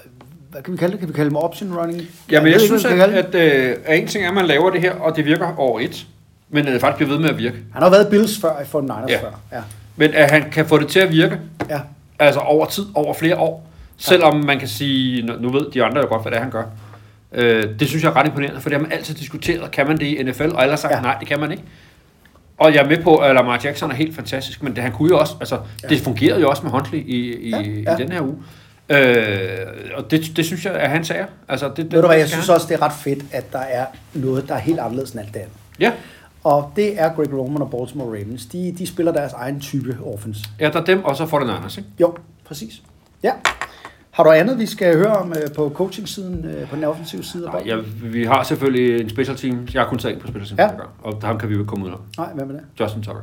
Speaker 2: hvad kan vi kalde det? Kan vi kalde dem option running?
Speaker 3: Ja,
Speaker 2: ved
Speaker 3: men jeg
Speaker 2: ikke, hvad
Speaker 3: synes,
Speaker 2: vi kan
Speaker 3: at,
Speaker 2: kalde dem.
Speaker 3: at, at, øh, at en ting er, at man laver det her, og det virker over et, men at det faktisk bliver ved med at virke.
Speaker 2: Han har været i Bills før, i 49ers
Speaker 3: Ja.
Speaker 2: ja. før. Ja,
Speaker 3: Men at han kan få det til at virke,
Speaker 2: ja.
Speaker 3: altså over tid, over flere år, selvom man kan sige, "Nå, nu ved de andre jo godt, hvad det er, han gør. Øh, det synes jeg er ret imponerende, for det har man altid diskuteret, kan man det i NFL, og ellers sagt, ja.
Speaker 2: Ja.
Speaker 3: nej, det kan man ikke. Og jeg er med på, at Lamar Jackson er helt fantastisk, men det, han kunne jo også, altså, ja. det fungerede jo også med Huntley i, i, ja.
Speaker 2: Ja,
Speaker 3: Ja.
Speaker 2: ja.
Speaker 3: i den her uge. Øh, og det, det synes jeg er hans sager. Altså, det, det,
Speaker 2: Ved du hvad, jeg
Speaker 3: skal
Speaker 2: synes
Speaker 3: han.
Speaker 2: også, det er ret fedt, at der er noget, der er helt anderledes end alt det andet.
Speaker 3: Ja.
Speaker 2: Og det er Greg Roman og Baltimore Ravens. De, de spiller deres egen type offense.
Speaker 3: ja, der er dem, og så får den Anders, ikke?
Speaker 2: Jo, præcis. Ja. Har du andet, vi skal høre om øh, på coaching-siden, øh, på den offensive side? af
Speaker 3: Nej,
Speaker 2: bolden?
Speaker 3: ja, vi har selvfølgelig en special team. Jeg har kun taget en på special team,
Speaker 2: Ja.
Speaker 3: ja. og ham kan vi jo ikke komme ud af.
Speaker 2: Nej, hvad med det?
Speaker 3: Justin Tucker.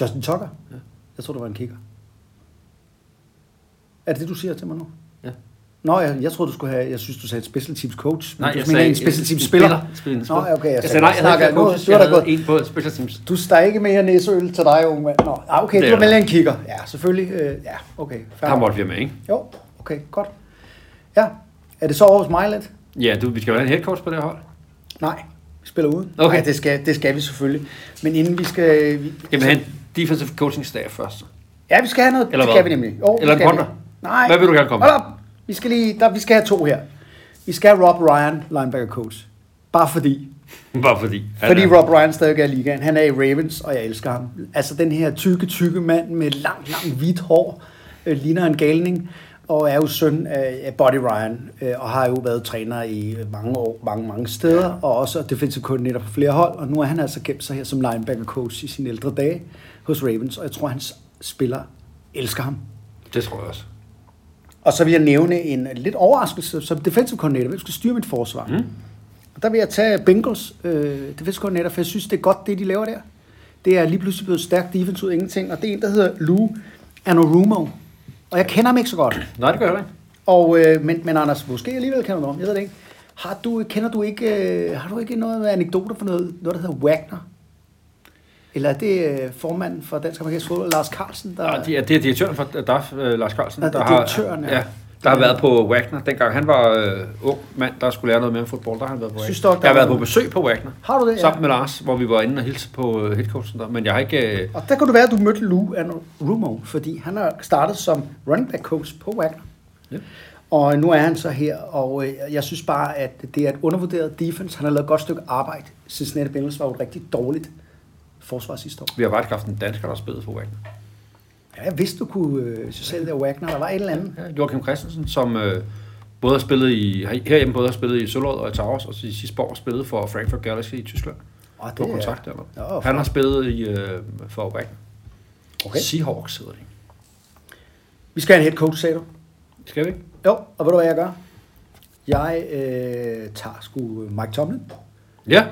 Speaker 2: Justin Tucker? Ja. Jeg tror, det var en kigger. Er det det, du siger til mig nu?
Speaker 3: Ja.
Speaker 2: Nå, jeg, jeg troede, du skulle have... Jeg synes, du sagde en special teams coach. men
Speaker 3: Nej,
Speaker 2: du
Speaker 3: jeg
Speaker 2: mener
Speaker 3: sagde
Speaker 2: en special teams spiller.
Speaker 3: spiller, en
Speaker 2: Nå, okay, jeg,
Speaker 3: jeg sagde nej, jeg havde
Speaker 2: snakker-
Speaker 3: ikke
Speaker 2: nu-
Speaker 3: coaches,
Speaker 2: nu er
Speaker 3: jeg
Speaker 2: der
Speaker 3: havde
Speaker 2: gået-
Speaker 3: en på special teams.
Speaker 2: Du står ikke mere næseøl til dig, unge mand. Nå, ah, okay,
Speaker 3: Det
Speaker 2: det du
Speaker 3: er der.
Speaker 2: vælger en kigger. Ja, selvfølgelig. Øh, ja, okay. fair.
Speaker 3: Der måtte vi med, ikke?
Speaker 2: Jo, okay, godt. Ja, er det så over hos mig lidt?
Speaker 3: Ja, du, vi skal jo have en head coach på det her hold.
Speaker 2: Nej, vi spiller uden.
Speaker 3: Okay.
Speaker 2: Nej, det skal, det skal vi selvfølgelig. Men inden vi skal... Vi,
Speaker 3: Jamen, han defensive coaching staff først.
Speaker 2: Ja, vi skal have noget.
Speaker 3: Eller
Speaker 2: Eller det
Speaker 3: hvad?
Speaker 2: skal vi nemlig. Jo,
Speaker 3: Eller
Speaker 2: det
Speaker 3: en
Speaker 2: skal vi.
Speaker 3: punter?
Speaker 2: Nej.
Speaker 3: Hvad vil du gerne komme
Speaker 2: Hold op. Vi skal, lige, der, vi skal have to her. Vi skal have Rob Ryan, linebacker coach. Bare fordi.
Speaker 3: Bare fordi. han
Speaker 2: Fordi
Speaker 3: er-
Speaker 2: Rob Ryan stadig er i ligaen. Han er i Ravens, og jeg elsker ham. Altså den her tykke, tykke mand med langt, langt hvidt hår, øh, ligner en galning, og er jo søn af af Buddy Ryan, øh, og har jo været træner i mange år, mange, mange steder, og også defensive koordinator på flere hold, og nu er han altså gemt sig her som linebacker coach i sine ældre dage hos Ravens, og jeg tror, hans spillere elsker ham.
Speaker 3: Det tror jeg også.
Speaker 2: Og så vil jeg nævne en lidt overraskelse som defensive coordinator. Hvem skal styre mit forsvar? Mm. Og der vil jeg tage Bengals øh, defensive coordinator, for jeg synes, det er godt, det de laver der. Det er lige pludselig blevet stærkt defense ud af ingenting. Og det er en, der hedder Lou Anorumo. Og jeg kender ham ikke så godt.
Speaker 3: Nej, det gør jeg heller ikke.
Speaker 2: Og, øh, men, men Anders, måske alligevel kender du ham. Jeg ved det ikke. Har du, kender du ikke, øh, har du ikke noget anekdoter for noget, noget, der hedder Wagner? Eller er det øh, formanden for Dansk Amerikansk Fodbold, Lars Carlsen? Der...
Speaker 3: Ja, det er- det er direktøren for DAF, øh, Lars Carlsen,
Speaker 2: Ja,
Speaker 3: der
Speaker 2: det er
Speaker 3: har,
Speaker 2: direktøren, ja.
Speaker 3: ja, der har været på Wagner. Dengang han var øh, ung mand, der skulle lære noget mere om fodbold, der har han været på Wagner.
Speaker 2: Synes du også, der
Speaker 3: jeg har
Speaker 2: var
Speaker 3: været på
Speaker 2: noget?
Speaker 3: besøg på Wagner.
Speaker 2: Har du det? Ja.
Speaker 3: Sammen med Lars, hvor vi var inde og hilse på øh, headcoachen der. Men jeg har ikke... Øh,
Speaker 2: Og der kunne det være, at du mødte Lou Rumo, fordi han har startet som running back coach på Wagner.
Speaker 3: Ja.
Speaker 2: Ja. Og nu er han så her, og øh, jeg synes bare, at det er et undervurderet defense. Han har lavet et godt stykke arbejde. Cincinnati Bengals var jo et rigtig dårligt forsvar sidste år.
Speaker 3: vi har faktisk haft en dansker, der spillede på Wagner.
Speaker 2: Ja, jeg vidste, du kunne øh, så selv der Wagner. Der var et eller andet.
Speaker 3: Ja, Joachim Christensen, som øh, både har spillet i, herhjemme både har spillet i Sølod og i Taros, og så i sidste år spillede for Frankfurt Galaxy i Tyskland.
Speaker 2: Og
Speaker 3: Det var kontrakt eller.
Speaker 2: Ja,
Speaker 3: han har spillet i, øh, for Wagner.
Speaker 2: Okay.
Speaker 3: Seahawks hedder det. ikke?
Speaker 2: Vi skal have en head coach, sagde du.
Speaker 3: Skal vi ikke?
Speaker 2: Jo, og ved du, hvad jeg gør? Jeg øh, tager sgu Mike Tomlin.
Speaker 3: Ja.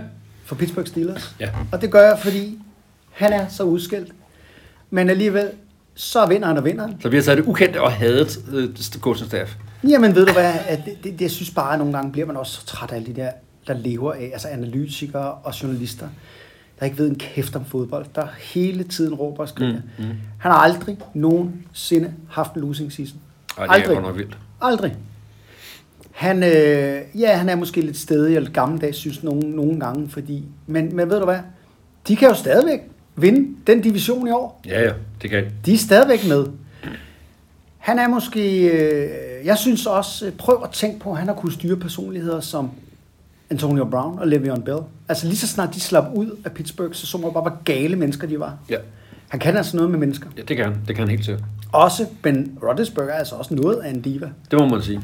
Speaker 2: for Pittsburgh Steelers.
Speaker 3: Ja.
Speaker 2: Og det gør jeg, fordi han er så udskilt. Men alligevel, så vinder han og vinder han.
Speaker 3: Så vi har taget det ukendte og hadet øh, coaching staff.
Speaker 2: Jamen ved du hvad, at det, det, det, jeg synes bare, at nogle gange bliver man også så træt af alle de der, der lever af, altså analytikere og journalister, der ikke ved en kæft om fodbold, der hele tiden råber og skriger. Mm, mm. Han har aldrig nogensinde haft en losing season.
Speaker 3: Ej, det er godt nok vildt.
Speaker 2: Aldrig. Han, øh, ja, han er måske lidt stedig eller gammeldags, synes nogen, nogle gange, fordi... Men, men ved du hvad? De kan jo stadigvæk vinde den division i år.
Speaker 3: Ja, ja, det kan
Speaker 2: De er stadigvæk med. Han er måske... Øh, jeg synes også, øh, prøv at tænke på, at han har kunnet styre personligheder som Antonio Brown og Le'Veon Bell. Altså lige så snart de slap ud af Pittsburgh, så så man bare, hvor gale mennesker de var.
Speaker 3: Ja.
Speaker 2: Han kan altså noget med mennesker.
Speaker 3: Ja, det kan han. Det kan han helt sikkert.
Speaker 2: Også Ben Roethlisberger er altså også noget af en diva.
Speaker 3: Det må man sige.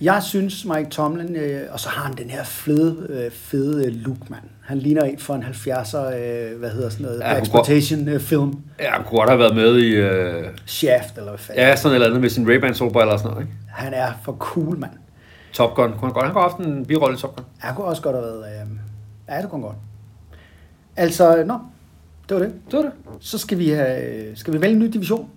Speaker 2: Jeg synes, Mike Tomlin, øh, og så har han den her fede, øh, fede øh, look, mand. Han ligner en for en 70'er, øh, hvad hedder sådan noget,
Speaker 3: Ja,
Speaker 2: ja,
Speaker 3: hun går-
Speaker 2: exploitation øh, film,
Speaker 3: Ja, han kunne godt have været med i... Øh,
Speaker 2: Shaft, eller hvad fanden. Ja.
Speaker 3: ja, sådan et eller andet med sin Ray-Ban solbriller eller sådan noget, ikke?
Speaker 2: Han er for cool, mand.
Speaker 3: Top Gun. Kunne han godt han kunne have haft en birolle i Top Gun.
Speaker 2: Han kunne også godt have været, øh, ja, det kunne han godt. Altså, øh, nå, det var det.
Speaker 3: Det var det.
Speaker 2: Så skal vi, have, øh, skal vi vælge en ny division.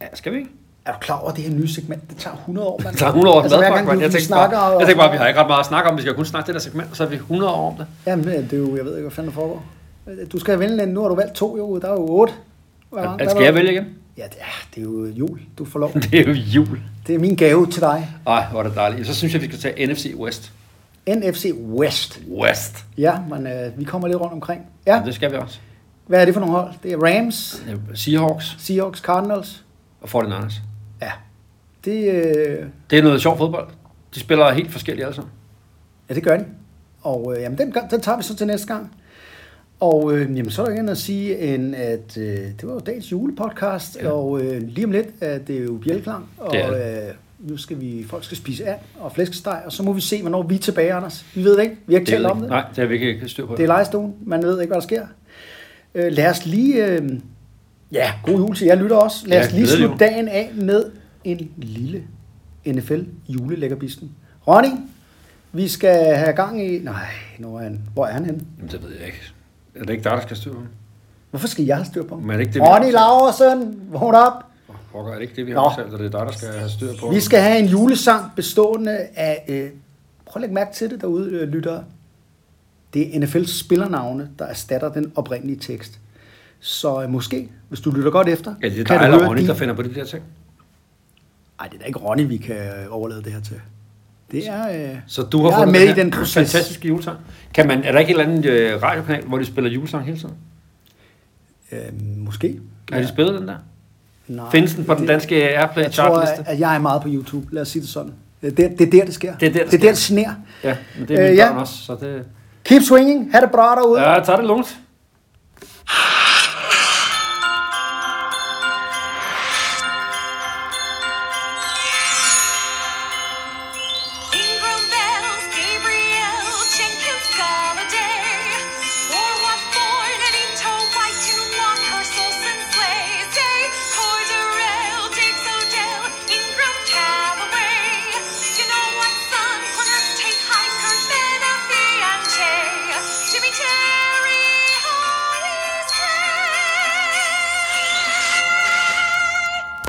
Speaker 3: Ja, skal vi ikke?
Speaker 2: er du klar over det her nye segment? Det tager 100 år, mand.
Speaker 3: Der er 100 år altså,
Speaker 2: altså, hver
Speaker 3: madpakke,
Speaker 2: gang
Speaker 3: mand.
Speaker 2: du,
Speaker 3: Jeg
Speaker 2: du
Speaker 3: tænkte, bare,
Speaker 2: snakker...
Speaker 3: jeg
Speaker 2: og-
Speaker 3: tænkte bare, vi har ikke ret meget at snakke om. Vi skal kun snakke det der segment, og så er vi 100 år om det.
Speaker 2: Jamen, øh, det er jo, jeg ved ikke, hvad fanden der foregår. Du skal vælge en, nu har du valgt to, jo. Der er jo otte. Hver gang,
Speaker 3: At,
Speaker 2: der
Speaker 3: altså, skal jeg
Speaker 2: er-
Speaker 3: vælge igen?
Speaker 2: Ja, det er, det er jo jul, du får lov.
Speaker 3: Det er jo jul.
Speaker 2: Det er min gave til dig.
Speaker 3: Ej, hvor er det dejligt. Så synes jeg, vi skal tage NFC West.
Speaker 2: NFC West.
Speaker 3: West.
Speaker 2: Ja, men øh, vi kommer lidt rundt omkring.
Speaker 3: Ja.
Speaker 2: Ja,
Speaker 3: Det skal vi også.
Speaker 2: hvad er det for nogle hold? Det er Rams,
Speaker 3: Seahawks
Speaker 2: Seahawks, Cardinals.
Speaker 3: og 49ers.
Speaker 2: Ja, det, øh,
Speaker 3: Det er noget sjov fodbold. De spiller helt forskelligt alle sammen.
Speaker 2: ja, det gør de. Og øh, jamen, den, gør- den tager vi så til næste gang. Og øh, jamen, så er der ikke andet at sige, end at øh, det var jo dagens julepodcast, ja. og øh, lige om lidt er det jo bjælklang, og
Speaker 3: Det er
Speaker 2: øh, nu skal vi, folk skal spise and og flæskesteg, og så må vi se, hvornår vi er tilbage, Anders. Vi ved det ikke, vi har ikke
Speaker 3: Det
Speaker 2: talt om
Speaker 3: er,
Speaker 2: det.
Speaker 3: nej, det har vi ikke styr på.
Speaker 2: Det er lejestuen. Man ved ikke, hvad der sker. Øh, lad os lige... Øh, ja, god jul til jer lytter også. Lad
Speaker 3: Ja,
Speaker 2: os lige
Speaker 3: glædelig
Speaker 2: slutte
Speaker 3: jul.
Speaker 2: dagen af med en lille NFL julelækkerbisten. Ronny, vi skal have gang i... Nej, nu er han... Hvor er han henne?
Speaker 3: Jamen, det ved jeg ikke. Er det ikke dig, der skal styre på dem?
Speaker 2: Hvorfor skal jeg have styr på ham?
Speaker 3: Men er det ikke det, vi har
Speaker 2: Ronny
Speaker 3: aftalt?
Speaker 2: Laursen, vågn op!
Speaker 3: Åh, Pokker, er det ikke det, vi har
Speaker 2: Nå.
Speaker 3: aftalt, og det er dig, der skal have styr på?
Speaker 2: Vi
Speaker 3: dem?
Speaker 2: skal have en julesang bestående af... Øh, prøv at lægge mærke til det derude, øh, lyttere. Det er NFL's spillernavne, der erstatter den oprindelige tekst. Så øh, måske, hvis du lytter godt efter,
Speaker 3: Ja, det er dig eller Ronny,
Speaker 2: de-
Speaker 3: der finder på de der ting.
Speaker 2: Ej, det er da ikke Ronny, vi kan øh, overlade det her til. Det er... Øh,
Speaker 3: Så du har
Speaker 2: jeg er
Speaker 3: fundet
Speaker 2: med i
Speaker 3: her
Speaker 2: den proces.
Speaker 3: fantastiske julesang. Kan man, er der ikke et eller andet øh, radiokanal, hvor de spiller julesang hele tiden?
Speaker 2: Øh, måske.
Speaker 3: Har de spillet den der?
Speaker 2: Nej,
Speaker 3: Findes den på den
Speaker 2: det-
Speaker 3: danske Airplay
Speaker 2: Jeg tror,
Speaker 3: chartliste?
Speaker 2: at- at jeg er meget på YouTube. Lad os sige det sådan. Det, det, det er der, det sker.
Speaker 3: Det er der, det
Speaker 2: det, er der,
Speaker 3: sker.
Speaker 2: det sner.
Speaker 3: Ja, men det er
Speaker 2: Øh,
Speaker 3: min
Speaker 2: ja.
Speaker 3: børn også, så det...
Speaker 2: Keep swinging. Ha' det bra derude.
Speaker 3: Ja, tag det lungt.
Speaker 1: Hold